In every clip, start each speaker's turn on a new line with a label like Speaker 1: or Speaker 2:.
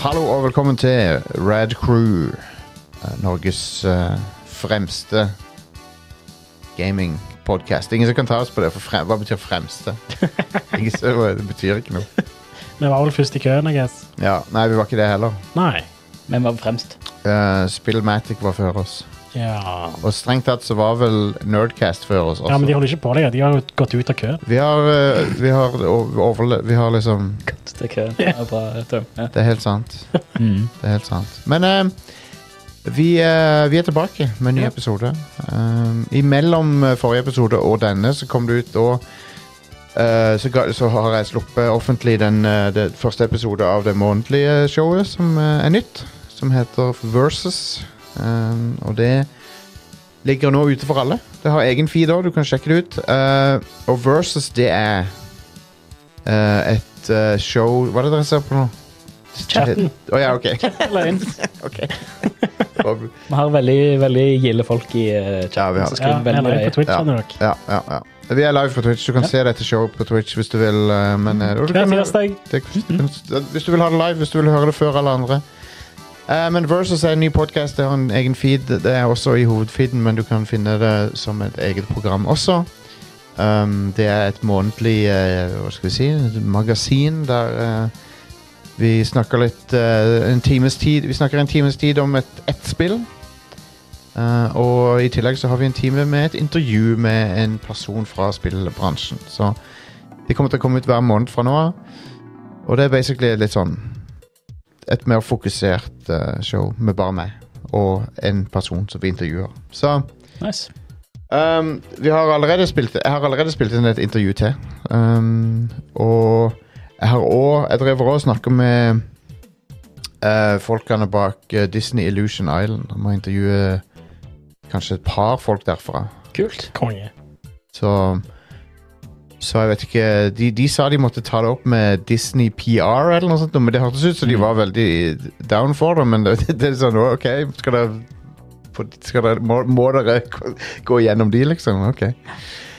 Speaker 1: velkommen til Rad Crew. eh, Norges eh, fremste gaming-podkast. Ingen som kan ta oss på det, for frem, hva betyr 'fremste'? Ingen som, det betyr ikke noe.
Speaker 2: Vi var vel først i køen, I guess.
Speaker 1: Ja, Nei, vi var ikke det heller.
Speaker 2: Nei.
Speaker 3: Men var fremst.
Speaker 1: Eh, Spillmatic var før oss.
Speaker 2: Ja.
Speaker 1: Og strengt tatt så var vel Nerdcast før oss også.
Speaker 2: ja, men de holder ikke på lenger. De har jo gått ut av køen.
Speaker 1: vi, har, eh, vi, har o- overle vi har liksom
Speaker 3: Godt, det er køen. Det er bra, eh, term. Ja.
Speaker 1: Det er helt sant.
Speaker 3: Mm.
Speaker 1: Det er helt sant. Men eh, vi, eh, vi er tilbake med en ny
Speaker 2: Ja.
Speaker 1: episode. Um, imellom eh, forrige episode og denne så kom det ut da eh, så, ga, så har jeg sluppet offentlig den, eh, det første episode av det månedlige showet som eh, er nytt. Som heter Versus. Um, og det ligger nå ute for alle. Det har egen feed òg, du kan sjekke det ut. Eh, og Versus, det er eh, et eh, show Hva er det dere ser på nå?
Speaker 2: Chatten.
Speaker 1: Å ja, ok.
Speaker 2: Eller inn.
Speaker 1: Og-
Speaker 3: Vi har veldig veldig gilde folk i uh,
Speaker 1: Ja, vi har
Speaker 3: Så
Speaker 1: det.
Speaker 3: skal
Speaker 2: Ja,
Speaker 3: vi velge
Speaker 2: eller inn på
Speaker 3: vei.
Speaker 2: Twitch,
Speaker 1: Ja.
Speaker 2: ja. nok.
Speaker 1: Ja, ja, ja. Vi er live på Twitch. Du kan se dette showet på Twitch hvis du vil. eh, Men, eh, og du
Speaker 2: Hver
Speaker 1: kan-
Speaker 2: tirsdag.
Speaker 1: det, hvis du vil ha det live, hvis du vil høre det før alle andre. Eh, men Versus er en ny podkast. Det har en egen feed. Det er også i hovedfeeden, men du kan finne det som et eget program også. Um, det er et månedlig eh, hva skal vi si, et magasin der eh, vi snakker litt eh, en times tid Vi snakker en times tid om et, ett spill. Eh, og i tillegg så har vi en time med et intervju med en person fra spillbransjen. Så de kommer til å komme ut hver måned fra nå av. Og det er basically litt sånn Et mer fokusert eh, show med bare meg og en person som vi intervjuer. Så
Speaker 3: Nice.
Speaker 1: um, vi har allerede spilt Jeg har allerede spilt inn et intervju til. Um, og jeg har òg Jeg driver òg og snakker med eh, folkene bak eh, Disney Illusion Island. Jeg må intervjue kanskje et par folk derfra.
Speaker 3: Kult.
Speaker 2: Konge.
Speaker 1: Så Så jeg vet ikke de, de sa de måtte ta det opp med Disney PR eller noe sånt, men det hørtes ut som de var veldig down for det, men det, det er sånn OK, skal dere få- skal dere, må, må dere gå gjennom de, liksom? Ok.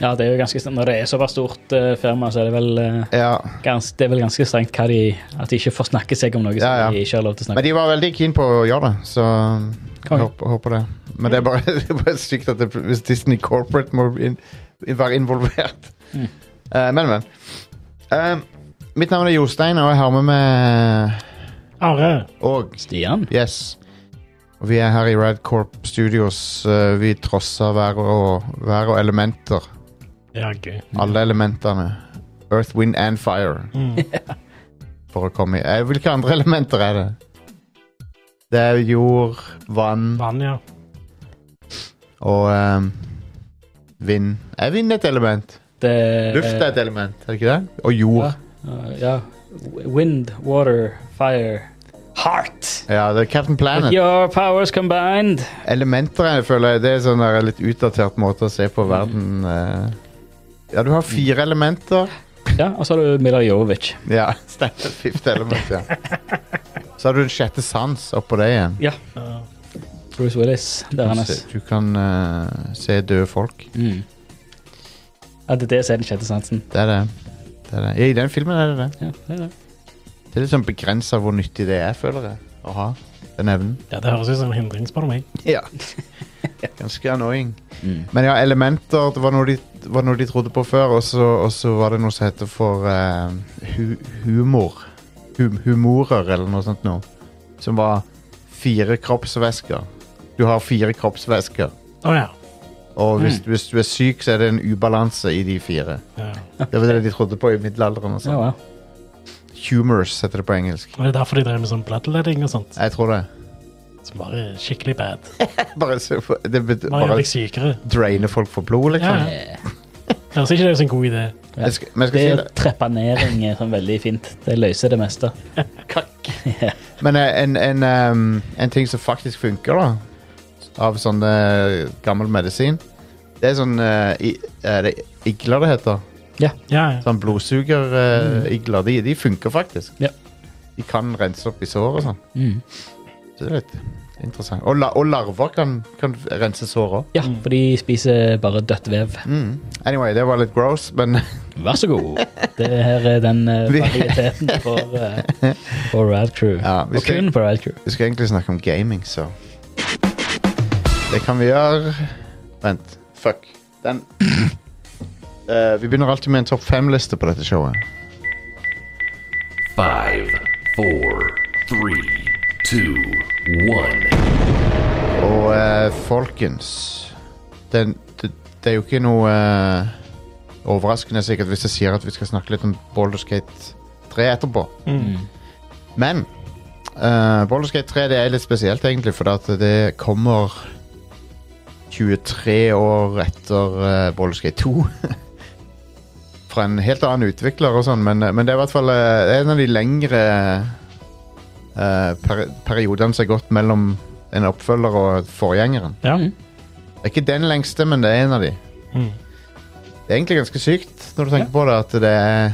Speaker 3: Ja, det er jo ganske strengt. Når det er såpass stort eh, firma, så er det vel eh,
Speaker 1: Ja,
Speaker 3: gans, det er vel ganske strengt hva de, at de ikke får snakke seg om noe som
Speaker 1: Ja, ja.
Speaker 3: de ikke har lov til å
Speaker 1: Men
Speaker 3: snakke om.
Speaker 1: de var veldig keen på å gjøre det, så jeg
Speaker 3: Konge.
Speaker 1: håper, håper det. Men det er bare, det er bare sykt at det, hvis Disney Corporate må in, være involvert.
Speaker 3: Mm.
Speaker 1: Eh, men, men. Eh, mitt navn er Jostein, og jeg har med meg
Speaker 2: Are.
Speaker 1: Og
Speaker 3: Stian?
Speaker 1: Yes. Og vi er her i Radcorp Studios. eh, vi trosser vær og, vær og elementer.
Speaker 2: Ja, gøy.
Speaker 1: Alle elementene. Earth, wind and fire.
Speaker 2: Mm.
Speaker 1: For å komme i eh, Hvilke andre elementer er det? Det er jord, vann
Speaker 2: Vann, ja.
Speaker 1: og eh, vind. Er vind et element?
Speaker 3: Det,
Speaker 1: Luft er et element, er det ikke det? Og jord.
Speaker 3: eh, ja. Wind, water, fire, heart.
Speaker 1: Ja, det er Captain
Speaker 3: With
Speaker 1: Planet.
Speaker 3: your powers combined.
Speaker 1: Elementer jeg føler jeg, det er sånn der litt utdatert måte å se på verden eh. Ja, du har fire elementer.
Speaker 3: Ja, og så har du Mila Jovovic.
Speaker 1: Ja, stemmer. Fifth element, ja. Så har du den sjette sans oppå det igjen.
Speaker 2: Uh,
Speaker 3: Bruce Willis. Det er hans.
Speaker 1: Se- Du kan eh, se døde folk.
Speaker 3: Mm. Ja, det er det som er den sjette sansen.
Speaker 1: Det er det. det, er det. Ja, I den filmen er det det.
Speaker 3: Ja, det er det.
Speaker 1: Det er litt sånn begrensa hvor nyttig det er, føler jeg. Å ha den evnen.
Speaker 2: ja, det høres ut som en hindring, spør du meg.
Speaker 1: Ja. Ganske annoying.
Speaker 3: Mm.
Speaker 1: Men ja, elementer det var noe de, var noe de trodde på før, og så, og så var det noe som heter for eh, hu humor. Hum humorer, eller noe sånt noe. Som var fire kroppsvæsker. Du har fire kroppsvæsker.
Speaker 2: Å ja.
Speaker 1: Og hvis,
Speaker 3: Mm.
Speaker 1: hvis du er syk, så er det en ubalanse i de fire.
Speaker 2: ja.
Speaker 1: Det var det de trodde på i middelalderen. og
Speaker 3: Ja,
Speaker 1: sånn.
Speaker 3: wow.
Speaker 1: Humors heter det på engelsk.
Speaker 2: Og det er derfor de drev med sånn bloodletting og sånt.
Speaker 1: Jeg tror det.
Speaker 2: Som bare er skikkelig bad.
Speaker 1: Bare, se på- det bet-
Speaker 2: Bare gjør
Speaker 1: bare
Speaker 2: deg sykere.
Speaker 3: liksom-
Speaker 1: drainer folk for blod, liksom.
Speaker 2: Ja, ja. Høres ikke det ut som en god idé?
Speaker 3: Ja.
Speaker 1: Jeg skal, men jeg skal
Speaker 3: Det
Speaker 1: si
Speaker 3: å
Speaker 1: det.
Speaker 3: treppe ned ting er sånn veldig fint. Det løser det meste.
Speaker 1: Men eh, en, en, ehm, en ting som faktisk funker, da, av sånn eh, gammel medisin Det er sånn eh, i, Er det igler det heter?
Speaker 2: Ja, ja.
Speaker 1: Sånn blodsugerigler. igler de, de funker faktisk.
Speaker 3: Mm. Ja.
Speaker 1: De kan rense opp i sår og sånn.
Speaker 3: Mm.
Speaker 1: Så det er litt interessant. Og, la, og larver kan, kan rense sår òg.
Speaker 3: Ja, for de spiser bare dødt vev.
Speaker 1: Mm. Anyway, det var litt gross, men
Speaker 3: Vær så god. Det her er den eh, varieteten for, uh, for Rad Crew.
Speaker 1: Ja, vi
Speaker 3: og
Speaker 1: skal-
Speaker 3: kun for Rad Crew.
Speaker 1: Vi skal egentlig snakke om gaming, så Det kan vi gjøre. Vent. Fuck. Den Eh, Vi begynner alltid med en topp fem-liste på dette showet.
Speaker 4: Five, four, three, two, one.
Speaker 1: Og eh, folkens den, det, det er jo ikke noe eh, overraskende sikkert hvis jeg sier at vi skal snakke litt om Baldur's Gate 3 etterpå.
Speaker 2: Mm.
Speaker 1: Men uh, Baldur's Gate 3 det er litt spesielt, egentlig, for at det kommer 23 år etter uh, Baldur's Gate 2. Fra en helt annen utvikler og sånn, men, men det er i hvert fall eh, det er en av de lengre eh, per periodene som har gått mellom en oppfølger og forgjengeren.
Speaker 2: Ja.
Speaker 3: Mm.
Speaker 1: Det er ikke den lengste, men det er en av de.
Speaker 2: Mm.
Speaker 1: Det er egentlig ganske sykt når du tenker på det, at det er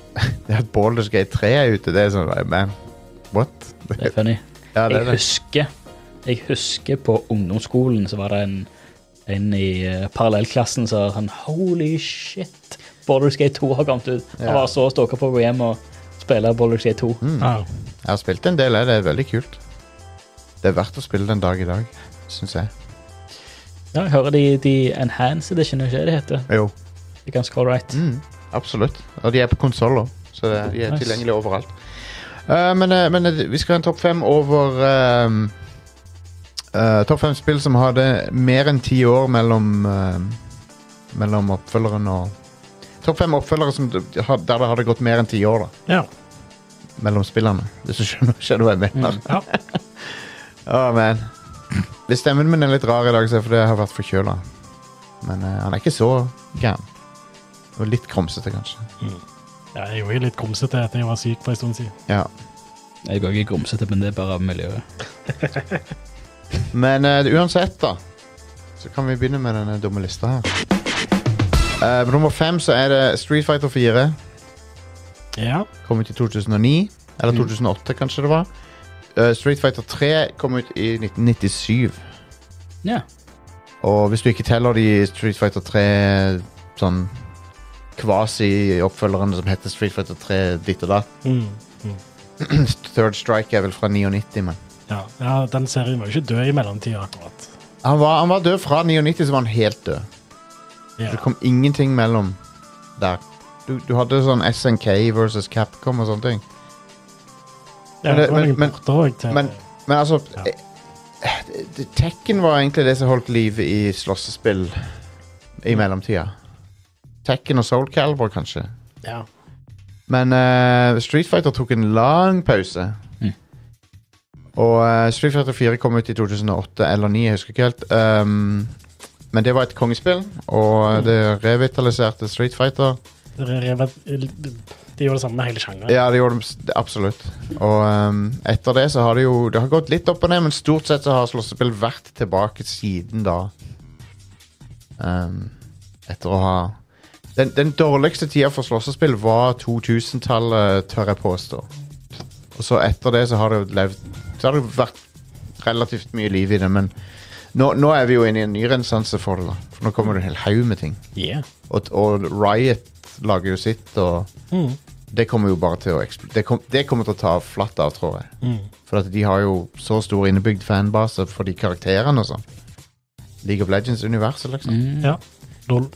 Speaker 1: det at Baldur's Gate 3 er ute. Det er sånn Man, what?
Speaker 3: Det er funny.
Speaker 1: Ja, det
Speaker 3: Jeg
Speaker 1: er det.
Speaker 3: husker, jeg husker på ungdomsskolen så var det en, en i eh, parallellklassen som sa sånn Holy shit, Baldur's Gate 2 har kommet ut.
Speaker 1: Ja.
Speaker 3: Han var så stoka på å gå hjem og spille Baldur's Gate 2.
Speaker 2: Au.
Speaker 1: Jeg har spilt en del av det. Det er veldig kult. Det er verdt å spille den dag i dag, syns jeg.
Speaker 3: Ja, jeg hører de, de Enhanced Edition, ikke det det heter?
Speaker 1: Jo.
Speaker 3: Det er ganske all right.
Speaker 1: Mm, absolutt. Og de er på konsoller, så det- de er
Speaker 3: Nice.
Speaker 1: tilgjengelige overalt. Eh, men, eh, men eh, vi skal ha en topp fem over ehm, eh, Topp fem spill som hadde mer enn ti år mellom ehm, Mellom oppfølgeren og Topp fem oppfølgere som, d- ha- der det hadde gått mer enn ti år da
Speaker 2: Ja.
Speaker 1: mellom spillene. Hvis du skjønner, skjønner hva jeg mener.
Speaker 2: ja.
Speaker 1: Åh, man. Hvis stemmen min er litt rar i dag, så er det fordi jeg har vært forkjøla. Men eh, han er ikke så gæren. Og litt krumsete, kanskje.
Speaker 2: ja. Jeg er jo litt grumsete etter jeg var syk for en stund siden.
Speaker 1: Ja
Speaker 3: Jeg òg er grumsete, men det er bare av miljøet.
Speaker 1: Men eh, uansett da Så kan vi begynne med denne dumme lista her Eh, På nummer 5 så er det Street Fighter 4
Speaker 2: Ja.
Speaker 1: Kom ut i 2009 Eller 2008 kanskje det var Eh, Street Fighter 3 kom ut i 1997
Speaker 3: Ja.
Speaker 1: Og hvis du ikke teller de Street Fighter 3 Sånn Quasi-oppfølgerne som heter Street Fighter 3 Ditt og datt
Speaker 2: Mm. Mm.
Speaker 1: Third Strike er vel fra 99 men
Speaker 2: ja. Ja, den serien var jo ikke død i mellomtida, akkurat.
Speaker 1: han var, han var død fra 99 så var han helt død
Speaker 2: Ja.
Speaker 1: Det kom ingenting mellom der. Du, du hadde sånn SNK versus Capcom og sånne ting.
Speaker 2: Ja,
Speaker 1: men-
Speaker 2: det var
Speaker 1: men-
Speaker 2: noen
Speaker 1: men-
Speaker 2: porter også til
Speaker 1: Men, men altså
Speaker 2: Ja.
Speaker 1: eh, eh, Tekken var egentlig det som holdt liv i slåssespill i mellomtida. Tekken og Soul Calibur, kanskje.
Speaker 2: ja.
Speaker 1: Men eh, Street Fighter tok en lang pause.
Speaker 3: Mm.
Speaker 1: Og eh, Street Fighter 4 kom ut i 2008 eller 2009, jeg husker ikke helt. Um, men det var et kongespill, og det revitaliserte Street Fighter.
Speaker 2: Det er- De gjør det samme med hele sjangeren.
Speaker 1: Ja, det gjorde de s- det- absolutt. Og ehm, etter det så har det jo Det har gått litt opp og ned, men stort sett så har slåssespill vært tilbake siden da. Ehm, etter å ha Den, den dårligste tida for slåssespill var 2000-tallet, tør jeg påstå. Og så etter det så har det jo levd Så har det vært relativt mye liv i det, men nå, nå er vi jo inne i en ny renessanse for det, da. For nå kommer det en hel haug med ting.
Speaker 2: Yeah.
Speaker 1: Og, og Riot lager jo sitt, og
Speaker 2: Mm.
Speaker 1: det kommer jo bare til å ekspl- det, kom, det kommer til å ta flatt av, tror jeg.
Speaker 2: Mm.
Speaker 1: For at de har jo så stor innebygd fanbase for de karakterene og sånn. League of Legends-universet, liksom.
Speaker 2: Ja. Lol.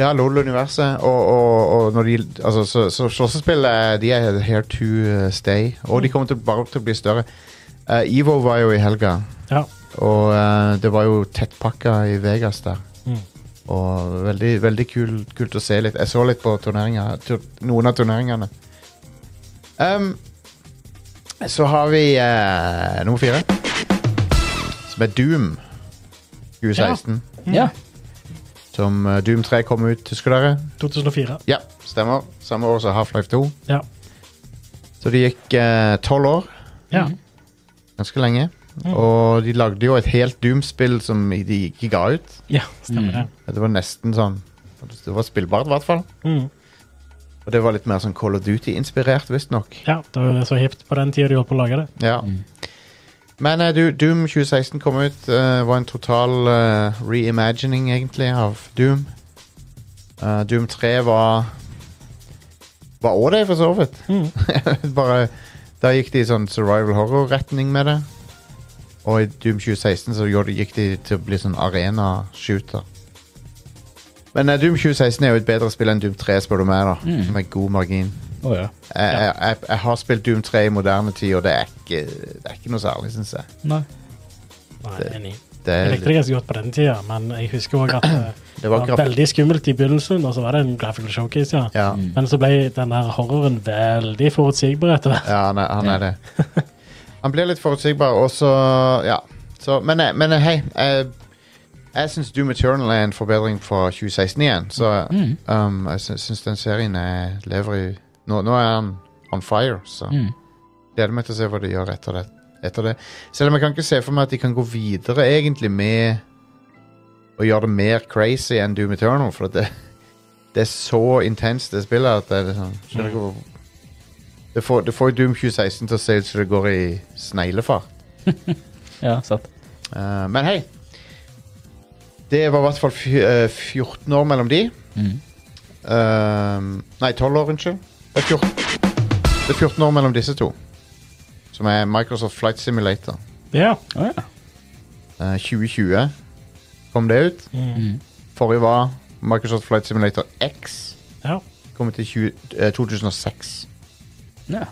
Speaker 1: Ja, LOL-universet. Og, og, og når de Altså, så, så slåssespill eh, De er here to eh, stay. Og de kommer til, bare til å bli større. Eh, Evo var jo i helga,
Speaker 2: Ja.
Speaker 1: og eh, det var jo tettpakka i Vegas der.
Speaker 2: Mm.
Speaker 1: Og veldig, veldig kul, kult å se litt. Jeg så litt på turneringer, tur, noen av turneringene. Ehm, så har vi eh, nummer fire, som er Doom 2016.
Speaker 3: ja.
Speaker 1: Som eh, Doom 3 kom ut, husker dere?
Speaker 2: 2004.
Speaker 1: Ja, stemmer. Samme år som Half-Life 2.
Speaker 2: Ja.
Speaker 1: Så det gikk eh, tolv år,
Speaker 2: Ja.
Speaker 1: ganske lenge. Og de lagde jo et helt Doom-spill som de ikke ga ut.
Speaker 2: ja, stemmer det.
Speaker 1: Det var nesten sånn Det var spillbart, i hvert fall.
Speaker 2: Mm.
Speaker 1: Og det var litt mer sånn Call of Duty-inspirert, visstnok.
Speaker 2: Ja, det var så hipt på den tida de holdt på å lage det.
Speaker 1: Ja. Men eh, du, Doom 2016 kom ut. Uh, var en total eh, reimagining, egentlig, av Doom. Eh, Doom 3 var Var òg det, for så vidt.
Speaker 2: Mm.
Speaker 1: Bare, da gikk de i sånn survival horror-retning med det. Og i Doom 2016 så gjorde- gikk de til å bli sånn arena-shooter. Men eh, Doom 2016 er jo et bedre spill enn Doom 3, spør du meg, da. Med god margin.
Speaker 3: Å ja.
Speaker 1: Jeg, jeg, jeg, jeg har spilt Doom 3 i moderne tid, og det er ikke, det er ikke noe særlig, syns jeg.
Speaker 3: Nei.
Speaker 2: Nei, enig.
Speaker 1: Det,
Speaker 2: Jeg
Speaker 1: er
Speaker 2: likte det ganske godt på den tida, men jeg husker òg at eh,
Speaker 1: det var graf-
Speaker 2: veldig Mm. skummelt i begynnelsen, og så var det en graphical showcase, ja.
Speaker 1: Ja,
Speaker 2: Men så ble den der horroren veldig forutsigbar etter hvert.
Speaker 1: ja han, er, han
Speaker 3: Ja.
Speaker 1: er det. Han blir litt forutsigbar, og så Ja. Så, men, eh, men eh, hei, jeg, jeg syns Doom Eternal er en forbedring fra 2016 igjen. Så
Speaker 3: Mm.
Speaker 1: um, jeg sy- syns den serien eh, lever i Nå, nå er han on fire, så
Speaker 3: Mm.
Speaker 1: gleder meg til å se hva de gjør etter det. Etter det. Selv om jeg kan ikke se for meg at de kan gå videre egentlig med å gjøre det mer crazy enn Doom Eternal, for at det, det er så intenst det spillet at det er liksom skjønner ikke hvor- det får, det får Doom 2016 til å se ut som det går i sneglefart.
Speaker 3: Ja, sant.
Speaker 1: Eh, men hei. Det var i hvert fall fj- eh, 14 år mellom de.
Speaker 3: Mm.
Speaker 1: Ehm, nei, 12 år, unnskyld. Det er, 14, det er 14 år mellom disse to. Som er Microsoft Flight Simulator.
Speaker 2: Ja.
Speaker 3: Å ja.
Speaker 1: Eh, 2020 kom det ut.
Speaker 3: Mm.
Speaker 1: Forrige var Microsoft Flight Simulator X.
Speaker 2: ja.
Speaker 1: Kom ut i 20, eh, 2006.
Speaker 3: ja.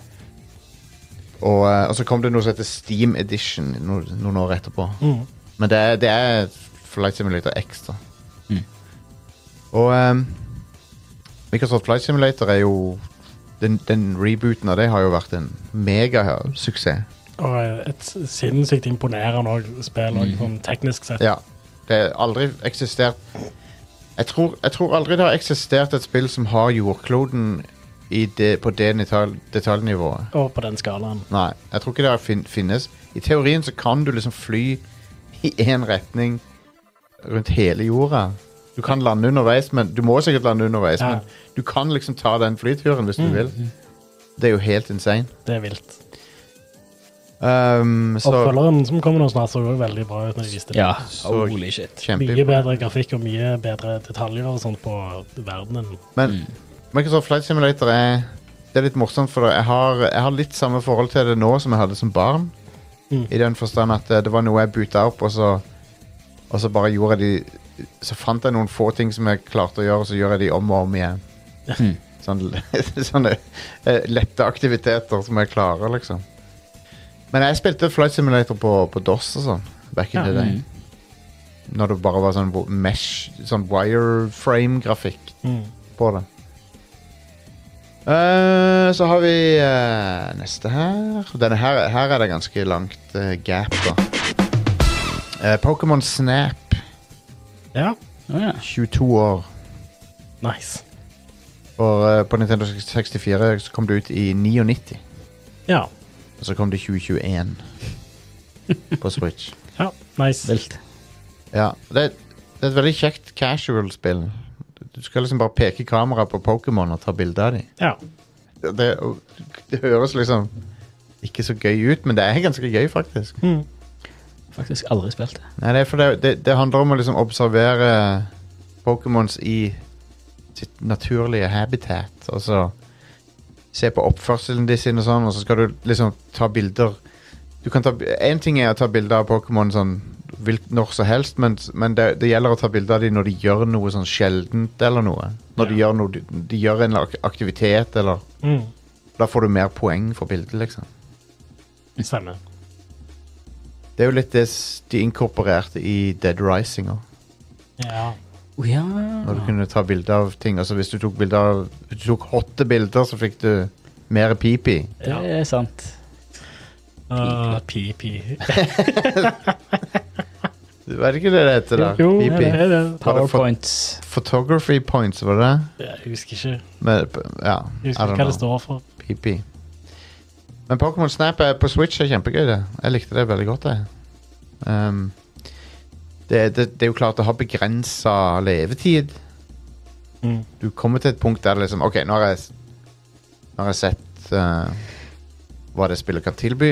Speaker 1: Og, eh, og så kom det noe som heter Steam Edition no, noen år etterpå.
Speaker 2: Mm.
Speaker 1: Men det er, det er Flight Simulator X, da.
Speaker 3: Mm.
Speaker 1: Og ehm, Microsoft Flight Simulator er jo den, den rebooten av det har jo vært en megasuksess.
Speaker 2: Og eh, et sinnssykt imponerende også spill, også, sånn teknisk sett.
Speaker 1: Ja. Det har aldri eksistert jeg tror, jeg tror aldri det har eksistert et spill som har jordkloden i det, på det nital- detaljnivået.
Speaker 2: Og på den skalaen.
Speaker 1: Nei, jeg tror ikke det fin finnes. I teorien så kan du liksom fly i én retning rundt hele jorda. Du kan lande underveis, men du må sikkert lande underveis,
Speaker 2: Ja. Mm.
Speaker 1: men du kan liksom ta den flyturen hvis du vil. Det er jo helt insane.
Speaker 2: Det er vilt.
Speaker 1: Um, så
Speaker 2: Oppfølgeren som kommer nå snart, så jo veldig bra ut når de viste det.
Speaker 3: ja.
Speaker 1: Så-
Speaker 3: Holy shit.
Speaker 2: Mye
Speaker 1: kjempe...
Speaker 2: bedre grafikk og mye bedre detaljer og sånt på verdenen.
Speaker 3: Mm.
Speaker 1: Men Microsoft Flight Simulator er Det er litt morsomt, for jeg har, jeg har litt samme forhold til det nå som jeg hadde som barn.
Speaker 2: Mm.
Speaker 1: I den forstand at eh, det var noe jeg buta opp, og så, og så bare gjorde jeg de Så fant jeg noen få ting som jeg klarte å gjøre, og så gjør jeg de om og om igjen.
Speaker 3: Mm.
Speaker 1: Sånn, sånne eh, lette aktiviteter som jeg klarer, liksom. Men jeg spilte Flight Simulator på, på DOS og sånn. Back in
Speaker 2: Ja,
Speaker 1: the day.
Speaker 3: mm.
Speaker 1: Når det bare var sånn mesh, sånn wireframe-grafikk
Speaker 2: Mm.
Speaker 1: på det. Eh, så har vi eh, neste her. Denne her. Her er det ganske langt eh, gap, da. Eh, Pokémon Snap,
Speaker 2: Ja,
Speaker 3: Å ja.
Speaker 1: 22 år.
Speaker 2: nice.
Speaker 1: Og eh, på Nintendo 64 så kom det ut i 99.
Speaker 2: Ja,
Speaker 1: Og så kom det i 2021 på Switch.
Speaker 2: ja, nice.
Speaker 3: Vilt.
Speaker 1: Ja, det, det er et veldig kjekt casual-spill. Du skal liksom bare peke kameraet på Pokémon og ta bilde av dem.
Speaker 2: Ja,
Speaker 1: det, det høres liksom ikke så gøy ut, men det er ganske gøy, faktisk.
Speaker 2: mm.
Speaker 3: Faktisk aldri spilt.
Speaker 1: Nei, det, er for det, det, det handler om å liksom observere Pokémons i sitt naturlige habitat. Og så se på oppførselen de sin og sånn, og så skal du liksom ta bilder. Du kan ta, en ting er å ta bilder av Pokémon sånn vil- når som helst, men, men det, det gjelder å ta bilder av dem når de gjør noe sånn sjeldent eller noe. Når de gjør noe, de, de gjør en ak- aktivitet eller
Speaker 2: Mm.
Speaker 1: Da får du mer poeng for bildet, liksom.
Speaker 2: stemmer.
Speaker 1: Det er jo litt det s- de inkorporerte i Dead Rising òg.
Speaker 2: Ja.
Speaker 3: Å ja.
Speaker 1: Når
Speaker 3: Mm.
Speaker 1: du kunne ta bilder av ting. Altså Hvis du tok bilder av Hvis du tok hotte bilder, så fikk du mer pipi.
Speaker 3: Det er sant.
Speaker 2: Uh, pi, pi.
Speaker 1: Du vet ikke det det heter der?
Speaker 2: Jo, det
Speaker 1: pipi.
Speaker 2: er det.
Speaker 3: Powerpoints.
Speaker 1: Photography points, var det det?
Speaker 2: Jeg husker ikke,
Speaker 1: Med, ja,
Speaker 2: jeg
Speaker 1: I
Speaker 2: husker
Speaker 1: don't
Speaker 2: ikke hva det
Speaker 1: know.
Speaker 2: står for.
Speaker 1: Pipi. Men Pokémon Snap er, på Switch er kjempegøy, det. Jeg likte det veldig godt, jeg. Ehm, det, det, det er jo klart det har begrensa levetid.
Speaker 2: Mm.
Speaker 1: du kommer til et punkt der det liksom Ok, nå har jeg, nå har jeg sett eh, hva det spillet kan tilby.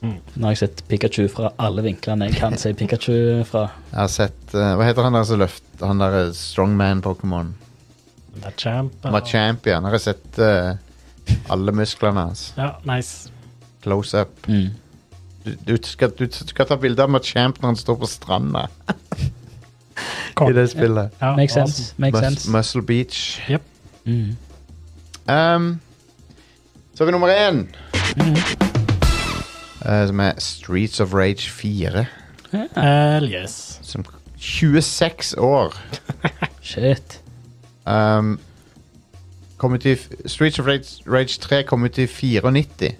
Speaker 3: Nå har jeg sett Pikachu fra alle vinklene jeg kan si Pikachu fra.
Speaker 1: Jeg har sett eh, Hva heter han der som løft Han der Strongman-Pokémon?
Speaker 2: Machamp. eller-
Speaker 1: Machampion. Har jeg sett eh, Alle musklene hans.
Speaker 2: Ja, nice.
Speaker 1: Close up.
Speaker 3: Mm.
Speaker 1: Du, du, skal, du skal ta bilde av Machamp når han står på stranda
Speaker 2: Kong.
Speaker 1: i det spillet.
Speaker 2: Ja,
Speaker 3: Makes
Speaker 2: awesome.
Speaker 3: sense. Makes
Speaker 1: Mus-
Speaker 3: sense.
Speaker 1: Muscle Beach.
Speaker 2: Jep.
Speaker 3: Mm.
Speaker 1: Um, så har vi nummer én.
Speaker 3: Mm-hmm.
Speaker 1: Eh, som er Streets of Rage 4.
Speaker 2: Hell yes.
Speaker 1: Som 26 år.
Speaker 3: Shit.
Speaker 1: Um, kom ut i, f- Streets of Rage, Rage 3 kom ut i 94.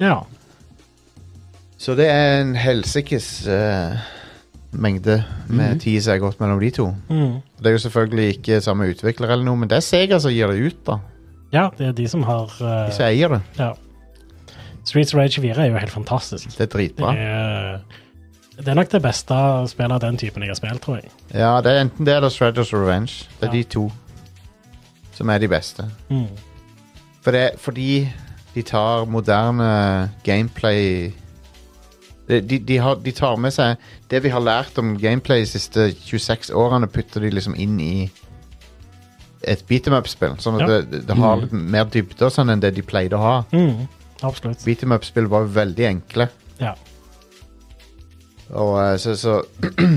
Speaker 2: Ja.
Speaker 1: Så det er en helsikes eh, mengde med
Speaker 3: Mhm.
Speaker 1: tid som er gått mellom de to.
Speaker 2: Mm.
Speaker 1: Det er jo selvfølgelig ikke samme utvikler, eller noe, men det er Sega som gir det ut. da.
Speaker 2: Ja, det er de som har eh,
Speaker 1: De som eier det.
Speaker 2: ja. Streets of Rage 4 er jo helt fantastisk.
Speaker 1: Det er
Speaker 2: Det
Speaker 1: dritbra.
Speaker 2: er, det er nok det beste spillet av den typen jeg har spilt, tror jeg.
Speaker 1: Ja, det er Enten det eller Shredders Revenge. Det er
Speaker 2: Ja.
Speaker 1: de to som er de beste.
Speaker 2: Mm.
Speaker 1: For det, fordi de tar moderne gameplay de, de, de, har, de tar med seg det vi har lært om gameplay de siste 26 årene, putter de liksom inn i et beat em up-spill. Sånn at
Speaker 2: Ja.
Speaker 1: det, det har litt mer dybde og sånn enn det de pleide å ha.
Speaker 2: Mm. Absolutt.
Speaker 1: Beat em up-spill var jo veldig enkle.
Speaker 2: Ja.
Speaker 1: Og eh, så, så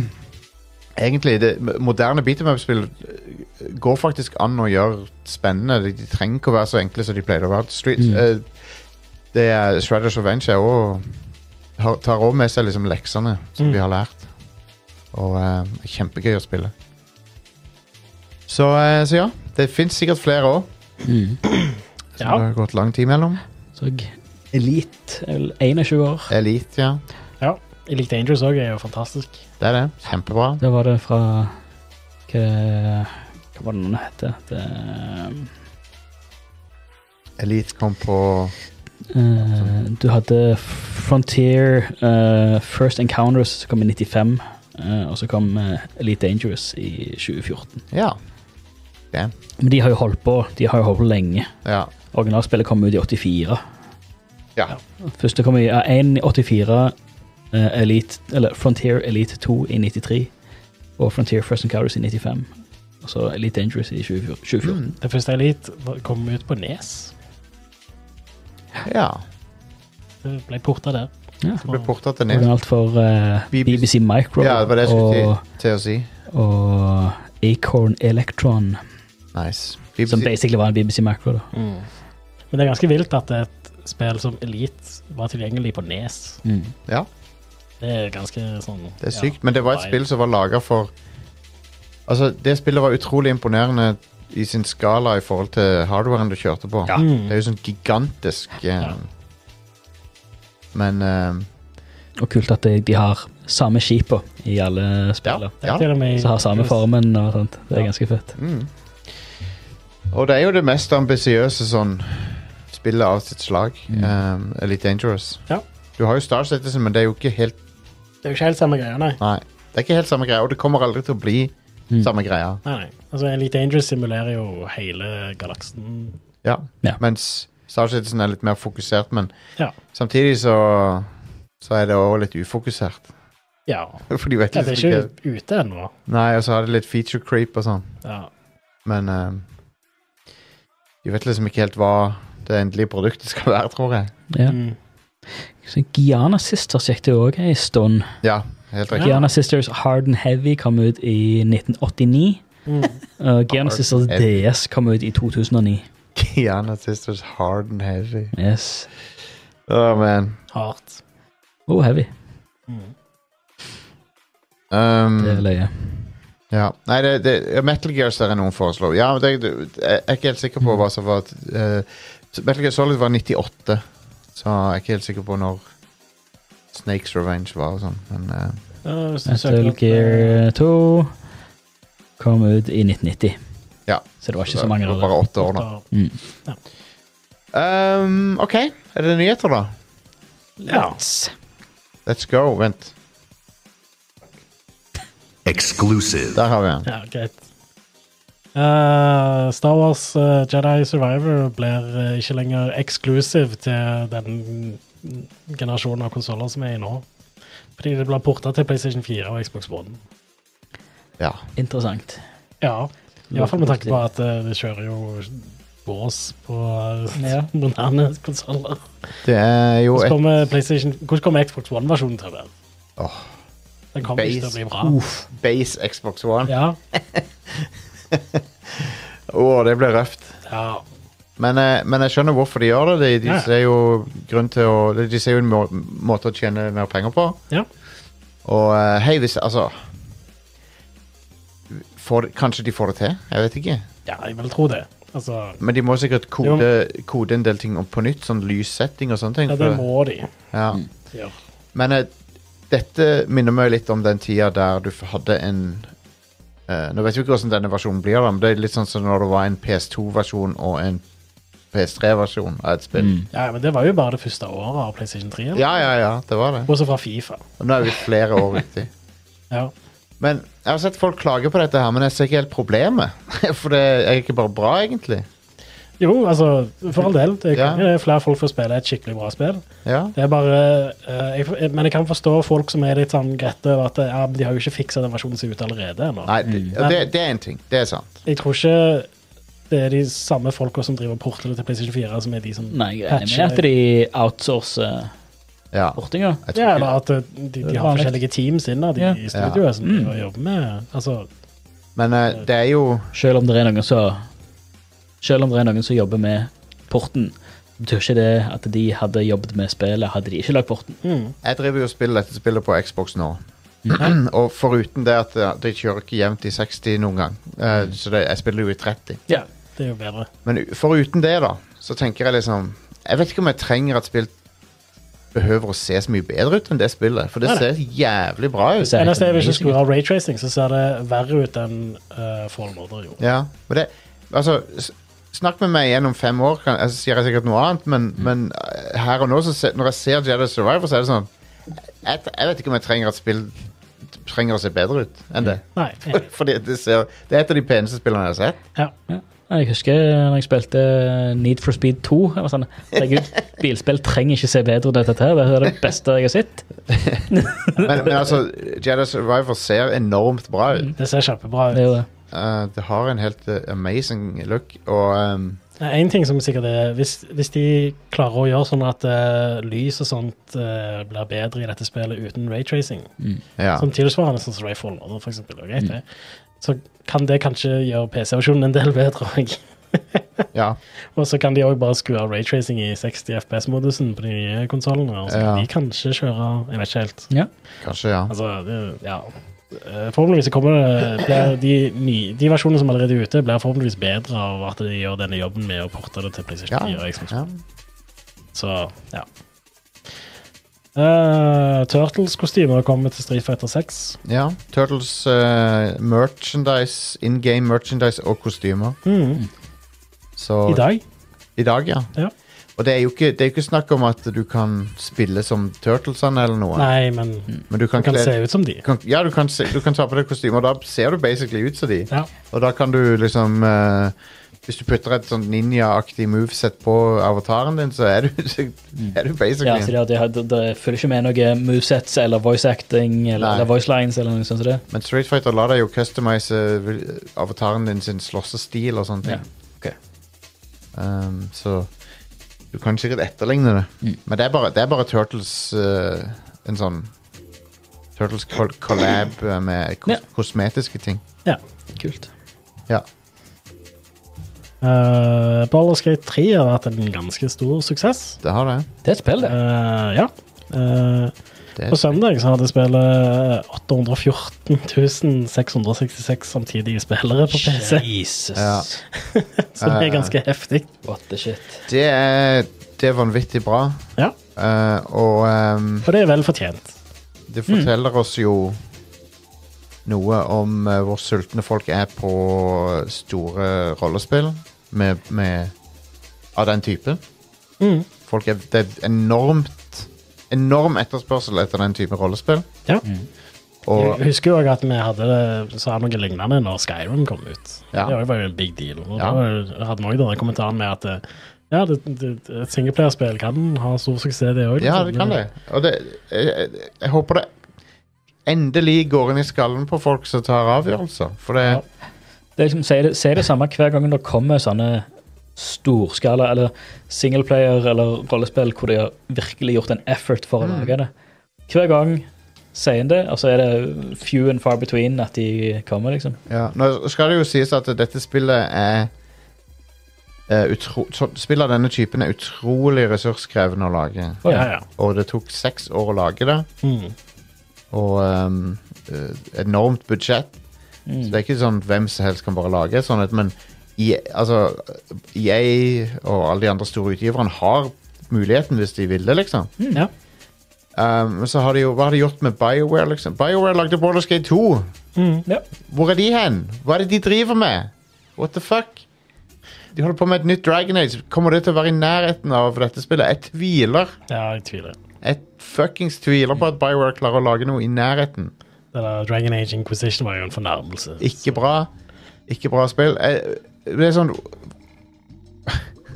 Speaker 1: Egentlig, det moderne beat em up-spill eh, går faktisk an å gjøre spennende. De, de trenger ikke å være så enkle som de pleide å være. Street,
Speaker 3: Mm.
Speaker 1: eh, det er Shredders Revenge er også, har, tar òg med seg liksom leksene som
Speaker 2: Mm.
Speaker 1: vi har lært. Og eh, er kjempegøy å spille. Så, eh, så ja, det fins sikkert flere òg.
Speaker 3: Mm.
Speaker 1: Som
Speaker 2: Ja.
Speaker 1: det har gått lang tid mellom.
Speaker 3: Så jeg- Elite eller 21 år.
Speaker 1: Elite, ja.
Speaker 2: ja. Elite Dangerous òg er jo fantastisk.
Speaker 1: Det er det. Kjempebra.
Speaker 3: Da var det fra Hva, hva var det den heter? Det,
Speaker 1: Elite kom på
Speaker 3: eh, du hadde Frontier eh, First Encounters, som kom i 95. eh, og så kom eh, Elite Dangerous i 2014.
Speaker 1: Ja.
Speaker 3: Men de har jo holdt på De har jo holdt på lenge.
Speaker 1: Ja.
Speaker 3: Originalspillet kom ut i 84.
Speaker 1: Ja.
Speaker 3: Første kom i ja, en i 84, eh, Elite, eller Frontier Elite 2 i 93, og Frontier First Encounters i 95. Og så Elite Dangerous i 2014. 2014.
Speaker 1: Mm.
Speaker 2: Det første Elite var- kom ut på E Nes.
Speaker 1: ja.
Speaker 2: Det ble porta der.
Speaker 3: Ja.
Speaker 1: Det ble porta til ned.
Speaker 3: Originalt for eh,
Speaker 1: BBC
Speaker 3: BBC Micro
Speaker 1: Ja, det var det jeg skulle
Speaker 3: og,
Speaker 1: til å si.
Speaker 3: og Acorn Electron,
Speaker 1: Nice.
Speaker 3: som
Speaker 1: BBC,
Speaker 3: basically var en BBC Micro. Da.
Speaker 2: Men det er ganske vilt at et spill som Elite var tilgjengelig på Nes.
Speaker 1: ja,
Speaker 2: Det er ganske sånn
Speaker 1: det er sykt. Men det var et spill som var laga for Altså, det spillet var utrolig imponerende i sin skala i forhold til hardwaren du kjørte på.
Speaker 3: Ja.
Speaker 1: Det er jo sånn gigantisk eh,
Speaker 2: Ja.
Speaker 1: Men eh,
Speaker 3: Og kult at de, de har samme skipa i alle spillene.
Speaker 2: Det er til og med-
Speaker 3: Så har samme formen og sånt. Det er
Speaker 2: Ja.
Speaker 3: ganske fett.
Speaker 1: mm. Og det er jo det mest ambisiøse sånn spillet av sitt slag. Mm. Elite Dangerous.
Speaker 2: Ja.
Speaker 1: Du har jo Star Citizen, men det er jo ikke helt
Speaker 2: Det er jo ikke helt samme greia, nei.
Speaker 1: Nei. Det er ikke helt samme greia, og det kommer aldri til å bli
Speaker 3: Mm.
Speaker 1: samme greia.
Speaker 2: nei, nei. Altså, Elite Dangerous simulerer jo hele galaksen.
Speaker 1: Ja.
Speaker 3: Ja.
Speaker 1: Mens Star Citizen er litt mer fokusert, men
Speaker 2: Ja.
Speaker 1: samtidig så så er det òg litt ufokusert.
Speaker 2: ja.
Speaker 1: For de vet
Speaker 2: ja det er
Speaker 1: liksom ikke
Speaker 2: ikke ute ennå.
Speaker 1: Nei, og så har det litt feature creep og sånn,
Speaker 2: Ja.
Speaker 1: men eh, De vet liksom ikke helt hva det endelige produktet skal være, tror jeg.
Speaker 3: Ja.
Speaker 2: Mm.
Speaker 3: Så Giana Sisters gikk det jo òg ei stund.
Speaker 1: Ja, helt riktig.
Speaker 3: Giana Sisters Hard and Heavy kom ut i 1989.
Speaker 2: Mm.
Speaker 3: Og Giana
Speaker 1: Hard
Speaker 3: Sisters
Speaker 1: and Heavy.
Speaker 3: DS kom ut i 2009.
Speaker 1: Kiana Sisters Hard and Heavy.
Speaker 3: Yes.
Speaker 1: Oh, man.
Speaker 2: Hardt.
Speaker 3: Oh, heavy.
Speaker 2: Mm.
Speaker 1: Um,
Speaker 3: Det er løye.
Speaker 1: Ja, nei, det, det, ja, Metal Gear ser jeg noen foreslår. Ja, men det, det, jeg er ikke helt sikker
Speaker 2: Mm.
Speaker 1: på hva som var eh, så Metal Gear Solid var 98, så jeg er ikke helt sikker på når Snakes Revenge var og sånn. Men eh,
Speaker 2: Ja, hvis du søker
Speaker 3: Metal
Speaker 2: opp, eh,
Speaker 3: Gear 2 kom ut i 1990.
Speaker 1: Ja.
Speaker 3: Så det var ikke
Speaker 1: det
Speaker 3: så mange
Speaker 1: var
Speaker 3: år.
Speaker 1: bare åtte år nå.
Speaker 2: da-
Speaker 3: Mm.
Speaker 1: Um, OK, er det nyheter, da?
Speaker 2: Ja.
Speaker 1: Let's go. Vent,
Speaker 4: Exclusive.
Speaker 1: der har vi den.
Speaker 2: Ja, greit. Eh, Star Wars eh, Jedi Survivor blir eh, ikke lenger eksklusiv til den generasjonen av konsoller som er i nå. Fordi det blir porta til PlayStation 4 og Xbox One.
Speaker 1: Ja.
Speaker 3: Interessant.
Speaker 2: Ja, i hvert fall med tanke på at eh, det kjører jo squaws på eh,
Speaker 3: Ja.
Speaker 2: moderne konsoller.
Speaker 1: Det er jo
Speaker 2: Hvordan
Speaker 1: et
Speaker 2: kommer, PlayStation- hvordan kommer Xbox One-versjonen til å være?
Speaker 1: Åh.
Speaker 2: Den kommer ikke til å
Speaker 1: Base.
Speaker 2: bli bra.
Speaker 1: Uff, base Xbox One. Å,
Speaker 2: Ja,
Speaker 1: det blir røft.
Speaker 2: ja.
Speaker 1: Men, eh, men jeg skjønner hvorfor de gjør det. De, de
Speaker 2: Ja.
Speaker 1: ser jo grunn til å De ser jo en må, måte å tjene mer penger på.
Speaker 2: ja.
Speaker 1: Og eh, hei, hvis Altså får, Kanskje de får det til? Jeg vet ikke.
Speaker 2: ja jeg vil tro det. Altså,
Speaker 1: Men de må sikkert kode, kode en del ting om på nytt. Sånn lyssetting og sånne ting.
Speaker 2: ja, det
Speaker 1: for-
Speaker 2: må de
Speaker 1: ja.
Speaker 2: gjøre.
Speaker 1: Men eh, dette minner meg litt om den tida der du f- hadde en eh, Nå vet vi ikke hvordan denne versjonen blir, da, men det er litt sånn som når det var en PS2-versjon og en PS3-versjon av et spill.
Speaker 2: Ja, men det var jo bare det første året av PlayStation 3.
Speaker 1: Ja, ja, ja, det var det.
Speaker 2: Også fra Fifa.
Speaker 1: Og nå er vi flere år uti.
Speaker 2: Ja.
Speaker 1: Men jeg har sett folk klage på dette her, men jeg ser ikke helt problemet. For det er ikke bare bra, egentlig.
Speaker 2: Jo, altså, for all del. Det er
Speaker 1: Ja.
Speaker 2: konge. Flere folk får spille et skikkelig bra spill.
Speaker 1: Ja,
Speaker 2: Det er bare eh, jeg, for- Men jeg kan forstå folk som er litt sånn grette over at ja, men de har jo ikke fiksa den versjonen som er ute allerede. ennå.
Speaker 1: Nei, det, ja, det, det er en ting. Det er sant.
Speaker 2: Jeg tror ikke det er de samme folka som driver portene til PlayStation 4, som er de som
Speaker 3: Nei, greiene med at
Speaker 2: det.
Speaker 3: de outsourcer
Speaker 1: Ja.
Speaker 3: portinga.
Speaker 1: Jeg tror
Speaker 2: Ja,
Speaker 1: ikke.
Speaker 2: eller at eh, de, de har
Speaker 3: Vanlig.
Speaker 2: forskjellige teams innad i
Speaker 3: Ja. Mm.
Speaker 2: i studioet som de jobber med. Altså,
Speaker 1: Men eh, det er jo
Speaker 3: Selv om det er noen som Selv om det er noen som jobber med porten, betyr ikke det at de hadde jobbet med spillet, hadde de ikke lagd porten.
Speaker 2: mm,
Speaker 1: Jeg driver jo og spiller dette spillet på Xbox nå. og foruten det at eh, de kjører ikke jevnt i 60 noen gang, eh, så det, jeg spiller jo i 30.
Speaker 3: Ja.
Speaker 2: det er jo bedre.
Speaker 1: Men u- foruten det, da, så tenker jeg liksom Jeg vet ikke om jeg trenger at spill behøver å se så mye bedre ut enn det spillet, for det
Speaker 2: Nei, nei.
Speaker 1: ser jævlig bra ut.
Speaker 3: Det er
Speaker 2: Ellers er vi
Speaker 3: amazing.
Speaker 2: ikke skru av raytracing, så ser det verre ut enn uh, Fallen Order gjorde.
Speaker 1: Ja, men det Altså, s- snakk med meg igjen om fem år, kan, jeg sier jeg sikkert noe annet, men,
Speaker 2: Mm.
Speaker 1: men eh, her og nå, så se, når jeg ser Jedi Survivor, så er det sånn Jeg, jeg vet ikke om jeg trenger at spill trenger å se bedre ut enn det.
Speaker 2: Nei. enig.
Speaker 1: Fordi det, ser, det er et av de peneste spillene jeg har sett.
Speaker 2: Ja.
Speaker 3: Ja. Jeg husker når jeg spilte Need for Speed 2. Jeg var sånn, Herregud, bilspill trenger ikke se bedre ut enn dette. her. Det er det beste jeg har sett.
Speaker 1: Men, men altså, Jedi Survivor ser enormt bra ut.
Speaker 2: Det ser kjempebra ut.
Speaker 3: Det er jo det.
Speaker 1: Eh, det har en helt eh, amazing look, og ehm,
Speaker 2: Én ting som sikkert er hvis, hvis de klarer å gjøre sånn at eh, lys og sånt eh, blir bedre i dette spillet uten raytracing,
Speaker 3: Mm.
Speaker 1: ja. Mm.
Speaker 2: som tilsvarende sånn som Rayfall Order, for eksempel, og greit, det. så kan det kanskje gjøre PC-versjonen en del bedre òg.
Speaker 1: ja.
Speaker 2: Og så kan de òg bare skru av raytracing i 60 FPS-modusen på de nye konsollene. og Så
Speaker 1: Ja.
Speaker 2: kan de kanskje kjøre Jeg vet ikke helt.
Speaker 3: Ja.
Speaker 1: Kanskje, ja.
Speaker 2: Altså, det, ja. Eh, Forhåpentligvis så kommer det blir de, nye, de versjonene som allerede er ute, blir forhåpentligvis bedre av at de gjør denne jobben med å porte det til PlayStation 4 og Xbox.
Speaker 1: ja.
Speaker 2: Så, ja. Eh, Turtles-kostymer kommer til Street Fighter 6.
Speaker 1: ja. Turtles eh, merchandise, in game merchandise og kostymer.
Speaker 2: Mm.
Speaker 1: Så,
Speaker 2: I dag.
Speaker 1: I dag, ja.
Speaker 2: Ja.
Speaker 1: Og det er, jo ikke, det er jo ikke snakk om at du kan spille som Turtlesene eller noe.
Speaker 2: Nei, men
Speaker 1: Men du kan,
Speaker 2: det kan
Speaker 1: kle-
Speaker 2: se ut som de.
Speaker 1: du kan, ja, du kan, se, du kan ta på deg kostyme, og da ser du basically ut som de.
Speaker 2: Ja.
Speaker 1: Og da kan du liksom eh, Hvis du putter et sånn ninja-aktig moveset på avataren din, så er du, så er du
Speaker 3: Ja, så
Speaker 1: basically
Speaker 3: det, det, det, det følger ikke med noe movesets eller voice acting
Speaker 1: Nei.
Speaker 3: eller, eller voice lines eller noe sånt. som det.
Speaker 1: Men Street Fighter lar deg jo customize eh, avataren din sin slåssestil og sånne ting. Um, så du kan sikkert etterligne det. Men det er bare, det er bare Turtles eh, En sånn Turtles col collab eh, med kos
Speaker 3: Ja.
Speaker 1: kosmetiske ting.
Speaker 2: ja.
Speaker 3: Kult.
Speaker 1: Ja.
Speaker 2: Uh, Baldur's Gate 3 har vært en ganske stor suksess.
Speaker 1: Det har det.
Speaker 3: Det er et spill, det.
Speaker 2: Eh, ja. Eh,
Speaker 1: det
Speaker 2: på søndag så hadde spillet 814 666 samtidige spillere på PC,
Speaker 3: Jesus.
Speaker 1: Ja.
Speaker 2: som er ganske heftig.
Speaker 3: What the shit.
Speaker 1: det, er, det er vanvittig bra.
Speaker 2: Ja,
Speaker 1: Eh, og ehm,
Speaker 2: Og det er vel fortjent.
Speaker 1: det forteller oss jo noe om eh, hvor sultne folk er på store rollespill med, med, av den typen.
Speaker 2: Mm.
Speaker 1: Folk er, det er enormt enorm etterspørsel etter den type rollespill.
Speaker 2: Ja.
Speaker 1: Og
Speaker 2: Jeg husker jo også at vi hadde det, så noe lignende når Skyrim kom ut.
Speaker 1: Ja.
Speaker 2: Det var jo en big deal. Og
Speaker 1: Ja.
Speaker 2: Da hadde vi også denne kommentaren med at eh, ja, det, det, et singleplayerspill kan ha stor suksess, det òg.
Speaker 1: Ja, det kan det. Og det jeg, jeg, jeg håper det endelig går inn i skallen på folk som tar avgjørelser. For det
Speaker 2: Ja.
Speaker 3: Det er liksom, sier, det, sier det samme hver gang det kommer sånne storskala eller singleplayer eller rollespill hvor de har virkelig gjort en effort for å
Speaker 1: Mm.
Speaker 3: lage det. Hver gang sier en det, og så er det few and far between at de kommer, liksom.
Speaker 1: Ja, nå skal det jo sies at dette spillet er eh, utro, så- Spill av denne typen er utrolig ressurskrevende å lage.
Speaker 2: Ja,
Speaker 3: Å, ja.
Speaker 2: ja.
Speaker 1: Og det tok seks år å lage det,
Speaker 2: Mm.
Speaker 1: og ehm, eh, enormt budsjett. Så
Speaker 3: Mm.
Speaker 1: det er ikke sånn at hvem som helst kan bare lage et sånt, et, men I- altså, EA og alle de andre store utgiverne har muligheten hvis de vil det, liksom.
Speaker 2: ja.
Speaker 1: Ehm, så har de jo, hva har de gjort med BioWare, liksom? BioWare lagde Baldur's Gate 2.
Speaker 2: Mm.
Speaker 3: Ja.
Speaker 1: Hvor er de hen? Hva er det de driver med? What the fuck? De holder på med et nytt Dragon Age. Kommer det til å være i nærheten av dette spillet? Jeg tviler.
Speaker 2: ja, jeg tviler.
Speaker 1: Jeg fuckings tviler på at BioWare klarer å lage noe i nærheten.
Speaker 2: Det der Dragon Age Inquisition var jo en fornærmelse.
Speaker 1: Ikke bra. Ikke bra spill. Jeg, det er sånn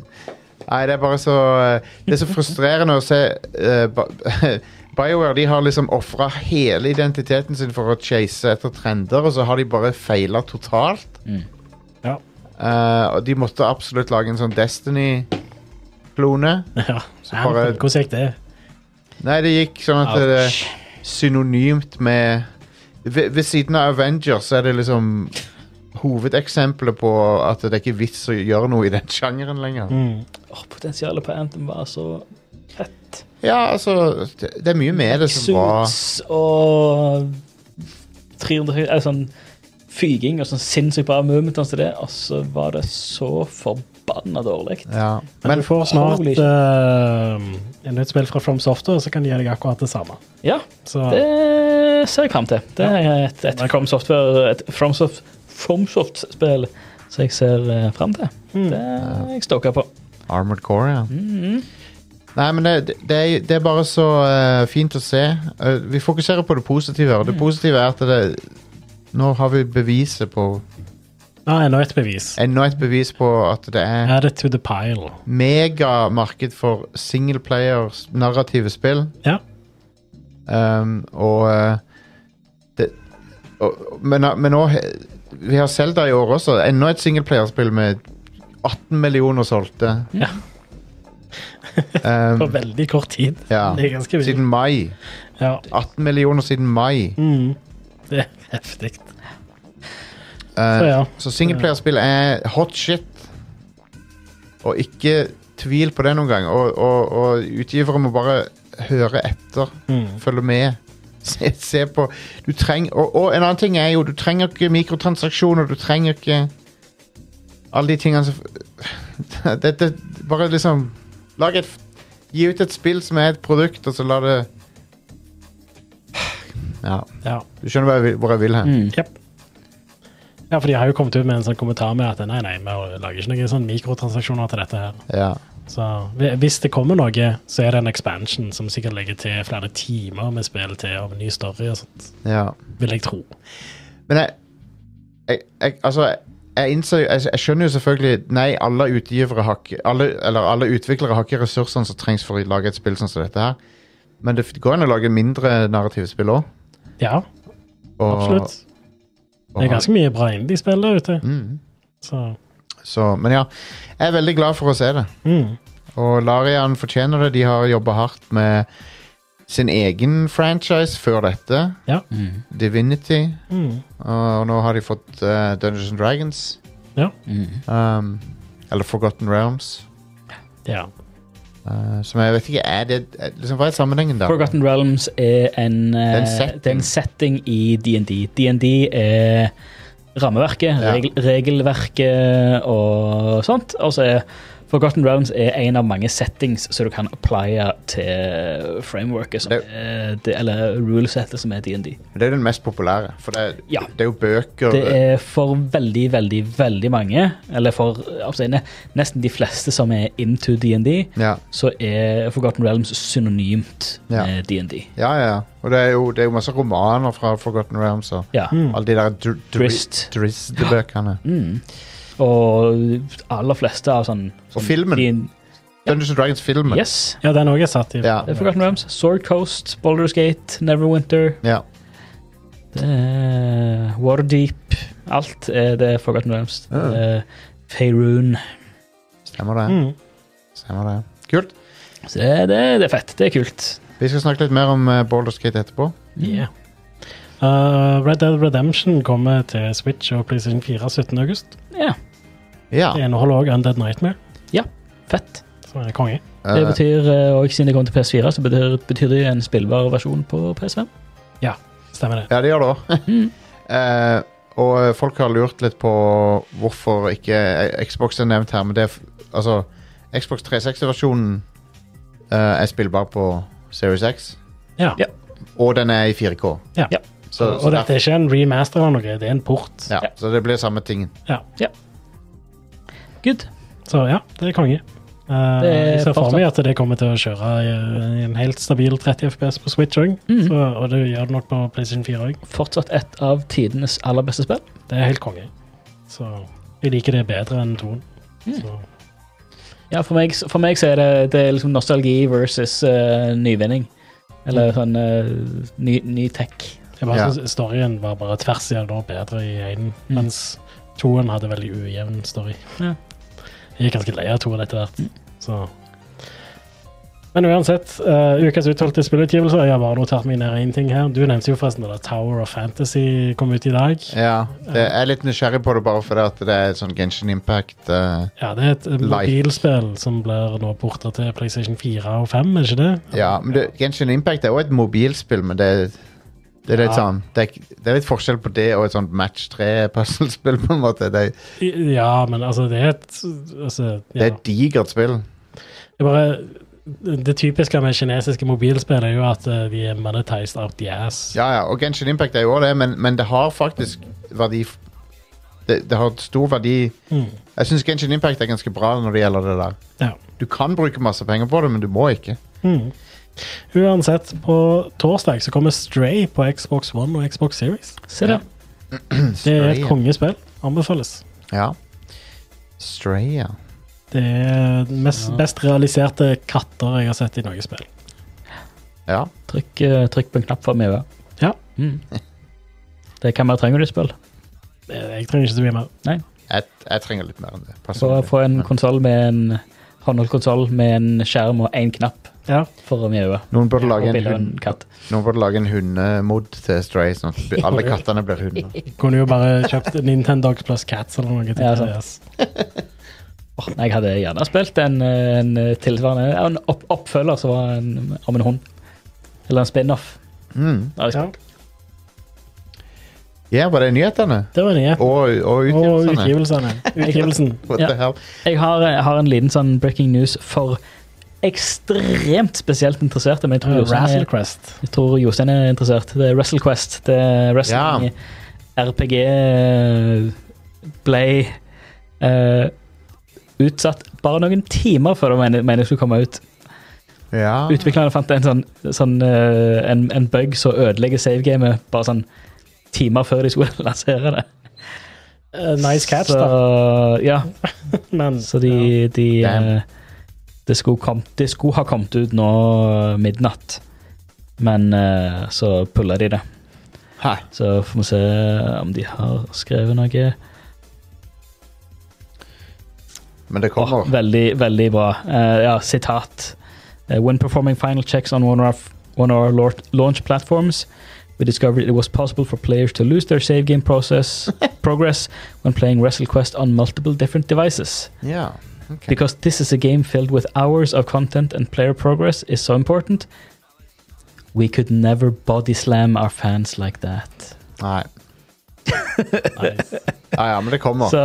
Speaker 1: Nei, det er bare så eh, Det er så frustrerende å se eh, Ba- BioWare de har liksom ofra hele identiteten sin for å chase etter trender, og så har de bare feila totalt.
Speaker 2: Ja.
Speaker 1: Eh, og de måtte absolutt lage en sånn Destiny-klone.
Speaker 2: ja.
Speaker 1: bare-
Speaker 2: Anthem, Hvordan gikk det?
Speaker 1: Nei, det gikk sånn at det er
Speaker 3: Ouch.
Speaker 1: synonymt med ved, ved siden av Avengers så er det liksom hovedeksempelet på at det er ikke vits å gjøre noe i den sjangeren lenger.
Speaker 2: Mm.
Speaker 3: Åh, potensialet på Anthem var så fett.
Speaker 1: Ja, altså Det, det er mye med det som var
Speaker 3: Suits og 300 høy- eller sånn fyging og sånn sinnssykt bra movement og det, og så var det så forbanna dårlig.
Speaker 1: ja.
Speaker 2: Men,
Speaker 1: Men
Speaker 2: du får snart
Speaker 3: Holy shit.
Speaker 2: eh, en nytt spill fra From Software, så kan de gi deg akkurat det samme.
Speaker 3: Ja,
Speaker 2: Så
Speaker 3: det ser jeg fram til. Det er et, et From Software et FromSoft, FromSoft-spill som jeg ser eh, fram til.
Speaker 1: Mm.
Speaker 3: Det er jeg stoka på.
Speaker 1: Armored Core, ja. Nei, men det, det, er, det er bare så eh, fint å se. Eh, vi fokuserer på det positive, her, og det positive er at det Nå har vi beviset på
Speaker 2: ja, enda et bevis.
Speaker 1: Enda et bevis på at det er
Speaker 2: Add it to the pile.
Speaker 1: megamarked for singleplayer narrative spill.
Speaker 2: Ja.
Speaker 1: Um, og, eh, det, og Men, men nå he- Vi har Zelda i år også. Enda et singleplayerspill med 18 millioner solgte.
Speaker 3: Ja.
Speaker 1: Um,
Speaker 2: På veldig kort tid.
Speaker 1: ja.
Speaker 2: Det er ganske vilt.
Speaker 1: Siden mai.
Speaker 2: Ja.
Speaker 1: 18 millioner siden mai.
Speaker 2: Mm. Det er heftig.
Speaker 1: Eh,
Speaker 2: Så ja.
Speaker 1: Så singleplayerspill er hot shit. Og ikke tvil på det noen gang. Og, og, og utgivere må bare høre etter.
Speaker 2: Mm.
Speaker 1: Følge med. Se, se på du treng, og, og en annen ting er jo du trenger ikke mikrotransaksjoner. Du trenger ikke alle de tingene som det, det, Bare liksom lag et, Gi ut et spill som er et produkt, og så la det Ja.
Speaker 2: Ja.
Speaker 1: Du skjønner hva jeg vil- hvor jeg vil hen?
Speaker 2: Jep. Ja, for de har jo kommet ut med en sånn kommentar med at nei, nei, vi lager ikke noen sånn mikrotransaksjoner til dette her.
Speaker 1: Ja.
Speaker 2: Så hvi- hvis det kommer noe, så er det en expansion som sikkert legger til flere timer med spill til og en ny story og sånt,
Speaker 1: ja.
Speaker 2: vil jeg tro.
Speaker 1: Men jeg, jeg, jeg Altså, jeg- jeg innser jo jeg, jeg skjønner jo selvfølgelig Nei, alle utgivere har ikke alle, Eller alle utviklere har ikke ressursene som trengs for å lage et spill sånn som dette her. Men det f- går an å lage mindre narrative spill òg.
Speaker 2: Ja, absolutt. Det er ganske mye bra indie-spill der ute.
Speaker 1: mm.
Speaker 2: Så
Speaker 1: Så, men ja. Jeg er veldig glad for å se det.
Speaker 2: mm.
Speaker 1: Og Larian fortjener det. De har jobba hardt med sin egen franchise før dette.
Speaker 2: Ja.
Speaker 1: Divinity.
Speaker 2: Mm.
Speaker 1: Og nå har de fått eh, Dungeons and Dragons.
Speaker 2: Ja.
Speaker 1: Um, eller Forgotten Realms.
Speaker 2: ja.
Speaker 1: Eh, som jeg vet ikke er det er- liksom, Hva er sammenhengen der?
Speaker 3: Forgotten Realms er en,
Speaker 1: er
Speaker 3: eh,
Speaker 1: en setting.
Speaker 3: det er en setting i D&D. D&D er rammeverket,
Speaker 1: Ja.
Speaker 3: regel, regelverket og sånt. Og så er Forgotten Realms er en av mange settings som du kan applye til frameworket, som
Speaker 1: Det-
Speaker 3: er, det, eller rulesettet som er D&D.
Speaker 1: Det er jo den mest populære. For det, er-
Speaker 3: Ja.
Speaker 1: det er jo bøker
Speaker 3: Det er for veldig, veldig, veldig mange, eller for altså, ne- nesten de fleste som er into D&D,
Speaker 1: ja.
Speaker 3: så er Forgotten Realms synonymt
Speaker 1: Ja.
Speaker 3: med D&D.
Speaker 1: ja, ja, ja. Og det er, jo, det er jo masse romaner fra Forgotten Realms og
Speaker 3: Ja.
Speaker 2: mm.
Speaker 1: alle de der dr
Speaker 3: Drist.
Speaker 1: Drizzt-bøkene.
Speaker 3: Mm. Og aller fleste av sånn
Speaker 1: Og filmen.
Speaker 3: din-
Speaker 1: Dungeons and Dragons-filmen.
Speaker 3: Yes.
Speaker 2: ja, den òg er satt i
Speaker 1: Ja.
Speaker 3: Det er Forgotten Realms, Sword Coast, Baldur's Gate, Neverwinter,
Speaker 1: Ja.
Speaker 3: det er Waterdeep Alt er det Forgotten Realms. Det er Faerun.
Speaker 1: Stemmer det.
Speaker 2: Mm.
Speaker 1: Stemmer det. Kult.
Speaker 3: Så det, det, det er fett. Det er kult.
Speaker 1: Vi skal snakke litt mer om uh, Baldur's Gate etterpå.
Speaker 2: Yeah. Uh, Red Dead Redemption kommer til Switch og PlayStation 4 17. august.
Speaker 3: Ja,
Speaker 1: Ja.
Speaker 2: Det inneholder også Undead Nightmare,
Speaker 3: fett.
Speaker 2: som er konge.
Speaker 3: Det
Speaker 1: eh,
Speaker 3: betyr, eh, og siden det kommer til PS4, så betyr, betyr det jo en spillbar versjon på PS5.
Speaker 2: Stemmer det.
Speaker 1: ja, det gjør det òg. og eh, folk har lurt litt på hvorfor ikke eh, Xbox er nevnt her, men det er f altså Xbox 360-versjonen eh, er spillbar på Series X,
Speaker 2: Ja.
Speaker 3: Ja.
Speaker 1: og den er i 4K.
Speaker 2: Ja.
Speaker 3: Ja.
Speaker 1: Så, så,
Speaker 2: Og dette er ikke en remaster eller noe, det er en port.
Speaker 1: ja, så det blir samme tingen.
Speaker 3: Good.
Speaker 2: Så ja, det er konge. Uh,
Speaker 3: Det er
Speaker 2: jeg ser for
Speaker 3: fortsatt-
Speaker 2: meg at det kommer til å kjøre i, i en helt stabil 30 FPS på Switch òg.
Speaker 3: Mhm.
Speaker 2: Og det gjør det nok på PlayStation 4 òg.
Speaker 3: Fortsatt et av tidenes aller beste spill.
Speaker 2: Det er helt konge. Så jeg liker det bedre enn toen. Så,
Speaker 3: Ja, for meg, for meg så er det, det er liksom nostalgi versus eh, nyvinning. Eller sånn eh, ny, ny tech.
Speaker 2: jeg bare
Speaker 1: Ja.
Speaker 2: synes Storyen var bare tvers igjennom bedre i enen,
Speaker 3: Mhm.
Speaker 2: mens toen hadde veldig ujevn story.
Speaker 3: Ja.
Speaker 2: Jeg er ganske lei av toen etter hvert, så Men uansett, eh, ukas utvalgte spillutgivelser. Jeg har bare notert meg ned én ting her. Du nevnte jo forresten at Tower of Fantasy kom ut i dag.
Speaker 1: Ja, det, jeg er litt nysgjerrig på det bare fordi at det er sånn Genshin Impact eh,
Speaker 2: Ja, det er et eh, mobilspill som blir nå porta til PlayStation 4 og 5, er ikke det?
Speaker 1: Ja, men det, Genshin Impact er jo et mobilspill, men det, det er litt
Speaker 2: Ja.
Speaker 1: sånn det er, det er litt forskjell på det og et sånt match 3-puslespill, på en måte. Det,
Speaker 2: I- Ja, men altså, det er et altså, ja.
Speaker 1: det er et digert spill.
Speaker 2: Jeg bare, det typiske med kinesiske mobilspill er jo at eh, de er monetized out the ass.
Speaker 1: Ja, ja, og Genshin Impact er jo også det, men, men det har faktisk verdi f- det, det har stor verdi
Speaker 2: Mm.
Speaker 1: Jeg syns Genshin Impact er ganske bra når det gjelder det der.
Speaker 2: Ja.
Speaker 1: Du kan bruke masse penger på det, men du må ikke.
Speaker 2: Mm. Uansett, på torsdag så kommer Stray på Xbox One og Xbox Series.
Speaker 3: Se der.
Speaker 2: Det er et
Speaker 1: Mm. Stray,
Speaker 2: kongespill. Anbefales.
Speaker 1: Ja. Stray, ja.
Speaker 2: Det er den mest, best realiserte katter jeg har sett i noe spill.
Speaker 1: ja.
Speaker 3: Trykk, eh, trykk på en knapp for meg.
Speaker 2: Ja.
Speaker 3: Mm. Det kan man trenger du spill.
Speaker 2: Eh, Jeg trenger ikke så mye mer.
Speaker 1: Jeg, jeg trenger litt mer enn det.
Speaker 3: For å
Speaker 1: personlig.
Speaker 3: få en
Speaker 1: Men-
Speaker 3: konsoll med en håndholdt konsoll med en skjerm og én knapp
Speaker 2: Ja.
Speaker 3: for å mjaue.
Speaker 1: Noen burde
Speaker 3: Og
Speaker 1: lage en,
Speaker 3: bilde av en
Speaker 1: hund,
Speaker 3: katt.
Speaker 1: noen burde lage en hundemod til Stray, sånn at b- alle kattene blir hunder.
Speaker 2: Kunne jo bare kjøpt Nintendogs pluss Cats eller noe. til
Speaker 3: Ja, sant.
Speaker 2: DS.
Speaker 3: Åh, nei, jeg hadde gjerne spilt en, eh, en tilsvarende ja, en opp, oppfølger som var en, om en hund. Eller en spin-off.
Speaker 1: Mm.
Speaker 3: Ja, liksom.
Speaker 2: Ja.
Speaker 1: Ja, var det nyhetene?
Speaker 2: Det var nye.
Speaker 1: Og, og
Speaker 2: Og
Speaker 1: utgivelsene?
Speaker 2: utgivelsene. Utgivelsen.
Speaker 1: What
Speaker 3: Ja.
Speaker 1: the hell?
Speaker 3: Jeg har, jeg har en liten sånn breaking news for ekstremt spesielt interesserte. Men jeg tror, Jostein
Speaker 2: Razzle
Speaker 3: er,
Speaker 2: Crest.
Speaker 3: jeg tror Jostein er interessert. Det er WrestleQuest. Det er wrestling RPG ble eh, utsatt bare noen timer før det mener, mener jeg skulle komme ut.
Speaker 1: Ja.
Speaker 3: Utviklerne fant en sånn, sånn eh, en, en bug som ødelegger savegamet bare sånn timer før de skulle lansere det.
Speaker 2: Eh, nice catch,
Speaker 3: så,
Speaker 2: da.
Speaker 3: Ja,
Speaker 2: Men
Speaker 3: Så de, de
Speaker 1: Damn.
Speaker 3: eh, det, skulle kom, det skulle ha kommet ut nå eh, midnatt, men eh, så pulla de det.
Speaker 1: Hæ.
Speaker 3: Så får vi se om de har skrevet noe.
Speaker 1: Men det
Speaker 3: Åh,
Speaker 1: kommer.
Speaker 3: veldig, veldig bra. Eh, ja, sitat. Eh, when performing final checks on one of one of our lor- launch platforms, we discovered it was possible for players to lose their save game process progress when playing WrestleQuest on multiple different devices.
Speaker 1: Ja. Ok.
Speaker 3: Because this is a game filled with hours of content and player progress is so important. We could never body slam our fans like that.
Speaker 1: Nei.
Speaker 2: nice.
Speaker 1: Ja, ja, men det kommer.
Speaker 3: Så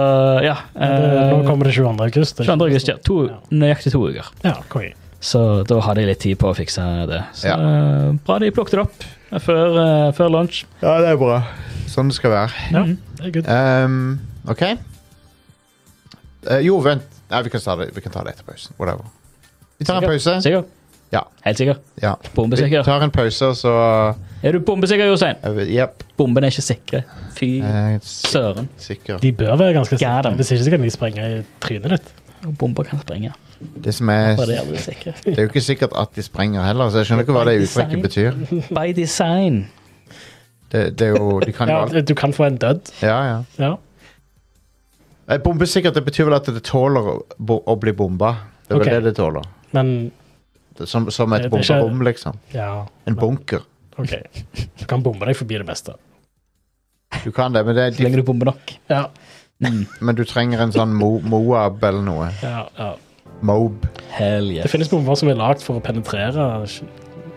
Speaker 3: ja.
Speaker 2: Men det,
Speaker 3: eh,
Speaker 2: nå kommer det 22. august. det er
Speaker 3: 22. august,
Speaker 2: ikke
Speaker 3: ja. To,
Speaker 2: Ja.
Speaker 3: nøyaktig to uker.
Speaker 2: Ja, konge.
Speaker 3: Så da hadde jeg litt tid på å fikse det. Så
Speaker 1: Ja.
Speaker 3: eh, bra de plukket det opp eh, før, eh, før lunsj.
Speaker 1: Ja, det er bra. Sånn det skal være.
Speaker 2: Ja, det er good.
Speaker 1: Ehm, OK? Eh, jo, vent. Nei, vi kan, ta det. vi kan ta det etter pausen. Whatever. Vi tar en pause.
Speaker 3: Sikker?
Speaker 1: Ja.
Speaker 3: Helt sikker.
Speaker 1: Ja. Vi
Speaker 3: Bombesikker.
Speaker 1: tar en pause, og så
Speaker 3: Er du bombesikker, Jostein?
Speaker 1: Jeg vet- Jepp.
Speaker 3: Bomben er ikke sikre. Fy
Speaker 1: Eh, s-
Speaker 3: søren.
Speaker 1: Sikker.
Speaker 2: De bør være ganske
Speaker 3: Ja, da.
Speaker 2: sikre. Hvis ikke så kan de sprenge i trynet ditt.
Speaker 3: Bomber kan sprenge.
Speaker 1: Det som er
Speaker 3: Bare det er vi sikre.
Speaker 1: Det er jo ikke sikkert at de sprenger heller, så jeg skjønner ikke hva det uttrykket betyr.
Speaker 3: By design.
Speaker 1: Det, det er jo, de kan jo
Speaker 2: Ja,
Speaker 1: alt.
Speaker 2: du kan få en død.
Speaker 1: Ja, ja.
Speaker 2: Ja.
Speaker 1: Eh, Bombesikkert det betyr vel at det tåler å, bo, å bli bomba. Det er
Speaker 2: Ok.
Speaker 1: vel det det tåler.
Speaker 2: Men
Speaker 1: Det, er som, som et
Speaker 2: Det- det skjer-
Speaker 1: bomberom, liksom.
Speaker 2: ja.
Speaker 1: En bunker.
Speaker 2: OK. Du kan bombe deg forbi det meste.
Speaker 1: Du kan det, men, det er,
Speaker 3: Så lenge du bomber nok. Mm.
Speaker 2: Ja.
Speaker 1: men du trenger en sånn mo, Moab eller noe.
Speaker 2: ja, ja.
Speaker 1: Moab.
Speaker 3: Hell
Speaker 2: Det
Speaker 3: yes.
Speaker 2: finnes bomber som er lagd for å penetrere sh-
Speaker 1: Ja,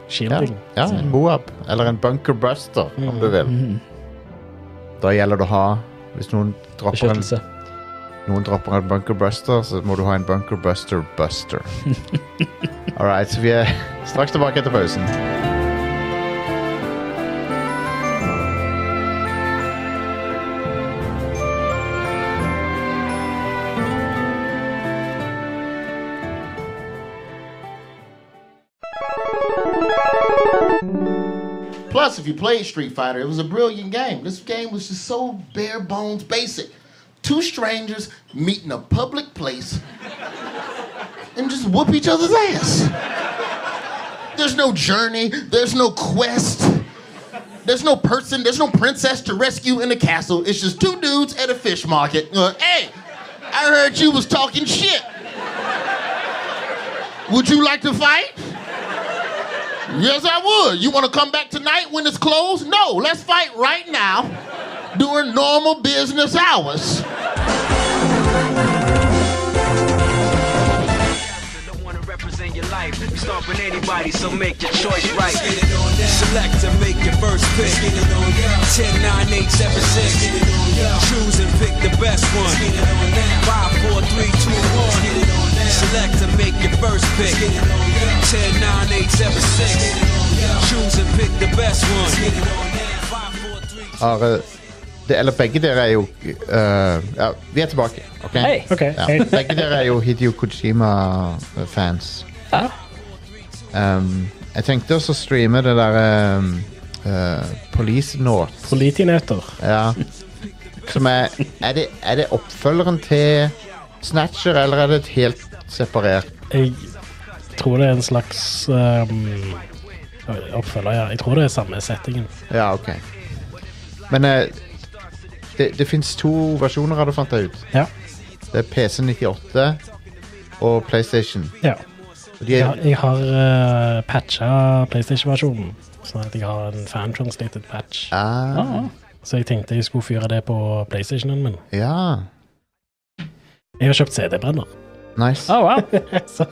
Speaker 2: shielding.
Speaker 1: ja en Moab. Eller en bunker buster, om du vil.
Speaker 3: Mhm.
Speaker 1: Da gjelder det å ha Hvis noen dropper en,
Speaker 3: Beskyttelse.
Speaker 1: noen dropper en bunker buster, så må du ha en bunker buster buster. All right, så vi er straks tilbake etter pausen.
Speaker 5: Plus, if you played Street Fighter, it was a brilliant game. This game was just so bare bones basic. Two strangers meet in a public place and just whoop each other's ass. There's no journey, there's no quest, there's no person, there's no princess to rescue in the castle. It's just two dudes at a fish market. Uh, hey, I heard you was talking shit. Would you like to fight? Yes, I would. You want to come back tonight when it's closed? No, let's fight right now during normal business hours.
Speaker 6: don't wanna represent your life. You start with anybody, so make your choice right. Select and make your first pick. 10, 9, 8, 7, 6. Choose and pick the best one. 5, 4, 3, 2, 1. Select and make your first pick. 10, 9, 8, 7, 6. Choose and pick the best one. 5, 4, 3, 2,
Speaker 1: Are, det, eller begge dere er jo eh, ja, Vi er tilbake, OK?
Speaker 3: Hei.
Speaker 2: OK.
Speaker 1: Ja,
Speaker 2: Hei.
Speaker 1: begge dere er jo Hideo Kojima-fans.
Speaker 3: Ja.
Speaker 1: Um, jeg tenkte også å streame det der um, uh, Police Note.
Speaker 2: Politinøtter.
Speaker 1: Ja. Som er er det, er det oppfølgeren til Snatcher, eller er det et helt separert
Speaker 2: Jeg tror det er en slags um, oppfølger, ja. Jeg tror det er samme settingen.
Speaker 1: Ja, OK. Men eh, det, det fins to versjoner, har du fant deg ut.
Speaker 2: Ja.
Speaker 1: Det er PC98 og PlayStation.
Speaker 2: ja.
Speaker 1: Og de
Speaker 2: Jeg,
Speaker 1: er,
Speaker 2: har- jeg har uh, patcha PlayStation-versjonen, sånn at jeg har en fan-translated patch.
Speaker 1: ah,
Speaker 3: Ah.
Speaker 2: Så jeg tenkte jeg skulle fyre det på PlayStationen min.
Speaker 1: ja.
Speaker 2: Jeg har kjøpt CD-brenner.
Speaker 1: Nice.
Speaker 3: Oh, wow.
Speaker 2: Så,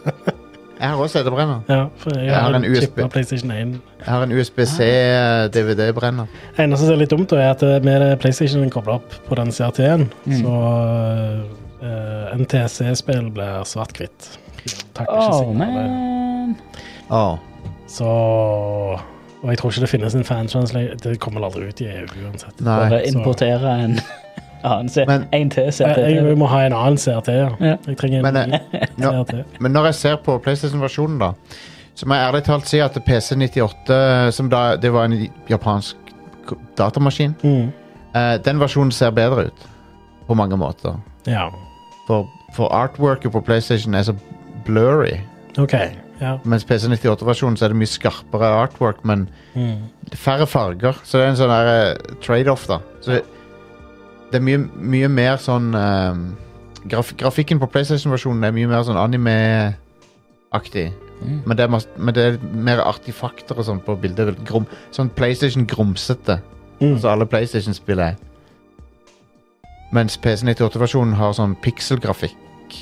Speaker 1: Jeg har også CD-brenner.
Speaker 2: ja, for jeg,
Speaker 1: har
Speaker 2: har
Speaker 1: en
Speaker 2: en
Speaker 1: USB.
Speaker 2: PlayStation 1.
Speaker 1: Jeg har en
Speaker 3: Ah.
Speaker 1: eh, USBC-DVD-brenner.
Speaker 2: Det eneste som er litt dumt, da, er at eh, med PlayStation kobla opp på den CRT-en,
Speaker 1: Mm.
Speaker 2: så eh, NTC-spill blir svart-hvitt. Takk, ikke
Speaker 3: Oh,
Speaker 2: signalet.
Speaker 3: man. Ah.
Speaker 1: Åh
Speaker 2: Så Og jeg tror ikke det finnes en fantranslate. Det kommer vel aldri ut i EU uansett.
Speaker 1: Nei.
Speaker 3: Bare importere en annen se.
Speaker 1: Men-
Speaker 3: En til se.
Speaker 2: Jeg, Eh, jeg må ha en annen CRT. Ja.
Speaker 3: Ja.
Speaker 2: Jeg trenger en
Speaker 1: Men,
Speaker 2: ny
Speaker 1: eh, nå,
Speaker 2: CRT.
Speaker 1: men når jeg ser på PlayStation-versjonen, da, så må jeg ærlig talt si at PC98, som da det var en japansk k- datamaskin,
Speaker 2: Mm.
Speaker 1: eh, den versjonen ser bedre ut på mange måter.
Speaker 2: Ja.
Speaker 1: For, for artworket på PlayStation er så blurry.
Speaker 2: OK. Ja.
Speaker 1: Mens PC98-versjonen så er det mye skarpere artwork, men
Speaker 2: Mm.
Speaker 1: færre farger. Så det er en sånn der, eh, trade-off, da. Så det, det er mye, mye mer sånn eh, graf, Grafikken på PlayStation-versjonen er mye mer sånn anime-aktig.
Speaker 3: Mm.
Speaker 1: Men, det er mas- men det er mer artifakter og sånn på bildet. vel, Grom, sånn PlayStation-grumsete,
Speaker 2: Mm.
Speaker 1: som alle PlayStation-spill er. Mens PC98-versjonen har sånn pikselgrafikk.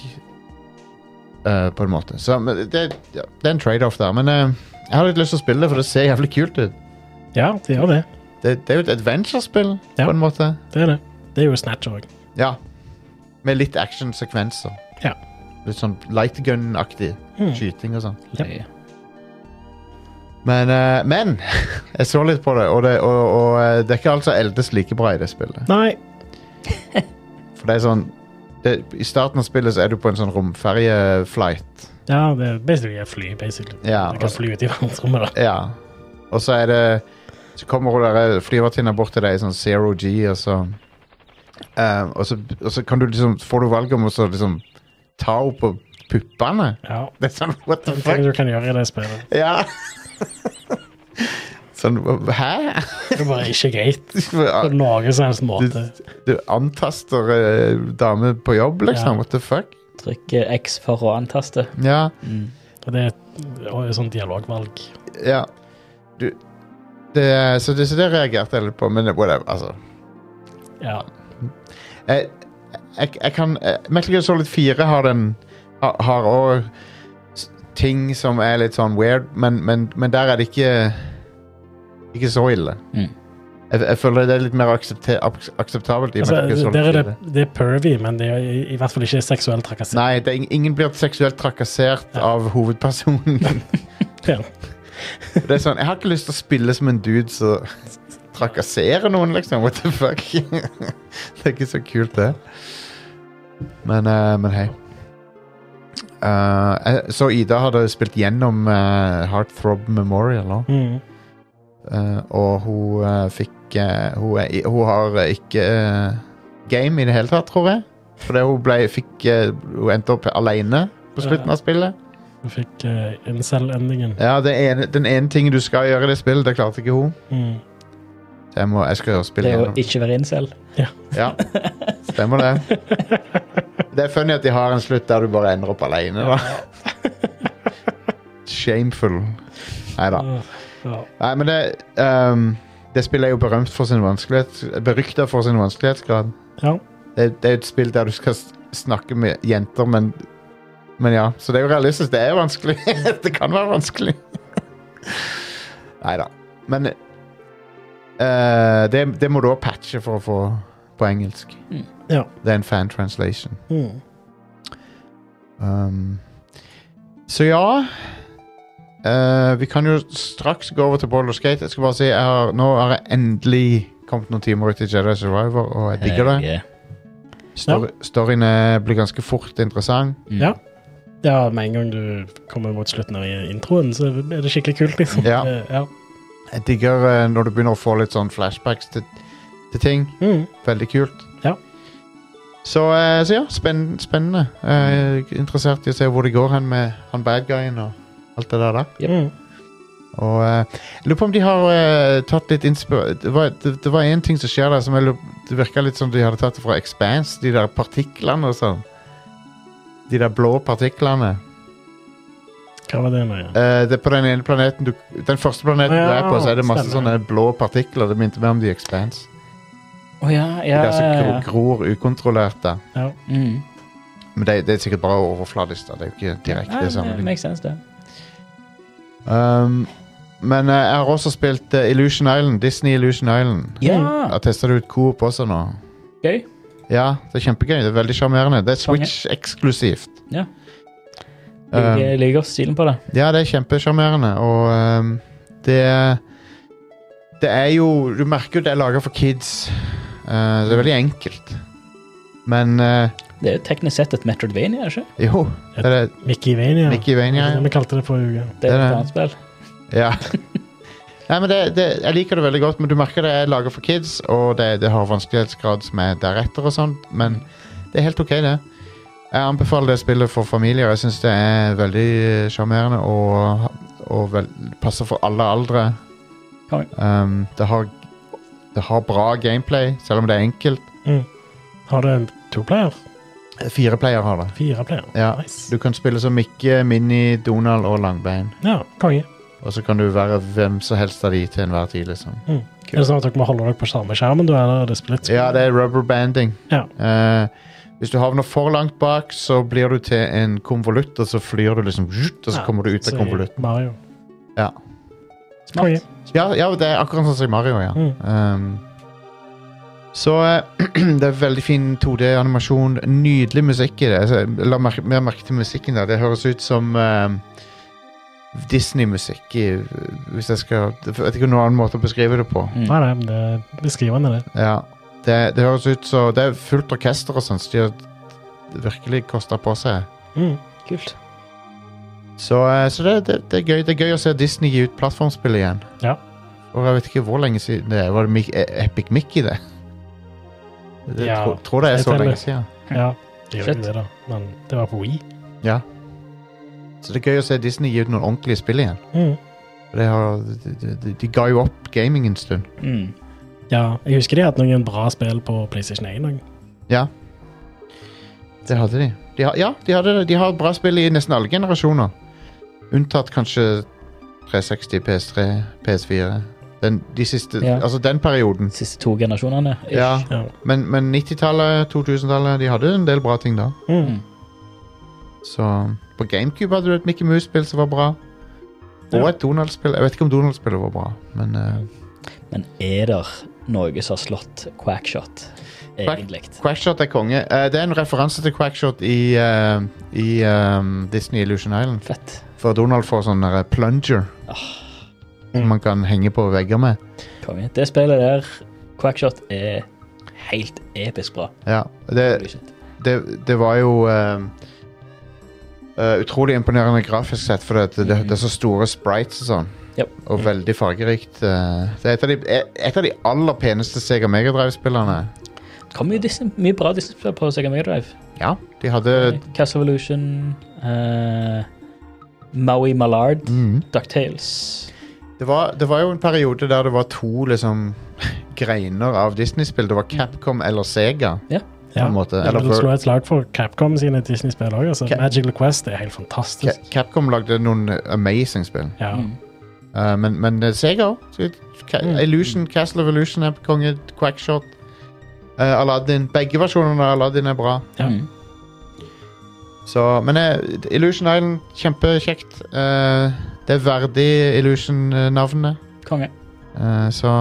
Speaker 1: eh, på en måte. Så men det, ja, det er en trade-off der. Men eh, jeg har litt lyst til å spille det, for det ser jævlig kult ut.
Speaker 2: ja, det gjør det.
Speaker 1: Det, det er jo et adventure-spill,
Speaker 2: Ja.
Speaker 1: på en måte.
Speaker 2: Det er det. Det er jo Snatch òg.
Speaker 1: Ja. Med litt action-sekvenser.
Speaker 2: Ja.
Speaker 1: Litt sånn lightgun-aktig
Speaker 2: Mm.
Speaker 1: skyting og sånn.
Speaker 3: Løye.
Speaker 1: Men, eh, men jeg så litt på det, og det, og, og eh, det er ikke alt som eldes like bra i det spillet.
Speaker 2: Nei.
Speaker 1: For det er sånn det, I starten av spillet så er du på en sånn romferjeflight.
Speaker 2: Ja, det er basically et fly, basically.
Speaker 1: Ja, altså.
Speaker 2: du
Speaker 1: og
Speaker 2: kan
Speaker 1: så-
Speaker 2: fly ut i verdensrommet, da.
Speaker 1: Ja. Og så er det Så kommer hun der flyvertinna bort til deg i sånn zero G, og så eh, og så, og så kan du liksom, får du valget om å så liksom ta opp på puppene.
Speaker 2: Ja.
Speaker 1: Det er sånn, what the
Speaker 2: Det er
Speaker 1: fuck?
Speaker 2: ting du kan gjøre i det spillet.
Speaker 1: Ja. Sånn, hæ?
Speaker 2: Det er bare ikke greit på
Speaker 1: Du,
Speaker 2: noen som helst måte.
Speaker 1: du antaster eh, dame på jobb, liksom?
Speaker 2: Ja.
Speaker 1: What the fuck?
Speaker 3: Trykker X for å antaste. Mm.
Speaker 1: Ja.
Speaker 2: Og det er et og et sånt dialogvalg.
Speaker 1: ja. Du, det, er- så, det, så det reagerte jeg litt på, men whatever. Altså.
Speaker 2: Ja.
Speaker 1: Jeg, jeg, jeg kan eh, Metal Gear Solid 4 har den har- Har òg ting som er litt sånn weird, men, men, men der er det ikke Ikke så ille.
Speaker 3: Mm.
Speaker 1: Jeg, jeg føler det er litt mer aksepte, ak- akseptabelt i
Speaker 2: Altså,
Speaker 1: Metal Gear Solid
Speaker 2: der
Speaker 1: 4.
Speaker 2: er det, det er pervy, men det er i, i hvert fall ikke seksuell trakassering.
Speaker 1: Nei, det er, ing- ingen blir seksuelt trakassert
Speaker 2: Ja.
Speaker 1: av hovedpersonen.
Speaker 2: Ja.
Speaker 1: Det er sånn, Jeg har ikke lyst til å spille som en dude som trakasserer noen, liksom. What the fuck? det er ikke så kult, det. Men, eh, men hei. Eh, jeg- så Ida hadde spilt gjennom eh, Heartthrob Memorial nå.
Speaker 2: Mm.
Speaker 1: Eh, og hun eh, fikk eh, hun, er, i- hun har eh, ikke eh, game i det hele tatt, tror jeg. Fordi hun ble, fikk eh, Hun endte opp alene på slutten av spillet.
Speaker 2: Du fikk uh, incel-endingen.
Speaker 1: Ja, det ene, Den ene tingen du skal gjøre i det spillet, det klarte ikke hun.
Speaker 2: Mm.
Speaker 1: Så jeg, må, jeg skal gjøre
Speaker 3: Det
Speaker 1: spillet
Speaker 3: er å
Speaker 1: gjennom.
Speaker 3: ikke være incel.
Speaker 1: Ja, stemmer det. Det er funny at de har en slutt der du bare ender opp alene, da. Shameful. Nei da.
Speaker 2: Åh, ja.
Speaker 1: Nei, men det ehm, Det spillet er jo berømt for sin vanskelighet Berykta for sin vanskelighetsgrad.
Speaker 2: Ja.
Speaker 1: Det, det er jo et spill der du skal s- snakke med jenter, men Men ja, så det er jo realistisk. Det er vanskelig. det kan være vanskelig. Nei da. Men eh, det, det må du òg patche for å få på engelsk.
Speaker 2: Ja.
Speaker 1: Det er en fan translation.
Speaker 2: Mm.
Speaker 1: Um, så ja eh, Vi kan jo straks gå over til Boulder Skate. Jeg skal bare si, jeg har, Nå har jeg endelig kommet noen timer ut i Jedi Survivor, og jeg digger det.
Speaker 3: Yeah.
Speaker 1: Story, storyen eh, blir ganske fort interessant.
Speaker 3: Mm.
Speaker 2: Ja. ja, med en gang du kommer mot slutten av introen, så er det skikkelig kult, liksom.
Speaker 1: Ja.
Speaker 2: Det- ja.
Speaker 1: Jeg digger eh, når du begynner å få litt sånn flashbacks til, til ting.
Speaker 2: Mm.
Speaker 1: Veldig kult.
Speaker 2: Ja.
Speaker 1: Så, eh, så ja, spenn, spennende. Eh, interessert i å se hvor det går hen med han bad guyen og alt det der. da
Speaker 3: Yep.
Speaker 2: Mm.
Speaker 1: Og eh, jeg lurer på om de har eh, tatt litt inspir... Det var, det, det var en ting som skjer der som jeg lurer, det virka litt som de hadde tatt det fra Expanse, de der partiklene og sånn. De der blå partiklene.
Speaker 2: Hva var det nå, ja?
Speaker 1: Eh, det er på den ene planeten du Den første planeten du
Speaker 2: Ja,
Speaker 1: er på, så er det masse sånne
Speaker 2: stemmer.
Speaker 1: blå partikler. Det minte meg om The Expanse.
Speaker 3: Å ja,
Speaker 1: De
Speaker 3: ja,
Speaker 1: der som
Speaker 3: ja,
Speaker 1: gro, gror ukontrollert der.
Speaker 2: ja.
Speaker 3: ja. Mm.
Speaker 1: Men det, det er sikkert bare overfladisk. da. Det er jo ikke
Speaker 3: Ja,
Speaker 1: direkte
Speaker 3: det
Speaker 1: sammenlignet.
Speaker 3: Makes sense, det.
Speaker 1: Um, men eh, jeg har også spilt eh, Illusion Island. Disney Illusion Island.
Speaker 3: Ja,
Speaker 1: Jeg tester det ut Coop også nå.
Speaker 3: gøy.
Speaker 1: Ja, det er kjempegøy. Det er veldig sjarmerende. Det er
Speaker 3: Konge.
Speaker 1: Switch-eksklusivt.
Speaker 3: Ja.
Speaker 1: Um,
Speaker 3: Jeg liker stilen på det.
Speaker 1: ja, det er kjempesjarmerende, og um, det Det er jo Du merker jo det er laga for kids. Uh, det er veldig enkelt. Men uh,
Speaker 3: Det er jo teknisk sett et Metroidvania, er det ikke?
Speaker 1: jo, det er
Speaker 2: Mickey Vania.
Speaker 1: Mickey Vania.
Speaker 2: Det var det vi kalte det forrige uke.
Speaker 3: Det
Speaker 1: Det er
Speaker 3: er jo et
Speaker 1: det.
Speaker 3: annet spill.
Speaker 1: Ja. Nei, men det, det, Jeg liker det veldig godt, men du merker det er laga for kids, og det, det har vanskelighetsgrad som er deretter og sånt, men det er helt ok, det. Jeg anbefaler det spillet for familier. Jeg syns det er veldig eh, sjarmerende og, og vel, passer for alle aldre.
Speaker 3: Konge.
Speaker 1: Um, det, har, det har bra gameplay, selv om det er enkelt.
Speaker 2: Har du en toplayer?
Speaker 1: Fire player har det.
Speaker 2: Fire player?
Speaker 1: Ja.
Speaker 2: Nice.
Speaker 1: Du kan spille som Mikke, Mini, Donald og Langbein.
Speaker 2: Ja, konge.
Speaker 1: Og så kan du være hvem som helst av de til enhver tid, liksom.
Speaker 2: Er det sånn at dere må holde dere på samme skjermen, da, eller er det splitt?
Speaker 1: Ja, det er rubber banding.
Speaker 2: Ja.
Speaker 1: Eh, hvis du havner for langt bak, så blir du til en konvolutt, og så flyr du liksom zhutt, Og så
Speaker 2: Ja,
Speaker 1: kommer du ut
Speaker 2: så
Speaker 1: av
Speaker 2: i
Speaker 1: konvolutt.
Speaker 2: Mario.
Speaker 1: Ja.
Speaker 2: Konge.
Speaker 1: Ja, ja, det er akkurat sånn som i Mario, ja.
Speaker 2: Mm.
Speaker 1: Um, så eh, det er veldig fin 2D-animasjon. Nydelig musikk i det. Altså, jeg La mer, mer merke til musikken der. Det høres ut som eh, Disney-musikk, i- hvis jeg skal Jeg vet ikke noen annen måte å beskrive det på.
Speaker 3: Mm.
Speaker 2: Nei, nei, men det er beskrivende, det.
Speaker 1: Ja, det, det høres ut så Det er fullt orkester og sånn, så de har virkelig kosta på seg.
Speaker 2: Mm.
Speaker 3: Kult.
Speaker 1: Så, eh, så det, det, det, er gøy, det er gøy å se Disney gi ut plattformspill igjen.
Speaker 2: Ja.
Speaker 1: Og jeg vet ikke hvor lenge siden det er. Var det Mic- eh, Epic Mickey, det? det
Speaker 2: Ja,
Speaker 1: tro, tror det er
Speaker 2: jeg
Speaker 1: så
Speaker 2: teller.
Speaker 1: lenge siden.
Speaker 2: Ja. Det gjør
Speaker 3: Shit.
Speaker 2: jo det, da. Men det var på Wii.
Speaker 1: Ja. Så det er gøy å se Disney gi ut noen ordentlige spill igjen.
Speaker 2: Mm.
Speaker 1: Det har, de, de, de ga jo opp gaming en stund.
Speaker 3: Mm.
Speaker 2: Ja, jeg husker de hadde noen bra spill på PlayStation 1. også.
Speaker 1: Ja. Det hadde de. de har, ja, de, hadde, det. de har bra spill i nesten alle generasjoner. Unntatt kanskje 360, PS3, PS4. Den, de siste,
Speaker 3: Ja.
Speaker 1: Altså den perioden.
Speaker 3: Siste to generasjonene. ish.
Speaker 1: Ja.
Speaker 2: Ja.
Speaker 1: Men, men 90-tallet, 2000-tallet, de hadde en del bra ting da.
Speaker 2: Mm.
Speaker 1: Så På GameCube hadde du et Mickey Mouse-spill som var bra. Og
Speaker 2: Ja.
Speaker 1: et Donald-spill. Jeg vet ikke om Donald-spillet var bra, men eh,
Speaker 3: Men er det noe som har slått quackshot, egentlig?
Speaker 1: Quackshot er konge. Eh, det er en referanse til Quackshot i, eh, i eh, Disney Illusion Island.
Speaker 3: Fett.
Speaker 1: For Donald får sånn der plunger som man kan henge på vegger med.
Speaker 3: Konge. Det spillet der, quackshot, er helt episk bra.
Speaker 1: Ja,
Speaker 3: Eh.
Speaker 1: det, det, det var jo eh, eh, utrolig imponerende grafisk sett, for det, det, det er så store sprites og sånn.
Speaker 3: Yep.
Speaker 1: Og veldig fargerikt. eh. det er et av, de, et av de aller peneste Sega Mega Drive-spillerne.
Speaker 3: Det kom mye, Disney, mye bra Disney-spill på Sega Mega Drive.
Speaker 1: Ja, de hadde
Speaker 3: Eh, Castle Evolution, eh, Maui Mallard,
Speaker 1: mm.
Speaker 3: DuckTales.
Speaker 1: det, var, det var jo en periode der det var to liksom greiner av Disney-spill. Det var Capcom eller Sega.
Speaker 2: Ja.
Speaker 1: en måte.
Speaker 2: Jeg
Speaker 1: Eller
Speaker 2: vil
Speaker 1: for-
Speaker 2: slå et slag for Capcom sine Disney-spill òg. Altså.
Speaker 1: Cap-
Speaker 2: Magical Quest er helt
Speaker 1: Ca-
Speaker 2: fantastisk.
Speaker 1: Capcom lagde noen amazing spill.
Speaker 2: Ja.
Speaker 3: Mm.
Speaker 1: Eh, men, men eh, Sega også. Ca-
Speaker 2: Mm.
Speaker 1: Illusion, Castle of Illusion er konge. Quackshot. eh, Aladdin. Begge versjonene av Aladdin er bra.
Speaker 2: Ja.
Speaker 3: Mm.
Speaker 1: Så, men eh, Illusion Island, kjempekjekt. Eh, det er verdig Illusion-navnet.
Speaker 3: Konge.
Speaker 1: Eh, så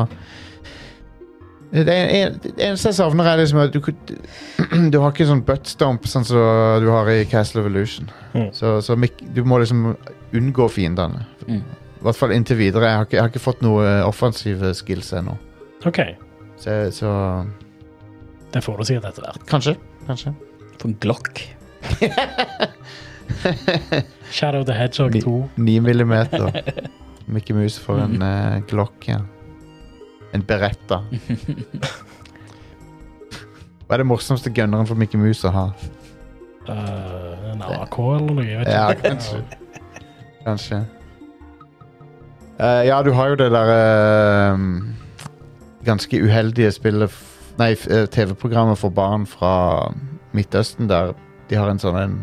Speaker 1: det, er, det eneste jeg savner, er liksom at du, kunne- du har ikke sånn buttstomp sånn som du har i Castle of Illusion.
Speaker 2: Mm.
Speaker 1: Så, så mik- du må liksom unngå fiendene.
Speaker 3: Mm.
Speaker 1: I hvert fall inntil videre. Jeg har ikke, jeg har ikke fått noe eh, offensive skills ennå.
Speaker 2: OK,
Speaker 1: Så, så
Speaker 2: det får du sikkert etter hvert.
Speaker 1: kanskje. Kanskje.
Speaker 3: For en Glock.
Speaker 2: Shadow the Hedgehog
Speaker 1: Vi-
Speaker 2: 2.
Speaker 1: 9 millimeter. Mickey Mouse for en eh, Glock, ja. En Beretta. Hva er det morsomste gunneren for Mickey Mouse å ha?
Speaker 2: eh, en AK eller noe. Jeg vet
Speaker 1: Ja,
Speaker 2: ikke.
Speaker 1: kanskje. Kanskje. Eh, ja, du har jo det der ehm, ganske uheldige spillet f Nei, f- eh, TV-programmet for barn fra Midtøsten, der de har en sånn en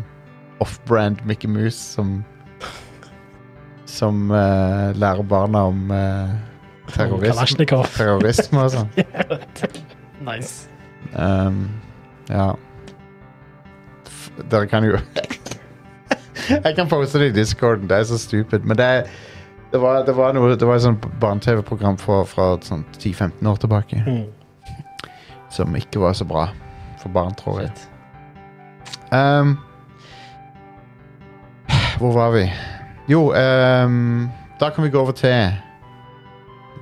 Speaker 1: off-brand Mickey Mouse som Som eh, lærer barna om eh, terrorisme,
Speaker 2: Kalasjnikov.
Speaker 1: terrorisme og sånn.
Speaker 2: Nice.
Speaker 1: Ehm, ja. F- Dere kan jo Jeg kan poste det i discorden, det er så stupid. Men det, er- det, var, det var noe Det var et sånt barne-TV-program fra, fra sånn 10-15 år tilbake
Speaker 2: Mm.
Speaker 1: som ikke var så bra for barn, tror jeg.
Speaker 3: Fett.
Speaker 1: Ehm, hvor var vi? Jo, ehm, da kan vi gå over til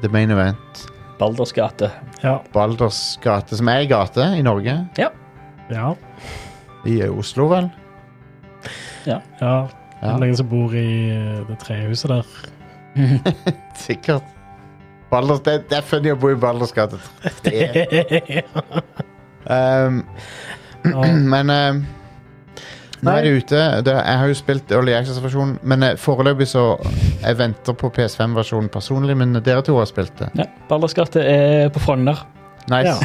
Speaker 1: The Main Event.
Speaker 3: Balders gate.
Speaker 2: Ja.
Speaker 1: Balders gate, som er ei gate i Norge.
Speaker 2: ja.
Speaker 1: I
Speaker 2: eh,
Speaker 1: Oslo, vel?
Speaker 2: ja. Det
Speaker 1: Ja.
Speaker 2: er noen som bor i eh, det trehuset der.
Speaker 1: Sikkert. Balders, det, det er funny å bo i Balders gate. tre. um,
Speaker 2: Ja.
Speaker 1: men um, nå er det ute. Det, jeg har jo spilt Early Access-versjonen, men eh, foreløpig så Jeg venter på PS5-versjonen personlig, men dere to har spilt det.
Speaker 3: Ja. Balders gate er på Frogner.
Speaker 1: Nice.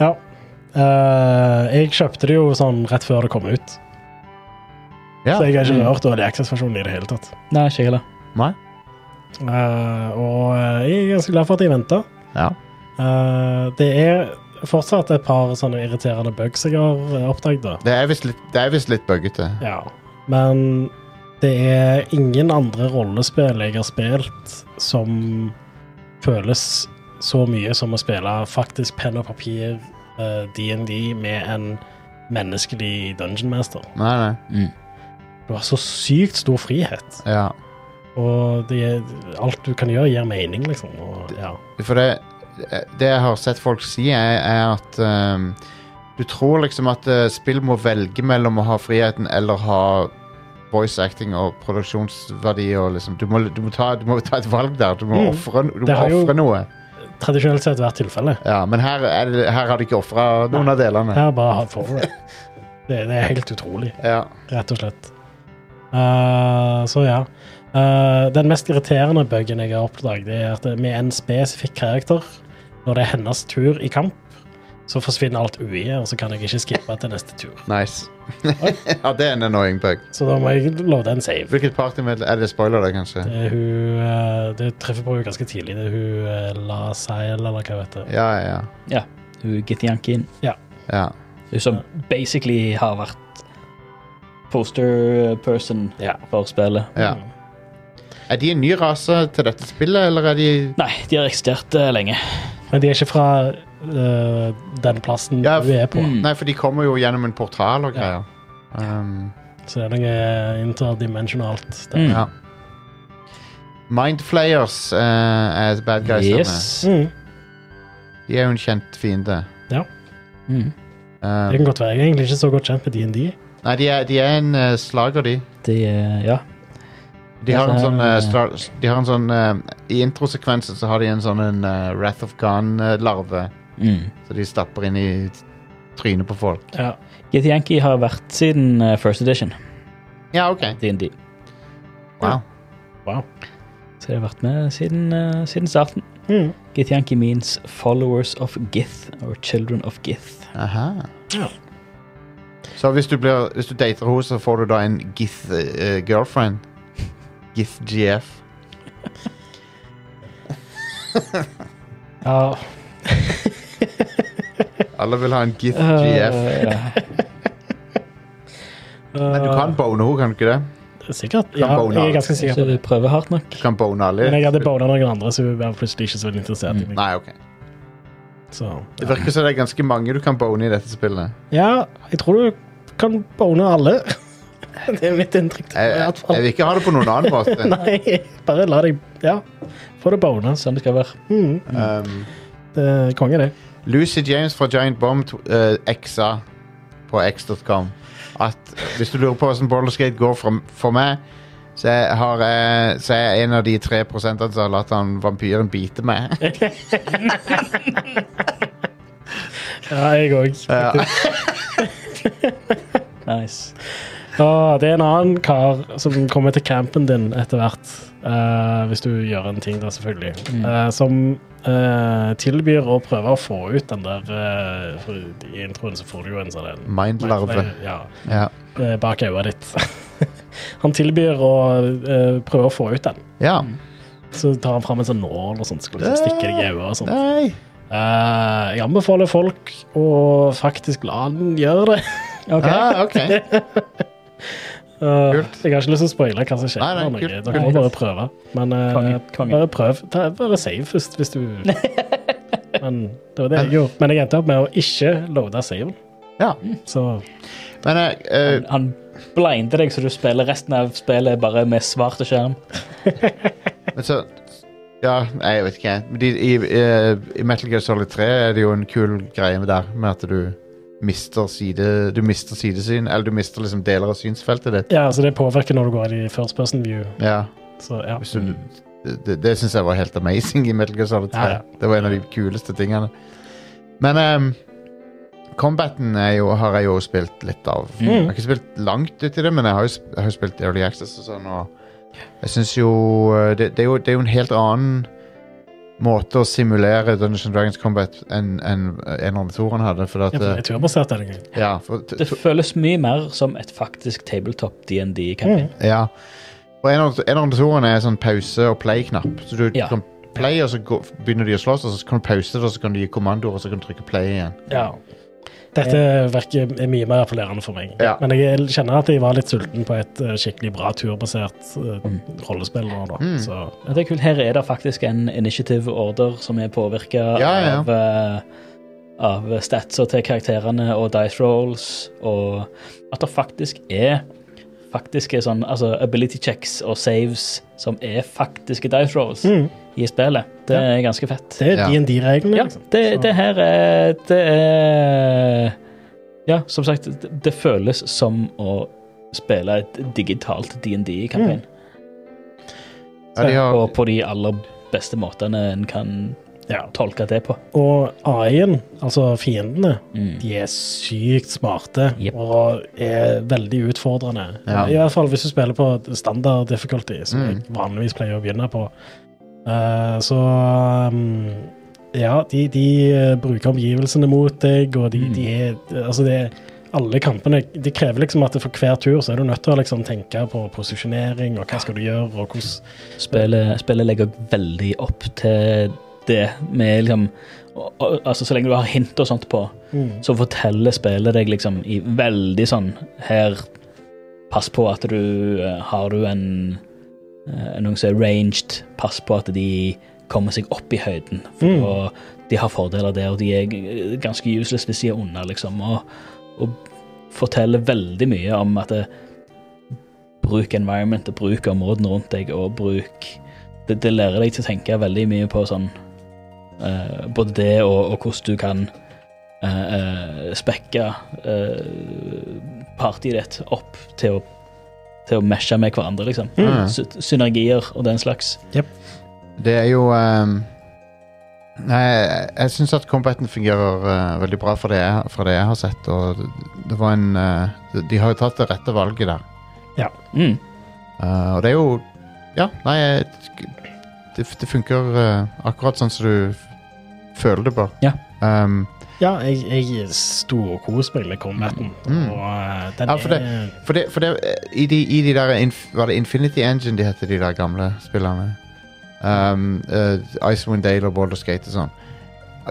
Speaker 2: ja. Eh, jeg kjøpte det jo sånn rett før det kom ut,
Speaker 1: Ja.
Speaker 2: så jeg har ikke
Speaker 3: Mm.
Speaker 2: rørt Early Access-versjonen i det hele tatt.
Speaker 3: Nei, ikke heller.
Speaker 1: Nei?
Speaker 2: Eh, og eh, jeg er ganske glad for at jeg venta.
Speaker 1: Ja.
Speaker 2: det er fortsatt et par sånne irriterende bugs jeg har eh, oppdaget. da.
Speaker 1: Det er visst litt, det er visst litt buggete.
Speaker 2: Ja. Men det er ingen andre rollespill jeg har spilt som føles så mye som å spille faktisk penn og papir eh, DND med en menneskelig dungeon master.
Speaker 1: Nei, nei.
Speaker 2: Du har så sykt stor frihet,
Speaker 1: Ja.
Speaker 2: og det er, alt du kan gjøre, gir mening, liksom. Og, ja.
Speaker 1: For det, det jeg har sett folk si, er, er at ehm, du tror liksom at eh, spill må velge mellom å ha friheten eller ha voice acting og produksjonsverdi og liksom Du må, du må, ta, du må ta et valg der. Du må
Speaker 2: Mm.
Speaker 1: ofre du må
Speaker 2: Det har jo-
Speaker 1: ofre noe.
Speaker 2: Tradisjonelt sett hvert tilfelle.
Speaker 1: Ja, men her, er det, her har de ikke ofra noen av delene.
Speaker 2: Her bare hard forward. Det, det er helt utrolig,
Speaker 1: Ja.
Speaker 2: rett og slett. Eh, så ja. Eh, den mest irriterende buggen jeg har oppdaget, det er at med en spesifikk karakter, når det er hennes tur i kamp, så forsvinner alt UI, og så kan jeg ikke skippe til neste tur.
Speaker 1: Nice. ja, det er en annoying bug.
Speaker 2: Så da må jeg love en save.
Speaker 1: Hvilket partymedlem Er det spoiler, det, kanskje?
Speaker 2: Det, er hun, eh, det treffer på henne ganske tidlig. Det er hun eh, La Seil, eller hva vet jeg.
Speaker 1: Ja, ja.
Speaker 3: Ja. Hun Githyankin,
Speaker 1: ja.
Speaker 3: hun som basically har vært poster person
Speaker 2: Ja.
Speaker 3: for spillet.
Speaker 1: ja.
Speaker 2: Mm.
Speaker 1: Er de en ny rase til dette spillet, eller er de
Speaker 3: Nei, de har eksistert eh, lenge.
Speaker 2: Men de er ikke fra eh, den plassen
Speaker 1: Ja,
Speaker 2: hun er på.
Speaker 3: mm.
Speaker 1: Nei, for de kommer jo gjennom en portal og
Speaker 2: Ja.
Speaker 1: greier. Um,
Speaker 2: Så det er noe interdimensjonalt. der.
Speaker 3: Mm.
Speaker 1: ja. Mindflayers eh, er bad guys.
Speaker 3: Yes.
Speaker 2: Mm.
Speaker 1: De er jo en kjent fiende.
Speaker 3: Mm.
Speaker 1: Um,
Speaker 2: Det kan godt være. Jeg er egentlig ikke så godt kjent med DND.
Speaker 1: nei, de er, de er en eh, slager, de.
Speaker 3: De, eh, ja.
Speaker 1: De har en
Speaker 3: Altså,
Speaker 1: sånn, eh,
Speaker 3: eh,
Speaker 1: stra- de har en sånn eh, I introsekvensen så har de en sånn en, eh, Wrath of Gone-larve.
Speaker 3: Mm.
Speaker 1: Så de stapper inn i trynet på folk.
Speaker 2: Ja.
Speaker 3: Githyanki har vært siden eh, first edition.
Speaker 1: Ja, OK.
Speaker 3: D&D.
Speaker 1: Wow.
Speaker 2: Wow.
Speaker 3: Så de har vært med siden, eh, siden starten.
Speaker 2: Mm.
Speaker 3: Githyanki means followers of Gith, or children of Gith.
Speaker 1: Aha.
Speaker 2: Ja.
Speaker 1: Så hvis du, blir, hvis du dater henne, så får du da en eh, Gith-girlfriend. Gith-GF.
Speaker 2: Ja.
Speaker 1: Alle vil ha en Gith-GF.
Speaker 3: Eh,
Speaker 2: Eh,
Speaker 1: Men du kan bone henne, kan du ikke det?
Speaker 2: Sikkert. Ja,
Speaker 1: bone
Speaker 2: jeg
Speaker 1: alt.
Speaker 2: er ganske sikker på
Speaker 3: så
Speaker 2: det.
Speaker 3: du prøver hardt nok.
Speaker 1: Du kan bone alle.
Speaker 2: Men jeg hadde bona noen andre, så hun var plutselig ikke så veldig interessert i meg.
Speaker 1: Nei, ok.
Speaker 2: Så,
Speaker 1: Det
Speaker 2: ja.
Speaker 1: virker som det er ganske mange du kan bone i dette spillet.
Speaker 2: ja, jeg tror du kan bone alle. Det er mitt inntrykk.
Speaker 1: Jeg,
Speaker 2: i
Speaker 1: jeg,
Speaker 2: hvert
Speaker 1: jeg
Speaker 2: fall.
Speaker 1: vil ikke ha det på noen annen måte.
Speaker 2: Nei, bare la deg Ja, få det bona.
Speaker 3: Sånn det skal være.
Speaker 2: Mm.
Speaker 1: Um,
Speaker 2: Det er konge, det.
Speaker 1: Lucy James fra Giant Bomb uh, Xa på x.com at hvis du lurer på hvordan Boulderskate går for, for meg, så jeg, har, jeg- så er jeg en av de tre prosentene som har latt han vampyren bite meg.
Speaker 2: Ja, jeg òg.
Speaker 1: Ja.
Speaker 3: Nice.
Speaker 2: Ja, det er en annen kar som kommer til campen din etter hvert. eh, hvis du gjør en ting, da, selvfølgelig.
Speaker 1: Mm.
Speaker 2: eh, som eh, tilbyr å prøve å få ut den der eh, for I introen så får du jo en sånn en
Speaker 1: Mindlarve.
Speaker 2: Ja,
Speaker 1: Ja.
Speaker 2: eh, bak øyet ditt. han tilbyr å eh, prøve å få ut den.
Speaker 1: ja.
Speaker 2: Så tar han fram en sånn nål og sånt, skal liksom stikke deg i øyet og sånt.
Speaker 1: Nei.
Speaker 2: Eh, jeg anbefaler folk å faktisk la han gjøre det.
Speaker 3: Ok.
Speaker 1: Ah, ok.
Speaker 2: Uh,
Speaker 1: Kult.
Speaker 2: Jeg har ikke lyst til å spoile hva som skjer.
Speaker 1: Nei, nei,
Speaker 2: Nei,
Speaker 1: kult,
Speaker 2: Dere må
Speaker 3: kult.
Speaker 2: bare prøve. Men eh,
Speaker 3: Konge, konge.
Speaker 2: bare prøv. Ta, bare save først, hvis du Men det var det jeg gjorde. Men jeg endte opp med å ikke loade saven.
Speaker 1: Ja.
Speaker 2: Så
Speaker 1: Men eh, eh,
Speaker 3: Han blinder deg, så du spiller resten av spillet bare med svart og skjerm.
Speaker 1: men så Ja, nei, jeg vet ikke. Men De, i, eh, I Metal Gear Solid 3 er det jo en kul greie med der med at du mister side Du mister sidesyn, eller du mister liksom deler av synsfeltet ditt.
Speaker 2: ja, så det påvirker når du går i first person view.
Speaker 1: Ja.
Speaker 2: Så ja.
Speaker 1: Hvis du, Mm. det det, det syns jeg var helt amazing i Metal Gear Solid 3.
Speaker 2: Ja, ja.
Speaker 1: Det var en av de kuleste tingene. Men ehm, combaten er jo, har jeg jo spilt litt av. Jeg har ikke spilt langt ut i det, men jeg har jo, sp- jeg har jo spilt Early Access og sånn. Og jeg syns jo, eh, det- det er jo Det er jo en helt annen måte å simulere Dungeons and Dragons Combat enn enn en av toren hadde. For at,
Speaker 2: Jeg
Speaker 1: eh,
Speaker 2: er turbasert denne gangen.
Speaker 1: ja, for, t-
Speaker 3: Det føles mye mer som et faktisk tabletop DND-campaign.
Speaker 2: Mm.
Speaker 1: Ja. Og en av, en av motorene er sånn pause- og play-knapp. Så du
Speaker 3: Ja.
Speaker 1: kan play, og så gå, begynner de å slåss, og så kan du pause det, og så kan du gi kommandoer, og så kan du trykke play igjen.
Speaker 2: Ja. Dette verker er mye mer appellerende for meg.
Speaker 1: Ja.
Speaker 2: Men jeg kjenner at jeg var litt sulten på et eh, skikkelig bra turbasert eh,
Speaker 1: Mm.
Speaker 2: rollespill nå, da. Så
Speaker 3: Ja, Det er kult. Her er det faktisk en initiative order som er påvirka
Speaker 1: Ja, ja.
Speaker 3: av, eh, av statser til karakterene og dice rolls, og at det faktisk er faktiske sånn, altså ability checks og saves som er faktiske dice rolls
Speaker 2: Mm.
Speaker 3: i spillet. Det
Speaker 2: Ja.
Speaker 3: er ganske fett.
Speaker 2: det er
Speaker 1: Ja.
Speaker 2: DND-reglene,
Speaker 3: Ja,
Speaker 2: liksom.
Speaker 3: det, det her er Det er Ja, som sagt, det, det føles som å spille et digitalt DND-kampanje.
Speaker 1: Ja, de har,
Speaker 3: Og på de aller beste måtene en kan
Speaker 2: Ja.
Speaker 3: tolke det på.
Speaker 2: Og AI-en, altså fiendene, de er sykt smarte
Speaker 3: Jep.
Speaker 2: og er veldig utfordrende.
Speaker 1: Ja. Mm.
Speaker 2: I hvert fall hvis du spiller på standard difficulty, som jeg vanligvis pleier å begynne på. Eh, så um, ja, de, de eh, bruker omgivelsene mot deg, og de, de
Speaker 1: Mm.
Speaker 2: er Altså, det er alle kampene De krever liksom at for hver tur så er du nødt til å liksom tenke på posisjonering, og hva skal du gjøre, og hvordan
Speaker 3: Spillet, spillet legger veldig opp til det med liksom og- og- Altså, så lenge du har hint og sånt på,
Speaker 1: Mm.
Speaker 3: så forteller spillet deg liksom i veldig sånn Her, pass på at du eh, Har du en eh, noen som er ranged, pass på at de kommer seg opp i høyden. For
Speaker 2: Mm.
Speaker 3: å- de har fordeler der, og de er g- ganske useless hvis de er under, liksom. Og, og forteller veldig mye om at det, bruk environmentet, bruk områdene rundt deg, og bruk det, det lærer deg til å tenke veldig mye på sånn eh, Både det og, og hvordan du kan eh, eh, spekke eh, partiet ditt opp til å, til å meshe med hverandre, liksom.
Speaker 1: Mm.
Speaker 3: Sy synergier og den slags.
Speaker 1: Det er jo ehm, Nei, jeg, jeg syns at combaten fungerer eh, veldig bra fra det, jeg, fra det jeg har sett. Og det, det var en eh, de- De har jo tatt det rette valget der.
Speaker 3: Mm.
Speaker 1: Eh, og det er jo Ja, nei jeg- Det, det funker eh, akkurat sånn som du f- føler det bør.
Speaker 3: Ja.
Speaker 1: Ehm,
Speaker 2: Ja, jeg, jeg storkoser meg med combaten.
Speaker 1: Mm.
Speaker 2: Og eh, den
Speaker 1: Ja, for det-
Speaker 2: er
Speaker 1: for det, for det eh, i, de, I de der inf, Var det Infinity Engine de heter, de der gamle spillerne? Um, eh, Icewind Dale og Boulder Skate og sånn.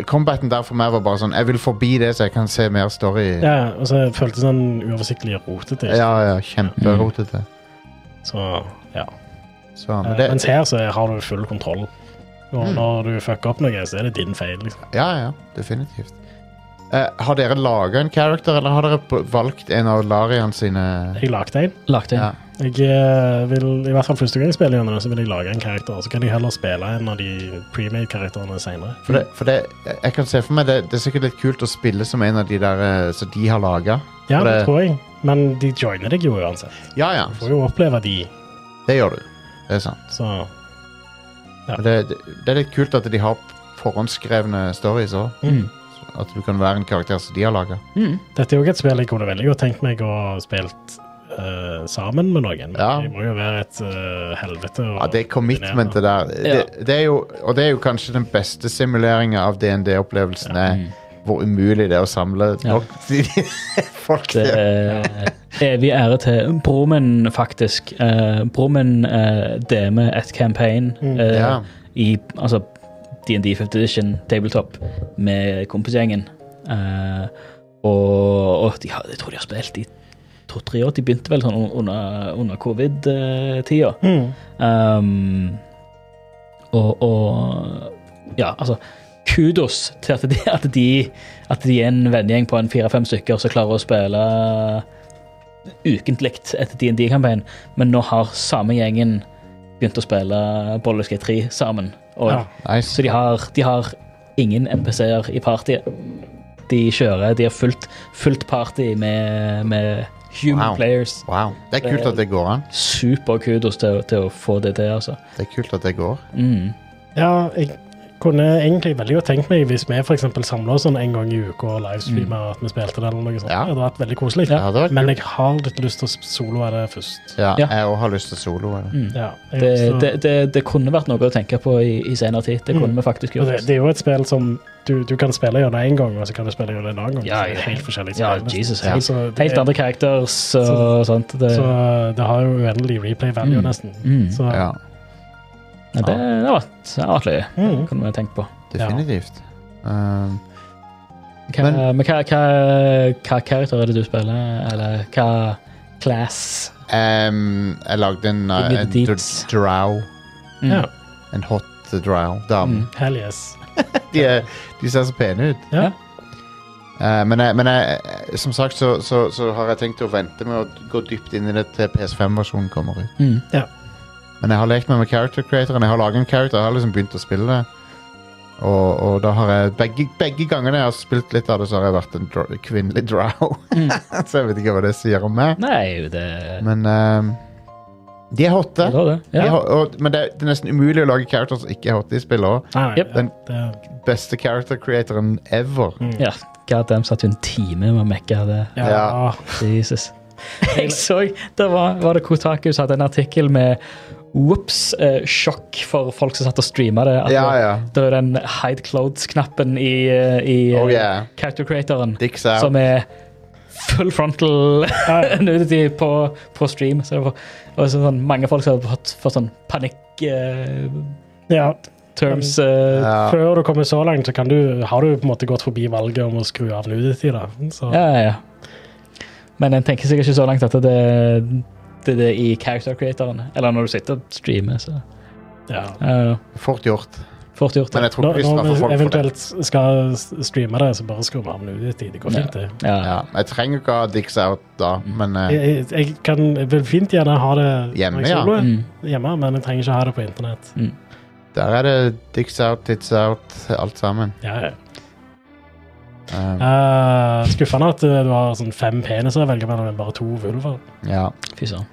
Speaker 1: Combaten der for meg var bare sånn Jeg vil forbi det, så jeg kan se mer story.
Speaker 2: Ja, og så føltes den uoversiktlig rotete. ikke?
Speaker 1: Ja, ja, kjemperotete.
Speaker 2: Så, ja.
Speaker 1: Så, men
Speaker 2: Eh,
Speaker 1: det, Mm.
Speaker 2: Mens her så har du full kontroll. Og når du fucker opp noe, så er det din feil. Liksom.
Speaker 1: ja, ja, definitivt. Eh, har dere laga en character, eller har dere p- valgt en av Larian sine
Speaker 2: Jeg lagde en.
Speaker 3: Lagt inn.
Speaker 1: Ja.
Speaker 2: Jeg eh, vil, I hvert fall første gang jeg spiller gjennom den, så vil jeg lage en karakter. Så kan jeg heller spille en av de premade karakterene senere.
Speaker 1: For, det, for det, jeg- jeg kan se for meg det, det er sikkert litt kult å spille som en av de der eh, som de har laga.
Speaker 2: Ja,
Speaker 1: For
Speaker 2: det
Speaker 1: det-
Speaker 2: tror jeg. Men de joiner deg jo uansett.
Speaker 1: Ja ja,
Speaker 2: Du får jo oppleve de,
Speaker 1: det gjør du. Det er sant.
Speaker 2: så
Speaker 1: Men det, det, det er litt kult at de har forhåndsskrevne stories òg.
Speaker 3: Mm.
Speaker 1: At du kan være en karakter som de har laga.
Speaker 3: Mm.
Speaker 2: Dette er jo ikke et spill jeg kunne veldig godt tenkt meg å ha spilt eh, sammen med noen. Men
Speaker 1: Ja.
Speaker 2: Det må jo være et eh, helvete. å
Speaker 1: Ja, det commitmentet der.
Speaker 2: kombinere.
Speaker 3: Ja.
Speaker 1: Det, det er jo, og det er jo kanskje den beste simuleringa av DND-opplevelsen. er eh, Hvor umulig det er å samle
Speaker 3: Ja.
Speaker 1: nok folk.
Speaker 3: Det
Speaker 1: til-
Speaker 3: er evig ære til broren min, faktisk. Eh, broren min eh, DM-er et campaign eh,
Speaker 1: Ja.
Speaker 3: i altså D&D 5th Edition tabletop med kompisgjengen. Eh, og og de har, jeg tror de har spilt i to-tre år. De begynte vel sånn under, under covid-tida.
Speaker 2: Mm.
Speaker 3: Um, og, og Ja, altså Kudos til at de, at de, at de er en vennegjeng på en fire-fem stykker som klarer å spille ukentlig etter DND-kampanjen, men nå har samme gjengen begynt å spille Bolleskate 3 sammen. Og,
Speaker 2: Ja.
Speaker 1: Nice.
Speaker 3: Så de har, de har ingen NPC-er i partiet. De kjører, de har fullt, fullt party med, med human
Speaker 1: Wow.
Speaker 3: players.
Speaker 1: Wow. Det er kult at det går an.
Speaker 3: Super kudos til, til å få det til, altså.
Speaker 1: Det er kult at det går.
Speaker 3: Mm.
Speaker 2: Ja, jeg kunne egentlig veldig godt tenkt meg hvis vi f.eks. samla oss sånn en gang i uka og livestreama
Speaker 3: Mm.
Speaker 2: at vi spilte det eller noe sånt.
Speaker 1: Ja.
Speaker 2: Det hadde vært veldig koselig.
Speaker 1: Ja, det hadde vært
Speaker 2: Men jeg har litt lyst til å soloe det først.
Speaker 1: Ja,
Speaker 3: Ja. Mm.
Speaker 1: Jeg òg har lyst til solo. eller?
Speaker 2: Ja, jeg har lyst
Speaker 3: Det,
Speaker 2: til å-
Speaker 3: det, det, det kunne vært noe å tenke på i, i senere tid. Det kunne vi faktisk
Speaker 2: Mm. Og
Speaker 3: gjort.
Speaker 2: det, det er jo et spill som du, du kan spille gjennom én gang, og så kan du spille gjennom en annen gang. så
Speaker 3: Ja,
Speaker 2: det er
Speaker 3: ja.
Speaker 2: Helt forskjellig
Speaker 3: ja,
Speaker 2: spill, nesten.
Speaker 3: Jesus,
Speaker 1: Ja.
Speaker 3: helt,
Speaker 2: Så det
Speaker 3: helt
Speaker 2: er-
Speaker 3: andre characters og sånt. Det,
Speaker 2: Så det har jo uendelig replay value,
Speaker 3: Mm.
Speaker 2: nesten.
Speaker 3: Mm.
Speaker 2: Så
Speaker 1: Ja,
Speaker 3: ja, det, det har vært, det har vært løye.
Speaker 2: Mm.
Speaker 3: Kunne vi tenkt på.
Speaker 1: definitivt. Um,
Speaker 3: Hva, men, hva, hva, hva character er det du spiller, eller hva class?
Speaker 1: em, jeg lagde en, uh,
Speaker 3: Give me
Speaker 1: en
Speaker 3: the
Speaker 1: dr
Speaker 3: deets.
Speaker 1: drow.
Speaker 3: Mm.
Speaker 2: Ja.
Speaker 1: En hot drow. Dame.
Speaker 2: hell yes.
Speaker 1: De, er- de ser så pene ut.
Speaker 2: Ja.
Speaker 1: Eh, men jeg, men jeg, som sagt så, så, så har jeg tenkt å vente med å gå dypt inn i det til PS5-versjonen kommer ut.
Speaker 3: Mm.
Speaker 2: Ja.
Speaker 1: Men jeg har lekt meg med character creatoren. Jeg har laget en character, jeg har liksom begynt å spille det. Og, og da har jeg begge, begge gangene jeg har spilt litt av det, så har jeg vært en dro kvinnelig
Speaker 3: Mm.
Speaker 1: drow. så jeg vet ikke hva det sier om meg.
Speaker 3: Nei, det
Speaker 1: Men, ehm, eh, De er hotte.
Speaker 3: Det var det.
Speaker 1: De er
Speaker 3: Ja.
Speaker 1: ho- og, men det, er- det er nesten umulig å lage characters som ikke er hotte i spillet også.
Speaker 2: Nei, nei,
Speaker 3: Yep.
Speaker 2: ja,
Speaker 1: Den-
Speaker 2: det,
Speaker 1: Beste character creatoren ever.
Speaker 3: ja. God damn, satt jo en time med å mekke det.
Speaker 2: ja,
Speaker 1: Ja.
Speaker 3: Jesus. Jeg så det var, var det Kotaku som hadde en artikkel med Whoops, eh, sjokk for folk som satt og streama det. At
Speaker 1: Ja,
Speaker 3: det-
Speaker 1: ja.
Speaker 3: Det er den hide clothes-knappen i, eh, i
Speaker 1: Oh, yeah.
Speaker 3: character creatoren
Speaker 1: Dicks out.
Speaker 3: som er full frontal
Speaker 2: Ja, ja.
Speaker 3: nudity på, på stream. Så det var, og så sånn, mange folk som hadde fått, fått sånn panikk eh,
Speaker 2: ja.
Speaker 3: terms eh,
Speaker 1: Ja.
Speaker 2: Før du kommer så langt, så kan du, har du på en måte gått forbi valget om å skru av nudity. da. Så,
Speaker 3: Ja, ja, ja. Men en tenker sikkert ikke så langt at det det er det i character creatorene. Eller når du sitter og streamer, så
Speaker 2: ja.
Speaker 3: ja,
Speaker 1: Fort gjort.
Speaker 3: Fort gjort.
Speaker 1: Men
Speaker 3: Det.
Speaker 1: jeg
Speaker 2: Når,
Speaker 1: tror ikke vi
Speaker 2: når
Speaker 1: straffer
Speaker 2: vi
Speaker 1: folk for det.
Speaker 2: eventuelt skal streame det, så bare skru vi av nudity. Det går fint, det.
Speaker 3: Ja.
Speaker 1: Ja. Jeg trenger ikke å ha dicks out da, men eh,
Speaker 2: Jeg, jeg, jeg kan jeg vil fint gjerne ha det
Speaker 1: Hjemme,
Speaker 2: når jeg
Speaker 1: ja.
Speaker 2: soloer.
Speaker 3: Mm.
Speaker 2: hjemme, men jeg trenger ikke ha det på internett.
Speaker 1: der er det dicks out, tits out, alt sammen.
Speaker 2: Ja, ja.
Speaker 1: Um,
Speaker 2: Eh, skuffende at eh, du har sånn fem peniser å velge mellom, men bare to vulver.
Speaker 1: ja.
Speaker 3: Fy søren.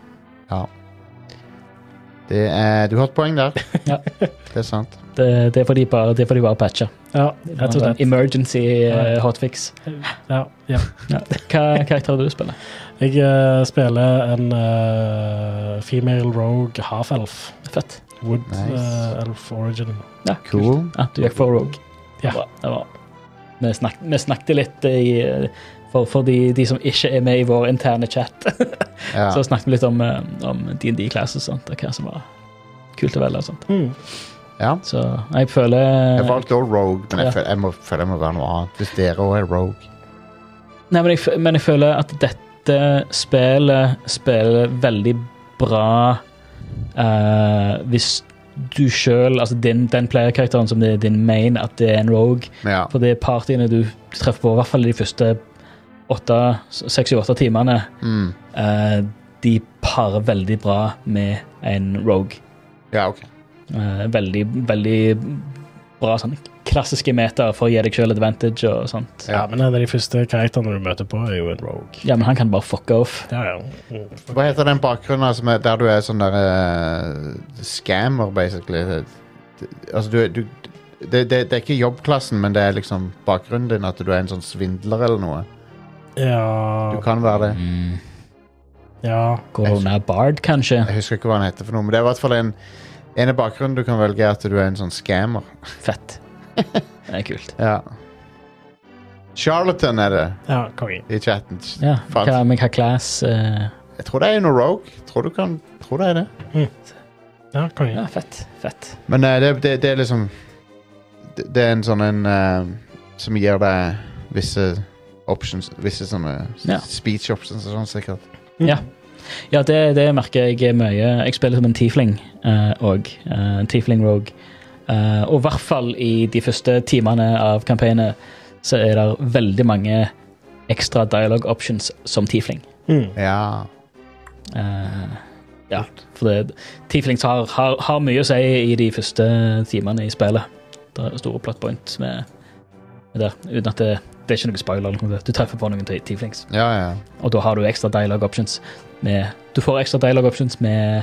Speaker 1: Det er, du har et poeng der.
Speaker 3: Ja.
Speaker 1: Det er sant.
Speaker 3: Det, det får de bare, det får de bare patche.
Speaker 2: Ja, rett og slett.
Speaker 3: Emergency eh,
Speaker 2: Ja.
Speaker 3: hotfix.
Speaker 2: Ja, ja.
Speaker 3: Ja. Hva karakter du spiller?
Speaker 2: Jeg eh, spiller en eh, female rogue half-elf.
Speaker 3: Fett.
Speaker 2: Wood
Speaker 1: Nice.
Speaker 2: eh, elf origin.
Speaker 3: Ja, kult.
Speaker 1: Cool.
Speaker 3: Ja, du gikk for Rogue.
Speaker 2: Ja.
Speaker 3: Det var, det var. Vi, snak, vi snakket litt i, eh, for, for de, de som ikke er med i vår interne chat.
Speaker 1: Ja.
Speaker 3: Så snakket vi litt om, eh, om D&D-class og sånt, og hva som var kult å velge og sånt.
Speaker 2: Mm.
Speaker 1: ja.
Speaker 3: Så jeg føler
Speaker 1: Jeg valgte også Rogue, men jeg
Speaker 3: Ja.
Speaker 1: føler jeg, må, føler jeg må være noe annet. Hvis dere òg er Rogue.
Speaker 3: Nei, men jeg, fø- men jeg føler at dette spillet spiller veldig bra eh, hvis du sjøl, altså din, den playerkarakteren som det er din main, at det er en rogue.
Speaker 1: Men ja.
Speaker 3: For det er partiene du treffer på, i hvert fall de første åtte- seks til åtte timene,
Speaker 1: Mm.
Speaker 3: eh, de parer veldig bra med en rogue.
Speaker 1: ja, ok.
Speaker 3: Eh, veldig, veldig bra sånn klassiske meter for å gi deg sjøl advantage og sånt.
Speaker 1: Ja.
Speaker 2: Ja, men en av de første karakterene du møter på, er jo en rogue.
Speaker 3: Ja, men han kan bare fucke off.
Speaker 2: Ja, ja. Mm.
Speaker 1: Hva heter den bakgrunnen altså, med- der du er sånn der eh, scammer, basically? Det- Altså, du, er- du det, det, det er ikke jobbklassen, men det er liksom bakgrunnen din, at du er en sånn svindler eller noe. Du
Speaker 2: Ja,
Speaker 1: kan være det.
Speaker 3: Mm.
Speaker 2: ja.
Speaker 3: Corona Bard, kanskje.
Speaker 1: Jeg husker ikke hva han heter for noe, men det er i hvert fall en, en av bakgrunnen du kan velge, er at du er en sånn scammer.
Speaker 3: Fett. Det er kult.
Speaker 1: Ja. Charlatan er det
Speaker 2: ja konge.
Speaker 1: i chatten.
Speaker 3: Ja,
Speaker 1: Faen.
Speaker 3: hva, men hva class eh,
Speaker 1: Jeg tror det er noe rogue. Tror du kan, tror det er det.
Speaker 2: Ja, konge.
Speaker 3: Ja, fett. Fett.
Speaker 1: Men eh, det, det, det er liksom Det, det er en sånn en eh, som gir deg visse options Visse sånne s-
Speaker 3: Ja.
Speaker 1: speech options og sånn, sikkert.
Speaker 3: Ja. Ja, det, det merker jeg mye. Jeg spiller som en tiefling òg. en tiefling rogue. Eh, og i hvert fall i de første timene av kampanjen så er det veldig mange ekstra dialogue options som tiefling.
Speaker 2: Mm.
Speaker 1: Ja.
Speaker 3: Eh, ja, for det, tieflings har, har, har mye å si i de første timene i spillet. Det er store plot points med, med det, uten at det, det er ikke noe spoiler. eller noe. Du treffer på noen ti- tieflings.
Speaker 1: Ja, ja.
Speaker 3: Og da har du ekstra dialogue options med Du får ekstra dialogue options med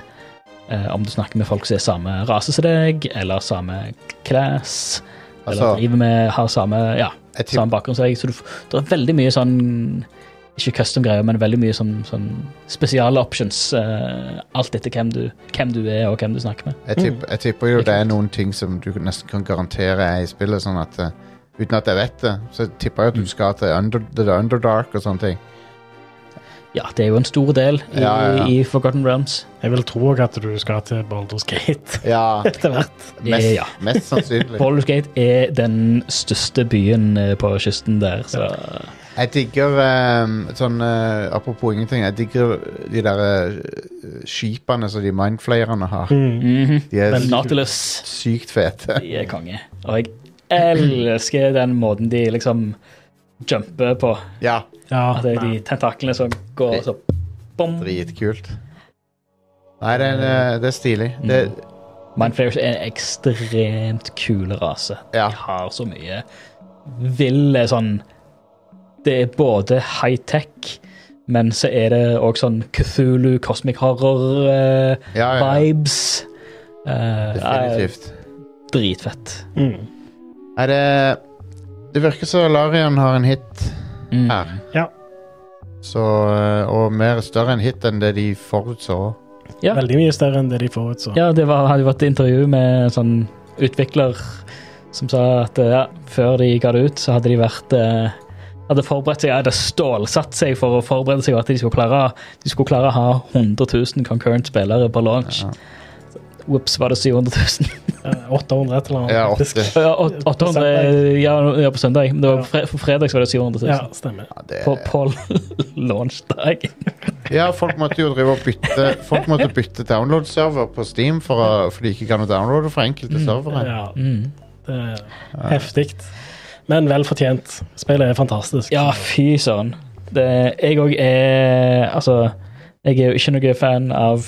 Speaker 3: eh, om du snakker med folk som er samme rase som deg, eller samme class,
Speaker 1: Altså-
Speaker 3: eller driver med har samme, ja,
Speaker 1: Jeg tipper
Speaker 3: samme bakgrunn som deg. Så du, f- det er veldig mye sånn ikke custom-greier, men veldig mye sånn, sånn spesiale options. eh, alt etter hvem du, hvem du er, og hvem du snakker med.
Speaker 1: jeg, tipp, jeg tipper jo det er noen ting som du nesten kan garantere er i spillet, sånn at eh, Uten at jeg vet det, så tipper jeg at
Speaker 3: Mm.
Speaker 1: du skal til under, The Underdark og sånne ting.
Speaker 3: Ja, det er jo en stor del i,
Speaker 1: Ja, ja, ja.
Speaker 3: i Forgotten Realms.
Speaker 2: Jeg vil tro også at du skal til Baldur's Gate
Speaker 1: Ja,
Speaker 2: etter hvert.
Speaker 1: mest,
Speaker 3: Ja.
Speaker 1: mest sannsynlig.
Speaker 3: Baldur's Gate er den største byen eh, på kysten der, så
Speaker 1: Jeg digger ehm, sånn eh, Apropos ingenting, jeg digger de der eh, skipene som de mindflayerne har.
Speaker 2: Mm.
Speaker 3: mhm.
Speaker 1: De er
Speaker 3: Men
Speaker 1: sy-
Speaker 3: Nautilus
Speaker 1: sykt fete.
Speaker 3: De er konge. Og jeg elsker den måten de liksom jumper på.
Speaker 1: Ja,
Speaker 2: Ja,
Speaker 3: At det er de tentaklene som går så bom.
Speaker 1: dritkult. Nei, det er, eh, det er stilig. Det,
Speaker 3: Mindflayers er en ekstremt kul rase.
Speaker 1: Ja.
Speaker 3: De har så mye ville sånn Det er både high-tech, Men så er det òg sånn Cthulhu, Cosmic eh, Horror-vibes.
Speaker 1: Ja, ja, ja. Definitivt.
Speaker 3: Eh, dritfett.
Speaker 2: Mm.
Speaker 1: Er det Det virker som Larian har en hit
Speaker 3: Mm.
Speaker 1: her.
Speaker 2: Ja.
Speaker 1: Så, eh, og mer større en hit enn det de forutså.
Speaker 3: Ja.
Speaker 2: Veldig mye større enn det de forutså.
Speaker 3: Ja, det var, hadde jo vært et intervju med en sånn utvikler som sa at eh, ja, før de ga det ut, så hadde de vært eh, hadde forberedt seg, hadde stålsatt seg for å forberede seg og at de skulle klare, de skulle klare å ha 100 000 concurrent spillere på launch.
Speaker 1: Ja.
Speaker 3: Ops, var det 700 000?
Speaker 2: Eh, 800 et eller annet.
Speaker 1: Ja,
Speaker 2: faktisk.
Speaker 1: 80.
Speaker 3: ja, åt- 800, eh, ja, ja, på søndag. Det var, på fre for fredag så var det 700 000.
Speaker 2: Ja, stemmer.
Speaker 1: Ja, det,
Speaker 3: På, på launchdag.
Speaker 1: ja, folk måtte jo drive og bytte Folk måtte bytte download-server på Steam for, å- for de ikke kan downloade fra enkelte servere.
Speaker 2: Ja,
Speaker 3: Mm.
Speaker 2: det er heftig. Men vel fortjent. Spillet er fantastisk.
Speaker 3: Ja, fy søren. Det- Jeg òg er Altså, jeg er jo ikke noe fan av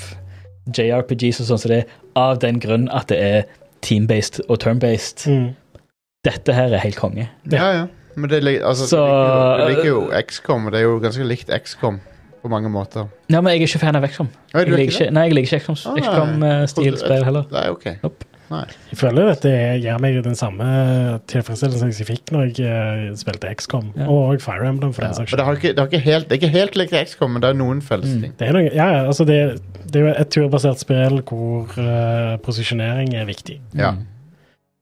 Speaker 3: JRPGs og sånn som det, er, av den grunn at det er team-based og turn-based.
Speaker 2: Mm.
Speaker 3: Dette her er helt konge.
Speaker 1: Ja, ja. Men det, lig- altså,
Speaker 3: Så-
Speaker 1: det ligger jo, det ligger jo XCOM, og det er jo ganske likt XCOM på mange måter.
Speaker 3: Nei, men jeg er ikke fan av XCOM.
Speaker 1: Nei,
Speaker 3: Jeg
Speaker 1: du er
Speaker 3: liker
Speaker 1: ikke
Speaker 3: ikke,
Speaker 1: det?
Speaker 3: nei, jeg liker ikke
Speaker 1: Ah, nei.
Speaker 3: XCOM-stil spill heller.
Speaker 1: Nei, ok.
Speaker 2: Jeg føler at det gir meg den samme tilfredsstillelsen som jeg fikk når jeg eh, spilte XCOM,
Speaker 3: Ja.
Speaker 2: og Fire Emblem, for
Speaker 1: Ja.
Speaker 2: den saks
Speaker 1: Men det, har ikke, det, har ikke helt, det er ikke helt likt XCOM, men det er noen felles
Speaker 3: Mm.
Speaker 1: ting.
Speaker 2: Det er, noe, ja, ja, altså det, det er jo et turbasert spill hvor eh, posisjonering er viktig.
Speaker 1: Ja.
Speaker 3: Mm.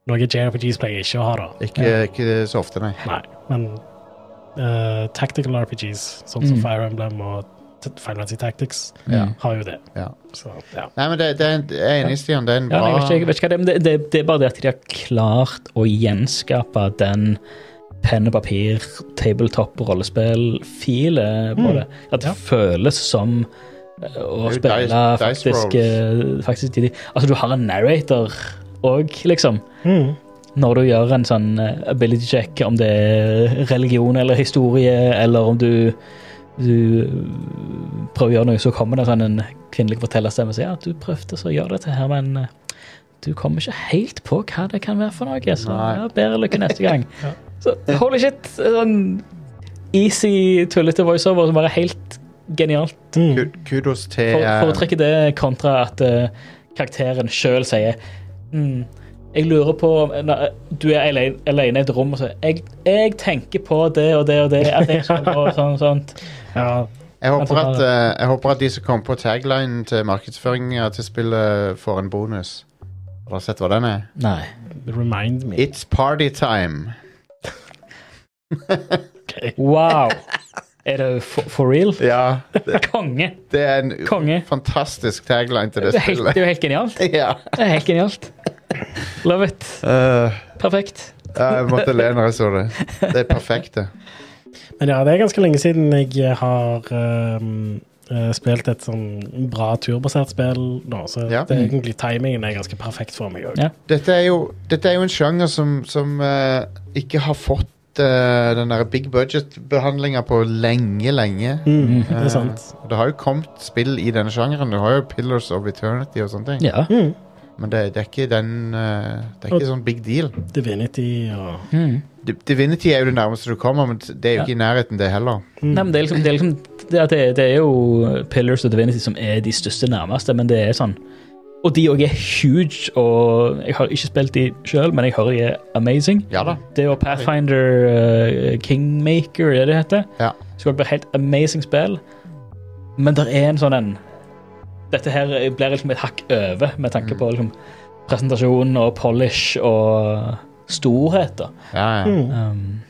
Speaker 2: Noe JRPGs pleier ikke å ha, da.
Speaker 1: Ikke, ikke så ofte, nei.
Speaker 2: Nei, men eh, tactical RPGs, sånn som
Speaker 3: Mm.
Speaker 2: Fire Emblem og T- Final Fantasy Tactics,
Speaker 1: Ja.
Speaker 2: har jo det.
Speaker 1: Ja.
Speaker 2: Så, ja.
Speaker 1: Nei, men det, det er en, jeg er enig, Stian. Det er en
Speaker 3: Ja, nei, jeg
Speaker 1: bra
Speaker 3: vet ikke, jeg vet ikke hva det er, men det, det, det er bare det at de har klart å gjenskape den penn og papir, tabletop-rollespill-filet på
Speaker 2: Mm.
Speaker 3: det. At det
Speaker 2: Ja.
Speaker 3: føles som eh,
Speaker 1: Det
Speaker 3: å
Speaker 1: er jo
Speaker 3: spille
Speaker 1: dice- dice
Speaker 3: faktisk, eh, faktisk de, de- Altså, du har en narrator òg, liksom.
Speaker 2: Mm.
Speaker 3: Når du gjør en sånn eh, ability check, om det er religion eller historie, eller om du du øh, prøver å gjøre noe, så kommer det sånn en kvinnelig fortellerstemme og sier at du prøvde så å gjøre dette her, men eh, du kommer ikke helt på hva det kan være for noe, så
Speaker 1: Nei.
Speaker 3: ja, bedre lykke neste gang.
Speaker 2: Ja.
Speaker 3: Så holy shit, sånn easy, tullete voiceover som bare er helt genialt.
Speaker 2: Mm.
Speaker 1: Ku- Kudos til
Speaker 3: For, for å
Speaker 1: eh,
Speaker 3: trekke det kontra at eh, karakteren sjøl sier mm, Jeg lurer på na- Du er alene, alene i et rom og sier jeg, jeg tenker på det og det og det. At jeg skal gå og sånn og sånt.
Speaker 2: Ja,
Speaker 1: jeg, håper
Speaker 3: Vent
Speaker 1: at,
Speaker 3: litt, da.
Speaker 1: eh, jeg håper at de som kom på taglinen til markedsføringa til spillet, får en bonus. Har dere sett hva den er?
Speaker 3: Nei.
Speaker 2: remind me.
Speaker 1: It's party time.
Speaker 3: Wow. Er det for, for real?
Speaker 1: Ja, det,
Speaker 3: Konge.
Speaker 1: det er en
Speaker 3: Konge.
Speaker 1: fantastisk tagline til
Speaker 3: Det
Speaker 1: det
Speaker 3: er, helt, det
Speaker 1: spillet.
Speaker 3: er jo helt genialt.
Speaker 1: Ja.
Speaker 3: Det er helt genialt. Love it.
Speaker 1: Eh,
Speaker 3: Perfekt.
Speaker 1: ja, jeg måtte le når jeg så det. Det er perfekt, det.
Speaker 2: Men ja, det er ganske lenge siden jeg har ehm, eh, spilt et sånn bra turbasert spill nå, så
Speaker 1: Ja.
Speaker 2: det er egentlig timingen er ganske perfekt for meg òg.
Speaker 3: Ja.
Speaker 1: Dette er jo, dette er jo en sjanger som, som eh, ikke har fått eh, den der big budget-behandlinga på lenge, lenge.
Speaker 2: Mm, det er sant.
Speaker 1: Det har jo kommet spill i denne sjangeren. Du har jo Pillars of Eternity og sånne ting.
Speaker 3: Ja.
Speaker 2: Mm.
Speaker 1: Men det, det er ikke den eh, Det er ikke sånn big deal.
Speaker 2: Divinity og
Speaker 3: Mm.
Speaker 1: Di- Divinity er jo det nærmeste du kommer, men det er jo ikke i nærheten, det heller.
Speaker 3: Nei, men det er liksom, det er, liksom det, er- det, er- det er jo Pillars og Divinity som er de største nærmeste, men det er sånn Og de òg er huge, og jeg har ikke spilt de sjøl, men jeg hører de er amazing.
Speaker 1: Ja da.
Speaker 3: Det er jo Pathfinder eh, Kingmaker, er det det heter?
Speaker 1: Ja.
Speaker 3: Skal bli helt amazing spill, men det er en sånn en Dette her blir liksom et hakk over med tanke
Speaker 1: Mm.
Speaker 3: på liksom, presentasjon og polish og storhet, da.
Speaker 1: Ja, ja.
Speaker 2: mm.
Speaker 3: Um,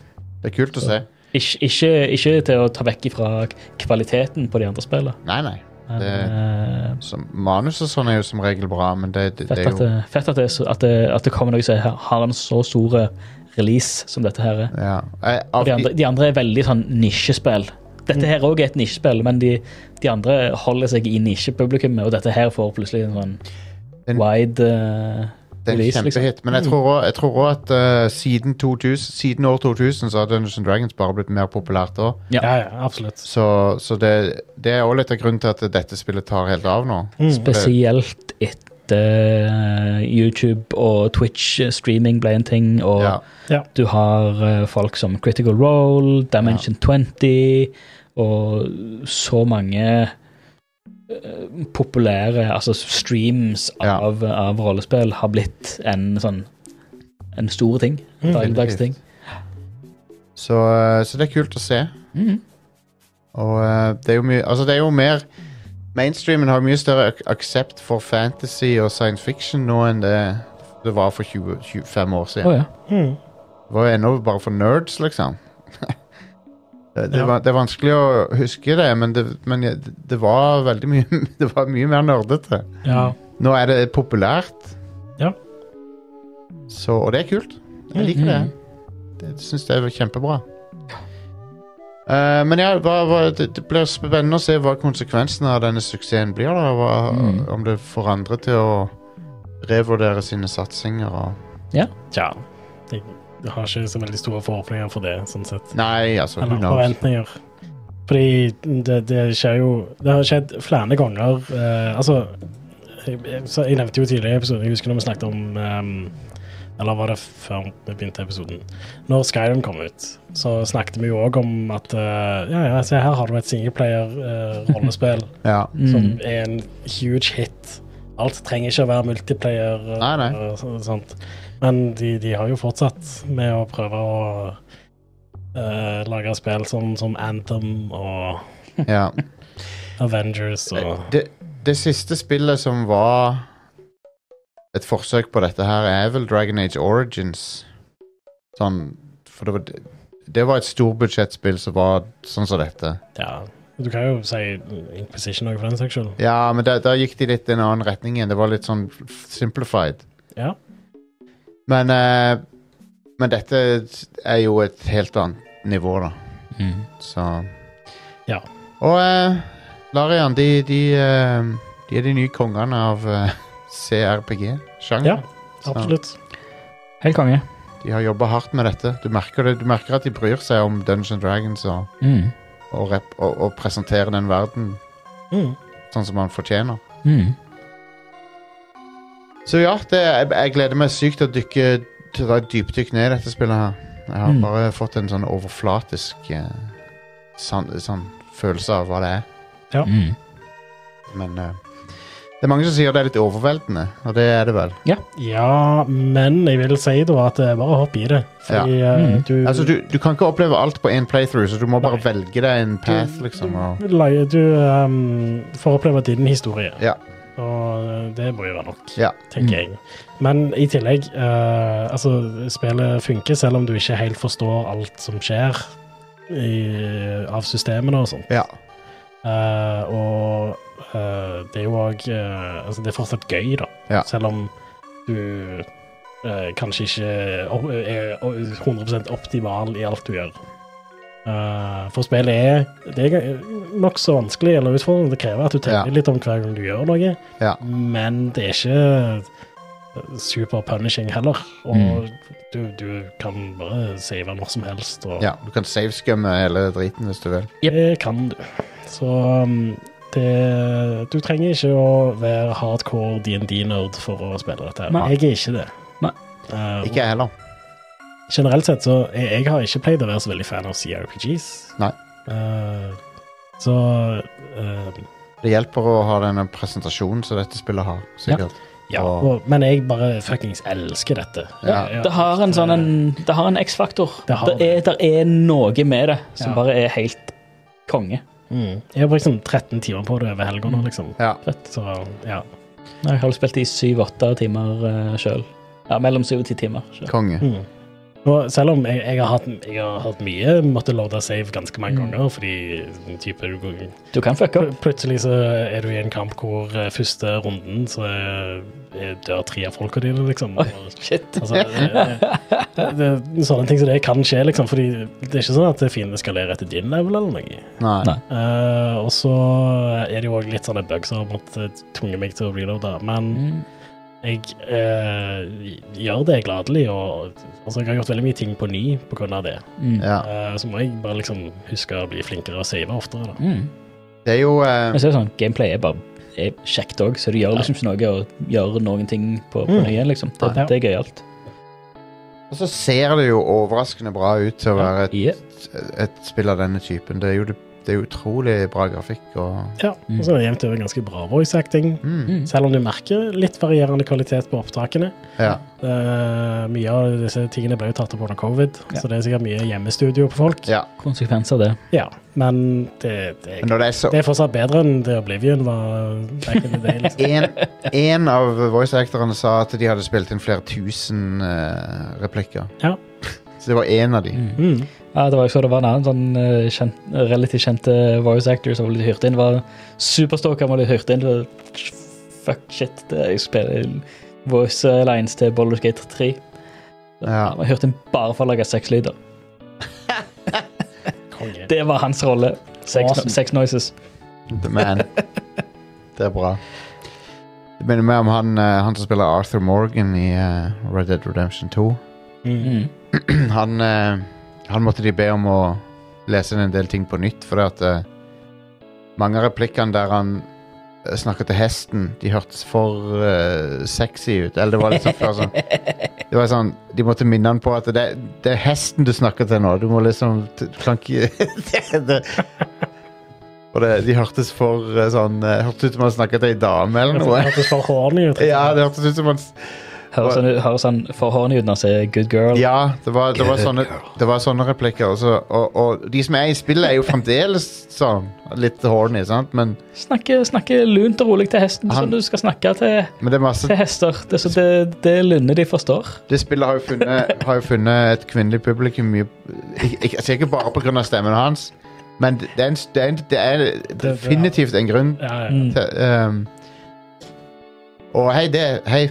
Speaker 1: Det er kult å se.
Speaker 3: ikke, ikke, ikke til å ta vekk ifra kvaliteten på de andre spillene.
Speaker 1: Nei, nei.
Speaker 3: Men, eh,
Speaker 1: Som, manus og sånn er jo som regel bra, men det, det, det
Speaker 3: fett
Speaker 1: er
Speaker 3: at,
Speaker 1: jo
Speaker 3: det, fett at, det, er så- at, det, at det kommer noe som er- har en så stor release som dette her er.
Speaker 1: ja. Eh,
Speaker 3: Og
Speaker 1: av,
Speaker 3: de, andre,
Speaker 1: de,
Speaker 3: de andre er veldig sånn nisjespill. Dette her òg er et nisjespill, men de, de andre holder seg i nisjepublikummet, og dette her får plutselig en sånn
Speaker 1: En-
Speaker 3: wide
Speaker 1: det
Speaker 3: eh,
Speaker 1: er en
Speaker 3: release, liksom.
Speaker 1: kjempehit. Men jeg tror også- jeg tror òg at eh, siden, 2000, siden år 2000 så har Dungeons and Dragons bare blitt mer populært òg.
Speaker 2: Ja, ja, absolutt.
Speaker 1: Så, så det, det er òg litt av grunnen til at dette spillet tar helt av nå.
Speaker 2: Mm.
Speaker 1: det-
Speaker 3: Spesielt et, etter eh, YouTube og Twitch-streaming ble en ting, og
Speaker 1: Ja.
Speaker 2: Ja.
Speaker 3: du har eh, folk som Critical Role, Dimension 20, og så mange eh, populære altså streams
Speaker 1: Ja.
Speaker 3: av, av rollespill har blitt en sånn en stor ting.
Speaker 2: Mm.
Speaker 3: Dagligdags ting.
Speaker 1: Så, eh, så det er kult å se.
Speaker 3: Mhm.
Speaker 1: Og eh, det er jo mye Altså, det er jo mer Mainstreamen har mye større ak aksept for fantasy og science fiction nå enn det det var for 20, 25 år
Speaker 3: Å
Speaker 1: siden.
Speaker 3: ja.
Speaker 2: Mm.
Speaker 1: Det var jo ennå bare for nerds, liksom. det, det,
Speaker 2: Ja.
Speaker 1: var, det er vanskelig å huske det, men det, men jeg- det var veldig mye Det var mye mer nerdete.
Speaker 2: ja.
Speaker 1: Nå er det populært.
Speaker 2: Ja.
Speaker 1: Så, og det er kult. Jeg liker det.
Speaker 3: Mhm.
Speaker 1: Det syns jeg er kjempebra. Eh, men ja, hva, hva, det, det blir spennende å se hva konsekvensen av denne suksessen blir. da hva,
Speaker 3: Mhm.
Speaker 1: Om det får andre til å revurdere sine satsinger og
Speaker 2: Tja. Jeg har ikke så veldig store forhåpninger for det, sånn sett.
Speaker 1: Nei, altså, who
Speaker 2: Eller
Speaker 1: knows?
Speaker 2: forventninger. Fordi det, det skjer jo Det har skjedd flere ganger. eh, altså jeg, jeg- så jeg nevnte jo tidligere i episoden, jeg husker når vi snakket om ehm, Eller var det før vi begynte episoden? Når Skyrim kom ut, så snakket vi jo òg om at eh, Ja, ja, se her har du et eh, singleplayer-rollespill
Speaker 1: Ja.
Speaker 3: Sånn.
Speaker 1: Mm.
Speaker 2: som er en huge hit. Alt trenger ikke å være multiplayer. eh,
Speaker 1: Nei, nei.
Speaker 2: og så- sånt. Men de, de har jo fortsatt med å prøve å eh, lage spill som, som Anthem og
Speaker 1: ja.
Speaker 2: Avengers og
Speaker 1: Det, det siste spillet som var et forsøk på dette her, er vel Dragon Age Origins. Sånn For det var, det var et storbudsjettspill som var sånn som dette.
Speaker 2: Ja. Du kan jo si Inquisition òg, for den saks skyld.
Speaker 1: Ja, men da, da gikk de litt i en annen retning igjen. Det var litt sånn simplified.
Speaker 2: Ja.
Speaker 1: Men eh, Men dette er jo et helt annet nivå, da.
Speaker 3: Mhm.
Speaker 1: Så
Speaker 2: Ja.
Speaker 1: Og eh, Larian, de, de, eh, de er de nye kongene av eh, CRPG-sjangeren.
Speaker 2: Ja, Absolutt.
Speaker 3: Helt konge.
Speaker 1: De har jobba hardt med dette. Du merker, det, du merker at de bryr seg om Dungeon Dragons og,
Speaker 3: Mm.
Speaker 1: og, rep, og, og presenterer den verden
Speaker 2: Mm.
Speaker 1: sånn som man fortjener.
Speaker 3: Mm.
Speaker 1: Så ja, det, jeg, jeg gleder meg sykt til å dykke til å ta et dypdykk ned i dette spillet her. Jeg har
Speaker 3: Mm.
Speaker 1: bare fått en sånn overflatisk eh, sånn, sånn følelse av hva det er.
Speaker 2: Ja.
Speaker 3: Mm.
Speaker 1: Men eh, det er mange som sier det er litt overveldende, og det er det vel.
Speaker 2: Ja, men jeg vil si da at det er bare hopp i det. Fordi eh,
Speaker 3: Mm.
Speaker 2: du
Speaker 1: Altså, du, du kan ikke oppleve alt på én playthrough, så du må bare
Speaker 2: Nei.
Speaker 1: velge deg en path, liksom. Og,
Speaker 2: Leie- Du ehm, får oppleve din historie.
Speaker 1: Ja.
Speaker 2: Og eh, det bør jo være nok,
Speaker 1: Ja.
Speaker 2: tenker jeg. Men i tillegg, eh, altså, spillet funker selv om du ikke helt forstår alt som skjer i, av systemene og sånn.
Speaker 1: ja.
Speaker 2: Eh, og eh, det er jo òg Altså, det er fortsatt gøy, da.
Speaker 1: Ja.
Speaker 2: Selv om du eh, kanskje ikke o- er 100 optimal i alt du gjør. Eh, for spillet er, det er nokså vanskelig eller utfordrende. Det krever at du tenker
Speaker 1: Ja.
Speaker 2: litt om hver gang du gjør noe,
Speaker 1: Ja.
Speaker 2: men det er ikke eh, super punishing heller. Og
Speaker 3: Mm.
Speaker 2: du, du kan bare save når som helst. Og
Speaker 1: ja. Du kan savescumme hele driten hvis du vil.
Speaker 3: Jep.
Speaker 2: det kan du. Så um, det, du trenger ikke å være hardcore DND-nerd for å spille dette. her.
Speaker 3: Nei.
Speaker 2: Jeg er ikke det.
Speaker 3: Nei.
Speaker 2: Eh,
Speaker 1: Ikke jeg heller.
Speaker 2: Generelt sett så jeg, jeg har ikke pleid å være så veldig fan av CRPGs.
Speaker 1: Nei.
Speaker 2: Eh, så eh,
Speaker 1: Det hjelper å ha denne presentasjonen som dette spillet har, sikkert.
Speaker 2: ja.
Speaker 1: Og-
Speaker 2: Og, men jeg bare fuckings elsker dette.
Speaker 1: Ja.
Speaker 2: Jeg- jeg-
Speaker 3: Det har en sånn en, Det har en X-faktor.
Speaker 2: Det har
Speaker 3: Det er, der er noe med det som
Speaker 2: Ja.
Speaker 3: bare er helt konge.
Speaker 2: Mm. Jeg har brukt sånn 13 timer på det over helga nå, liksom.
Speaker 1: Ja.
Speaker 2: Så ja.
Speaker 3: Nei, Jeg har spilt i syv-åtte timer uh, sjøl. Ja, mellom syv og ti timer. Selv.
Speaker 1: Konge.
Speaker 2: Mm. Og selv om jeg, jeg, har hatt, jeg har hatt mye, måtte loada save ganske mange ganger, fordi type, du går-
Speaker 3: Du kan fucke opp.
Speaker 2: pl- plutselig så er du i en kamp hvor eh, første runden så er, er dør tre av folka dine, liksom. Og,
Speaker 3: Shit.
Speaker 2: altså, eh, det, det, sånne ting som det kan skje, liksom, fordi det er ikke sånn at fiendene skalerer etter din level eller noe.
Speaker 1: Nei.
Speaker 3: Nei.
Speaker 2: Eh, og så er det jo òg litt sånne bugs som har måttet tunge meg til å reloade, men
Speaker 3: Mm.
Speaker 2: jeg eh, gjør det gladelig, og altså, jeg har gjort veldig mye ting på ny på grunn av det.
Speaker 3: Mm.
Speaker 1: Ja.
Speaker 2: Eh, så må jeg bare liksom huske å bli flinkere og save oftere, da.
Speaker 3: Mm.
Speaker 1: Det er jo eh,
Speaker 3: Men så er det sånn, gameplay er bare er kjekt òg, så det gjør liksom ikke noe å gjøre noen ting på,
Speaker 1: Mm.
Speaker 3: på nye. liksom. Det,
Speaker 2: Nei.
Speaker 3: det er gøyalt.
Speaker 1: Og så ser det jo overraskende bra ut til å være et,
Speaker 3: Ja.
Speaker 1: et spill av denne typen. Det er jo, det, det er jo utrolig bra grafikk og
Speaker 2: Ja, og så er det jevnt over ganske bra voice acting.
Speaker 3: Mm.
Speaker 2: Selv om du merker litt varierende kvalitet på opptakene.
Speaker 1: Ja.
Speaker 2: Eh, mye av disse tingene ble jo tatt opp under covid,
Speaker 3: Ja.
Speaker 2: så det er sikkert mye hjemmestudio på folk.
Speaker 1: ja.
Speaker 3: Konsekvenser av det.
Speaker 2: Ja, men det, det,
Speaker 1: Men når det er så
Speaker 2: det er fortsatt bedre enn det Oblivion var back in the day. Liksom.
Speaker 1: En, en av voice actorene sa at de hadde spilt inn flere tusen eh, replikker.
Speaker 2: Ja.
Speaker 1: Så det var én av de.
Speaker 2: Mm.
Speaker 3: Ja, det var, jeg så det var en annen sånn eh, kjent, relativt kjente voice actor som ble hyrt inn. var superstalker man ble hyrt inn. Det var, fuck shit, det, jeg spiller voice lines til Baldur's Gate 3.
Speaker 1: Ja.
Speaker 3: Han var hyrt inn bare for å lage sexlyder.
Speaker 2: Konge.
Speaker 3: Det var hans rolle. Sex,
Speaker 2: Awesome.
Speaker 3: sex noises.
Speaker 1: The Man. Det er bra. Det minner meg om han, eh, han som spiller Arthur Morgan i eh, Red Dead Redemption 2.
Speaker 2: Mm.
Speaker 3: Mm.
Speaker 1: Han, eh, han måtte de be om å lese inn en del ting på nytt, fordi at eh, mange av replikkene der han eh, snakket til hesten, de hørtes for eh, sexy ut. Eller det var liksom for sånn Det var sånn, De måtte minne han på at det, det er hesten du snakker til nå. Du må liksom t- Du kan ikke det, det. Og det, de hørtes for eh, sånn eh, Hørtes ut som han snakket til ei dame eller
Speaker 2: Det
Speaker 1: noe.
Speaker 2: hørtes for horny ut.
Speaker 1: Ja, det hørtes ut som han s-
Speaker 3: Høres han, ut- høres han for horny ut når han sier 'good girl'?
Speaker 1: Ja, det var, det var,
Speaker 3: Good
Speaker 1: sånne,
Speaker 3: girl.
Speaker 1: det var sånne replikker. også, og, og de som er i spillet, er jo fremdeles sånn litt horny, sant? Men,
Speaker 3: Snakke, snakke lunt og rolig til hesten,
Speaker 1: Han-
Speaker 3: som du skal snakke til,
Speaker 1: men det er masse
Speaker 3: til hester. Det, så det, det er lynne de forstår.
Speaker 1: Det spillet har jo funnet, har jo funnet et kvinnelig publikum mye ik- ik- altså Ikke bare pga. stemmen hans, men det er, en, det, er en, det er definitivt en grunn
Speaker 2: Ja, ja.
Speaker 3: Mm.
Speaker 1: til ehm, Og hei, det, hei,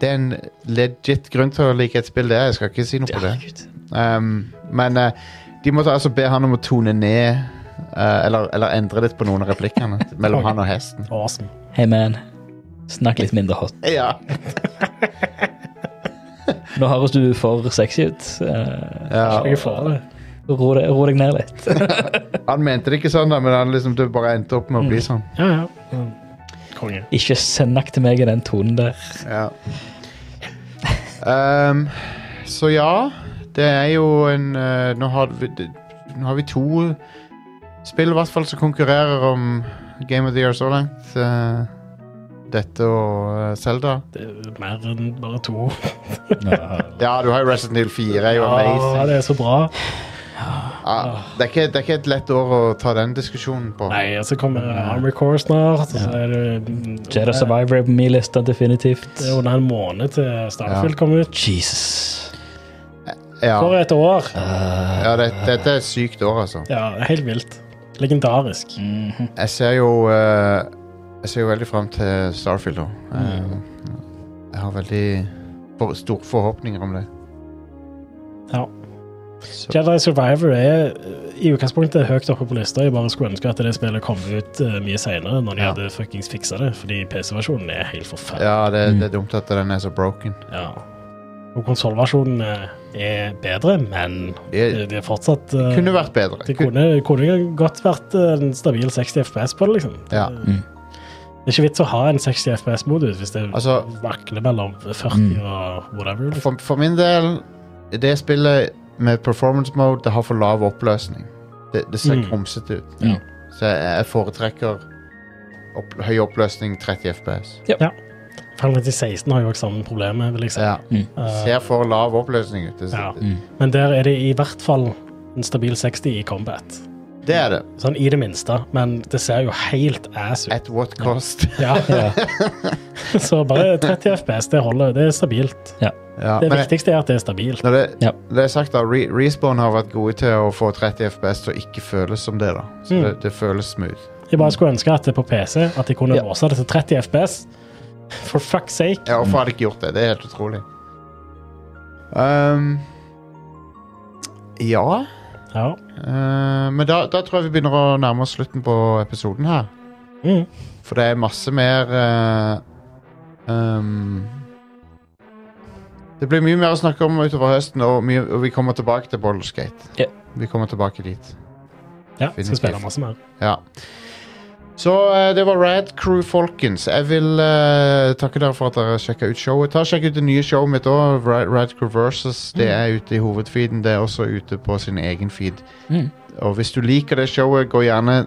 Speaker 1: det er en legit grunn til å like et spill, det. er, Jeg skal ikke si noe på det.
Speaker 3: Herregud.
Speaker 1: Ehm, men eh, de måtte altså be han om å tone ned eh, eller, eller endre litt på noen av replikkene mellom han og hesten.
Speaker 2: Awesome.
Speaker 3: Hey man, snakk litt mindre hot.
Speaker 1: Ja,
Speaker 3: Nå høres du for sexy ut. Eh,
Speaker 1: ja.
Speaker 2: Jeg er for det.
Speaker 3: Ro deg, ro deg ned litt.
Speaker 1: Han mente det ikke sånn, da, men han liksom, det bare endte opp med å bli sånn.
Speaker 2: Ja, ja. Mm. Konge.
Speaker 3: Ikke snakk til meg i den tonen der.
Speaker 1: Ja. Ehm, så ja, det er jo en eh, nå, har vi, det- nå har vi to spill i hvert fall som konkurrerer om Game of the Year så langt. Eh, dette og eh, Zelda.
Speaker 2: Det er mer enn bare to.
Speaker 1: Ja, du har jo Resident Evil 4. Er jo
Speaker 2: Ja,
Speaker 1: amazing.
Speaker 2: det er så bra.
Speaker 1: Ja, det, er ikke, det er ikke et lett år å ta den diskusjonen på.
Speaker 2: Ah. Nei, og så kommer Army Core snart. Og så er det mm,
Speaker 3: Jedi Survivor er på min liste, definitivt.
Speaker 2: Det er under en måned til Starfield kommer ut.
Speaker 3: Jesus. Eh,
Speaker 2: For
Speaker 1: Ja,
Speaker 2: et år!
Speaker 1: ja det, dette er et sykt år, altså.
Speaker 2: Ja, helt vilt. Legendarisk.
Speaker 3: Mhm.
Speaker 1: Jeg ser jo eh, Jeg ser jo veldig fram til Starfield da.
Speaker 2: Mm.
Speaker 1: Eh, jeg har veldig for, store forhåpninger om det.
Speaker 2: Ja.
Speaker 1: Så,
Speaker 2: Jedi Survivor er eh, i utgangspunktet høyt oppe på lista. Jeg bare skulle ønske at det spillet kom ut eh, mye seinere, når de
Speaker 1: Ja.
Speaker 2: hadde fuckings fiksa det. Fordi PC-versjonen er helt forferdelig.
Speaker 1: ja, det, det er dumt at den er så broken.
Speaker 2: Ja. Og konsollversjonen eh, er bedre, men
Speaker 1: Det
Speaker 2: det det er fortsatt eh,
Speaker 1: kunne vært bedre.
Speaker 2: Det kunne, kunne godt vært eh, en stabil 60 FPS på det, liksom. Det-
Speaker 1: Ja.
Speaker 3: Mm.
Speaker 2: Det er ikke vits å ha en 60 FPS-modus hvis det
Speaker 1: Altså- Mm.
Speaker 2: vakler mellom 40 og whatever. Liksom.
Speaker 1: For, for min del, det spillet med performance mode, det har for lav oppløsning. Det, det ser
Speaker 2: Mm.
Speaker 1: krumsete ut.
Speaker 3: Ja.
Speaker 1: Så jeg, jeg foretrekker opp, høy oppløsning 30 FPS.
Speaker 2: Final Fantasy 16 har jo også samme problemet, vil jeg si.
Speaker 1: Ja.
Speaker 2: Eh,
Speaker 1: Ser for lav oppløsning ut. Det,
Speaker 2: Ja.
Speaker 3: Mm.
Speaker 2: Men der er det i hvert fall en stabil 60 i combat.
Speaker 1: det er det.
Speaker 2: Sånn i det minste, men det ser jo helt ass ut.
Speaker 1: At what cost?
Speaker 2: Ja.
Speaker 3: Ja.
Speaker 2: Så bare 30 FPS, det holder. Det er stabilt.
Speaker 1: Ja,
Speaker 2: Det
Speaker 1: men-
Speaker 2: viktigste er at det er stabilt.
Speaker 1: Når det,
Speaker 3: Ja.
Speaker 1: når det er sagt da, Re Respawn har vært gode til å få 30 FPS til å ikke føles som det. da Så
Speaker 2: Mm.
Speaker 1: det, det føles smooth.
Speaker 2: Jeg bare skulle ønske at det på PC at de kunne
Speaker 3: Ja.
Speaker 2: låse det til 30 FPS. For fuck's sake.
Speaker 1: Ja, Hvorfor har de ikke gjort det? Det er helt utrolig. Ehm, ja
Speaker 2: Ja.
Speaker 1: eh, Men da, da tror jeg vi begynner å nærme oss slutten på episoden her.
Speaker 2: Mm.
Speaker 1: For det er masse mer eh, ehm, Det blir mye mer å snakke om utover høsten, og, mye, og vi kommer tilbake til Boulderskate.
Speaker 3: Ja.
Speaker 1: Vi kommer tilbake dit.
Speaker 2: ja skal
Speaker 1: Definitivt.
Speaker 2: spille masse mer.
Speaker 1: Ja. Så eh, det var Rad Crew, folkens. Jeg vil eh, takke dere for at dere sjekka ut showet. Ta og Sjekk ut det nye showet mitt òg, Rad Crew Versus. Det er ute i hovedfeeden. Det er også ute på sin egen feed.
Speaker 3: Mm.
Speaker 1: Og hvis du liker det showet, gå gjerne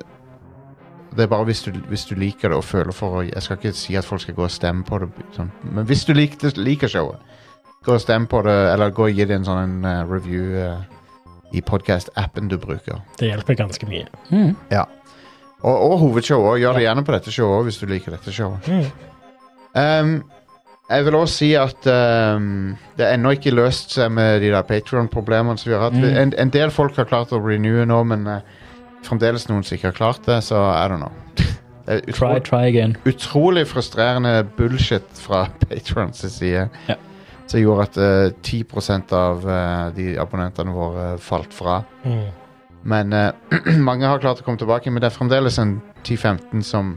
Speaker 1: Det er bare hvis du, hvis du liker det og føler for å Jeg skal ikke si at folk skal gå og stemme på det, sånn. men hvis du likte, liker showet, gå og stem på det, eller gå og gi det en sånn eh, review eh, i podkast-appen du bruker.
Speaker 2: Det hjelper ganske mye.
Speaker 3: Mm.
Speaker 1: Og, og hovedshowet òg. Gjør det gjerne på dette showet også, hvis du liker dette showet. Um, jeg vil også si at um, det er ennå ikke løst seg med de der Patreon-problemene som vi har hatt.
Speaker 2: Mm.
Speaker 1: En, en del folk har klart å renewe nå, men eh, fremdeles noen som ikke har klart det, så I don't know. Det er
Speaker 3: Try,
Speaker 1: utro,
Speaker 3: try again.
Speaker 1: utrolig frustrerende bullshit fra Patrons side
Speaker 3: Ja.
Speaker 1: som gjorde at eh, 10 av eh, de abonnentene våre falt fra.
Speaker 2: Mm.
Speaker 1: Men eh, mange har klart å komme tilbake, men det er fremdeles en 10-15 som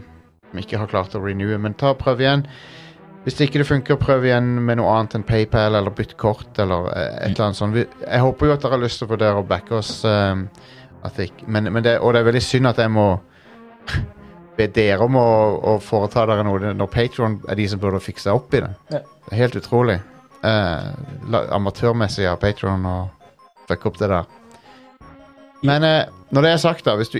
Speaker 1: ikke har klart å renewe. Men ta og prøv igjen. Hvis det ikke det funker, prøv igjen med noe annet enn PayPal eller bytt kort eller eh, et eller annet sånt. Vi, jeg håper jo at dere har lyst til å vurdere å backe oss, eh, at det ikke, men, men det, og det er veldig synd at jeg må be dere om å, å foreta dere noe når Patron er de som burde fikse opp i det. Det er helt utrolig. Eh, la, amatørmessig av Patron å fucke opp det der. Men eh, når det er sagt, da hvis du,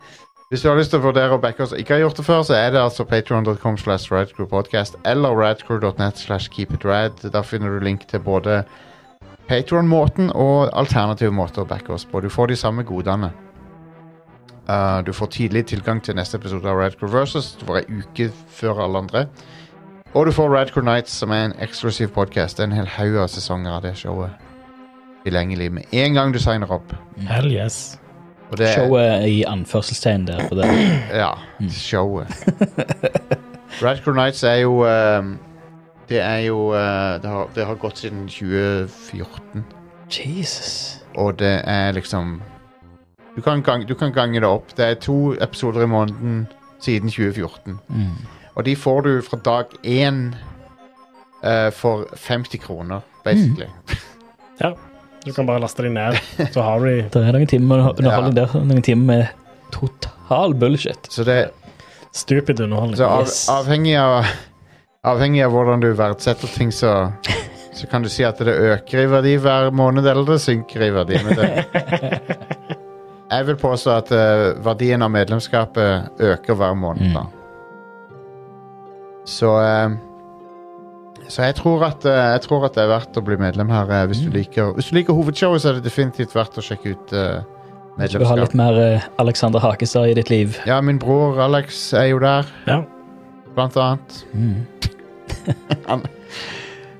Speaker 1: hvis du har lyst til å vurdere å backe oss og ikke har gjort det før, så er det altså patreon.com slash radcrewpodcast eller radcrew.net slash keepitrad. Der finner du link til både Patron-måten og alternative måter å backe oss på. Du får de samme godene. Eh, du får tidlig tilgang til neste episode av Radcrew Versus. Du får ei uke før alle andre. Og du får Radcrew Nights, som er en eksklusiv podkast. En hel haug av sesonger av det showet tilgjengelig med en gang du signer opp.
Speaker 2: Hell yes.
Speaker 1: Og det er
Speaker 3: Showet i anførselstegn der. For det.
Speaker 1: Ja, showet. Radcrow Nights er jo ehm, Det er jo eh, det, har, det har gått siden 2014,
Speaker 3: Jesus.
Speaker 1: og det er liksom du kan, gang, du kan gange det opp. Det er to episoder i måneden siden 2014.
Speaker 3: Mm.
Speaker 1: Og de får du fra dag én eh, for 50 kroner, basically.
Speaker 2: Ja. Du kan bare laste de ned, så har du de.
Speaker 3: Det er noen timer med underholdning
Speaker 1: Ja.
Speaker 3: der. Noen timer med total bullshit.
Speaker 1: Så det
Speaker 2: Stupid underholdning.
Speaker 1: så av,
Speaker 3: Yes.
Speaker 1: avhengig, av, avhengig av hvordan du verdsetter ting, så, så kan du si at det øker i verdi hver måned, eller det synker i verdi. Men det, jeg vil påstå at eh, verdien av medlemskapet øker hver
Speaker 3: Mm.
Speaker 1: måned. da. Så eh, så jeg tror, at, eh, jeg tror at det er verdt å bli medlem her. eh,
Speaker 3: Mm.
Speaker 1: hvis, du liker, hvis du liker hovedshowet, så er det definitivt verdt å sjekke ut eh,
Speaker 3: Du har
Speaker 1: medlemskap.
Speaker 3: litt mer eh, Alexander Hakestad i ditt liv.
Speaker 1: Ja, min bror Alex er jo der,
Speaker 2: Ja.
Speaker 1: blant annet.
Speaker 3: Mm.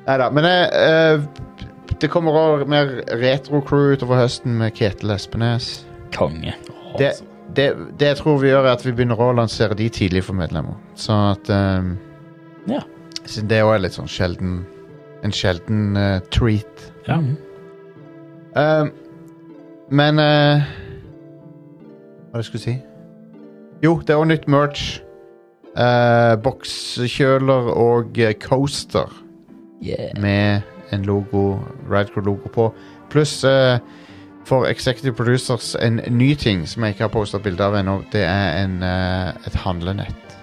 Speaker 1: Nei da, men eh, eh, det kommer også mer retro-crew utover høsten med Ketil Espenes.
Speaker 3: Konge.
Speaker 1: Det, det, det jeg tror vi gjør, er at vi begynner å lansere de tidlig for medlemmer. Sånn at eh,
Speaker 3: Ja.
Speaker 1: Siden det òg er litt sånn sjelden En sjelden eh, treat.
Speaker 2: Ja.
Speaker 3: Mm.
Speaker 1: Eh, men eh, Hva var det jeg skulle si? Jo, det er òg nytt merch. Eh, Bokskjøler og eh, coaster
Speaker 3: Yeah.
Speaker 1: med en logo, Radcrew-logo på. Pluss eh, for Executive Producers en ny ting som jeg ikke har postet bilde av ennå. Det er en, eh, et handlenett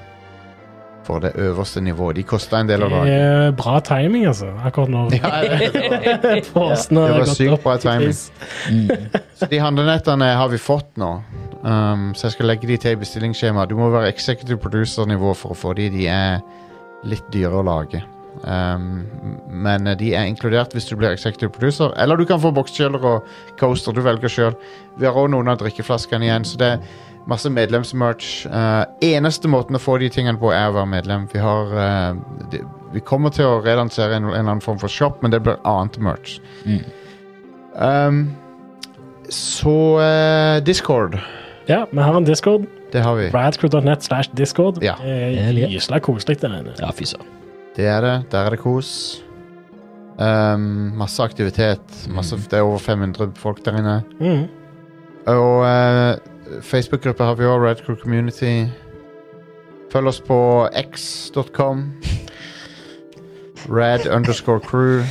Speaker 1: for det øverste nivået. De kosta en del av
Speaker 2: Det
Speaker 1: dagen.
Speaker 2: er bra timing, altså. Akkurat når
Speaker 1: Ja, det var-
Speaker 2: posten
Speaker 1: det
Speaker 2: har
Speaker 1: var
Speaker 2: gått
Speaker 1: sykt
Speaker 2: opp.
Speaker 1: bra timing. Så de handlenettene har vi fått nå. Um, så jeg skal legge de til i bestillingsskjemaet. Du må være executive producer-nivå for å få de. De er litt dyre å lage. Um, men eh, de er inkludert hvis du blir executive producer. Eller du kan få bokskjeller og coaster. Du velger sjøl. Vi har òg noen av drikkeflaskene igjen, så det er masse medlemsmerch. Eh, eneste måten å få de tingene på, er å være medlem. Vi har eh, de, Vi kommer til å relansere en, en eller annen form for shop, men det blir annet merch.
Speaker 3: Mm.
Speaker 1: Um, så eh, Discord,
Speaker 2: Ja, vi har en discord.
Speaker 1: det har vi.
Speaker 2: Radcrew.net slash discord.
Speaker 1: Ja.
Speaker 3: Hell
Speaker 2: Eh,
Speaker 3: yeah.
Speaker 2: Gysla koselig der inne.
Speaker 3: Ja, fy søren.
Speaker 1: Det er det. Der er det kos. Um, masse aktivitet. Masse, Det er over 500 folk der inne.
Speaker 2: Mm.
Speaker 1: Og eh, Facebook-gruppa har vi òg, Red Crew Community. Følg oss på x.com. Rad underscore crew.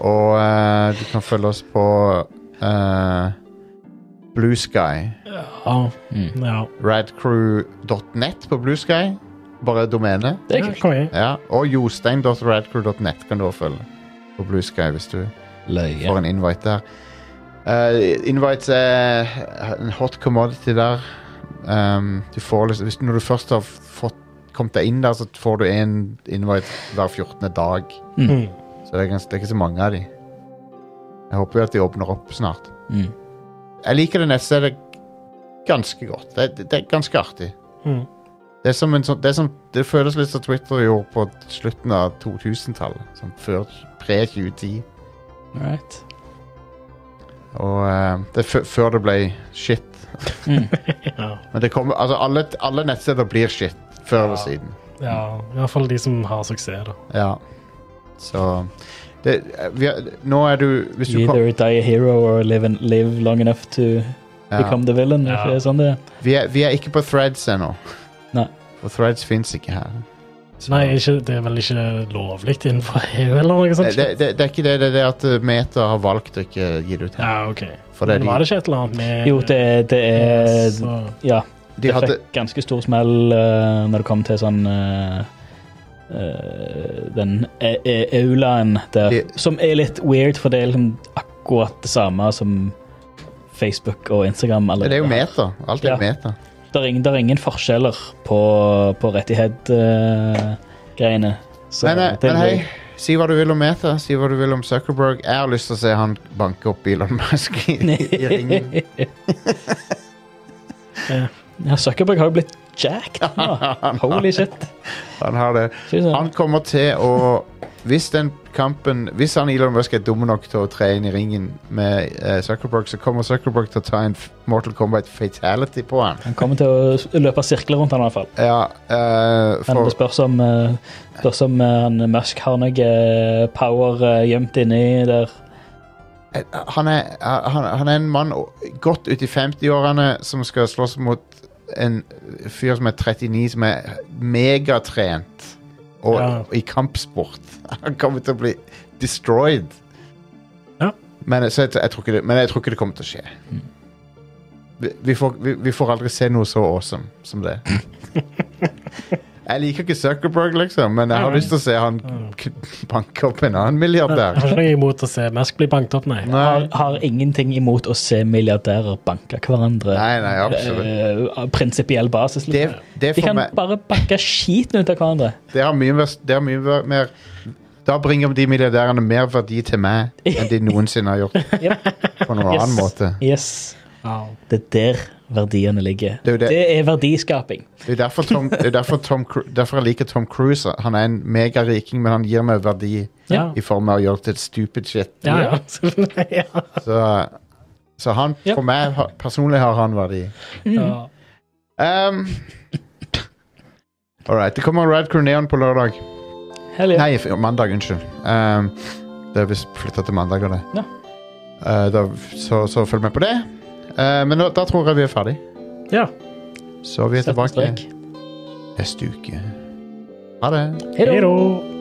Speaker 1: Og eh, du kan følge oss på eh, Blue Sky.
Speaker 2: Ja. Mm. ja.
Speaker 1: Radcrew.net på Blue Sky. Bare domene.
Speaker 3: Det er
Speaker 2: Ja,
Speaker 3: kult.
Speaker 2: konge.
Speaker 1: Ja. Og jostein.radcrew.net kan du også følge på Blue Sky hvis du
Speaker 3: Løye.
Speaker 1: får en invite der. Eh, invites er en hot commodity der. Um, du får liksom, hvis, når du først har fått, kommet deg inn der, så får du en invite hver 14. dag.
Speaker 2: Mm.
Speaker 1: Så det er, gans- det er ikke så mange av de. Jeg håper jo at de åpner opp snart.
Speaker 3: Mm.
Speaker 1: Jeg liker det nettstedet ganske godt. Det, det, det er ganske artig.
Speaker 2: Mm.
Speaker 1: Det, er som en sånn, det, er som, det føles litt som Twitter gjorde på slutten av 2000-tallet. Sånn før pre-2010.
Speaker 3: Alright.
Speaker 1: Og eh, det er fø- før det ble shit.
Speaker 3: Mm.
Speaker 2: Ja.
Speaker 1: Men det kommer, altså alle, alle nettsteder blir shit før eller siden.
Speaker 2: ja. I hvert fall de som har suksess, da.
Speaker 1: Ja. Så det, eh, vi, er- Nå er du Hvis du kom,
Speaker 3: Either die a hero or live, and live long enough to
Speaker 1: ja,
Speaker 3: become the villain.
Speaker 2: Ja.
Speaker 3: If det er sånn det er.
Speaker 1: vi, er, vi er ikke på threads ennå.
Speaker 3: Nei.
Speaker 1: For threads fins ikke her. Så-
Speaker 2: Nei, ikke, det er vel ikke lovlig innenfor EU eller noe
Speaker 1: det,
Speaker 2: sånt?
Speaker 1: det, det er ikke det, det er det at eh, Meta har valgt å ikke gi det ut. her.
Speaker 2: Ja, OK.
Speaker 1: For det er
Speaker 2: Men var
Speaker 1: de,
Speaker 2: det ikke et eller annet med
Speaker 3: Jo, det, det er
Speaker 2: Så-
Speaker 3: Ja.
Speaker 1: de
Speaker 3: Det
Speaker 1: hadde
Speaker 3: fikk ganske stor smell eh, når det kom til sånn eh, eh, Den e- e- aulaen der,
Speaker 1: Ja.
Speaker 3: som er litt weird, for det er liksom akkurat det samme som Facebook og Instagram.
Speaker 1: Det er jo
Speaker 3: allerede.
Speaker 1: Meta. Alt er
Speaker 3: Ja.
Speaker 1: Meta.
Speaker 3: Det er ingen, det er ingen forskjeller på, på eh, rettighet-greiene.
Speaker 1: Men, eh, men hei, si hva du vil om Meta, si hva du vil om Zuckerberg. Jeg har lyst til å se han banke opp Elon Musk i, i ringen.
Speaker 3: Eh, ja, Zuckerberg har jo blitt jacked nå. Holy shit.
Speaker 1: Han har det.
Speaker 3: Fy søren.
Speaker 1: Han kommer til å Hvis den kampen Hvis han Elon Musk er dum nok til å tre inn i ringen med eh, Zuckerberg, så kommer Zuckerberg til å ta en f- Mortal Kombat fatality på han.
Speaker 3: Han kommer til å s- løpe sirkler rundt han i hvert fall.
Speaker 1: Ja, eh,
Speaker 3: Men
Speaker 1: for
Speaker 3: det spørs om, eh, spørs om eh, han Musk har noe eh, power eh, gjemt inni der.
Speaker 1: Eh, han er, eh, han, han er en mann o- godt ut i 50-årene som skal slåss mot en fyr som er 39, som er megatrent og
Speaker 2: Ja.
Speaker 1: og i kampsport. Han kommer til å bli destroyed.
Speaker 2: Ja.
Speaker 1: Men, så jeg, jeg tror ikke det, men jeg tror ikke det kommer til å skje. Vi, vi, får, vi, vi får aldri se noe så awesome som det. jeg liker ikke Zuckerberg, liksom, men jeg har
Speaker 2: Nei, nei.
Speaker 1: lyst til å se han k- banke opp en annen milliardær.
Speaker 2: Jeg har ikke noe imot å se Musk bli banket opp, nei.
Speaker 1: Nei.
Speaker 3: Har, har ingenting imot å se milliardærer banke hverandre.
Speaker 1: Nei, nei, absolutt.
Speaker 3: Eh, av prinsipiell basis.
Speaker 1: Det,
Speaker 3: Liksom.
Speaker 1: det,
Speaker 3: De
Speaker 1: for
Speaker 3: kan
Speaker 1: meg,
Speaker 3: bare banke skiten ut av hverandre.
Speaker 1: det har mye, mer, det har mye mer- mer Da bringer de milliardærene mer verdi til meg enn de noensinne har gjort.
Speaker 3: Yep.
Speaker 1: På noen annen måte.
Speaker 3: Yes. Det er der verdiene ligger.
Speaker 1: Det er jo det-
Speaker 3: er verdiskaping.
Speaker 1: Det er derfor, Tom, det er derfor, Tom, Cru- derfor jeg liker Tom Cruise. Han er en megariking, men han gir meg verdi
Speaker 2: Ja.
Speaker 1: i form av å gjøre til stupid shit.
Speaker 2: Ja, ja. Så- ja.
Speaker 1: Så, så han,
Speaker 3: Ja.
Speaker 1: for meg har- personlig har han verdi.
Speaker 2: ja.
Speaker 1: Um, All right. Det kommer Rad Crew Neon på lørdag.
Speaker 3: Hell yeah.
Speaker 1: Nei, f- mandag, unnskyld. Ehm, det er visst flytta til mandager, det.
Speaker 3: Ja.
Speaker 1: Eh, da, så, så følg med på det. Eh, men da, da tror jeg vi er ferdig.
Speaker 2: Ja.
Speaker 1: Så vi er
Speaker 3: Sett en
Speaker 1: tilbake
Speaker 3: strek.
Speaker 1: neste uke. Ha det.
Speaker 3: Hei da.
Speaker 2: Hei da.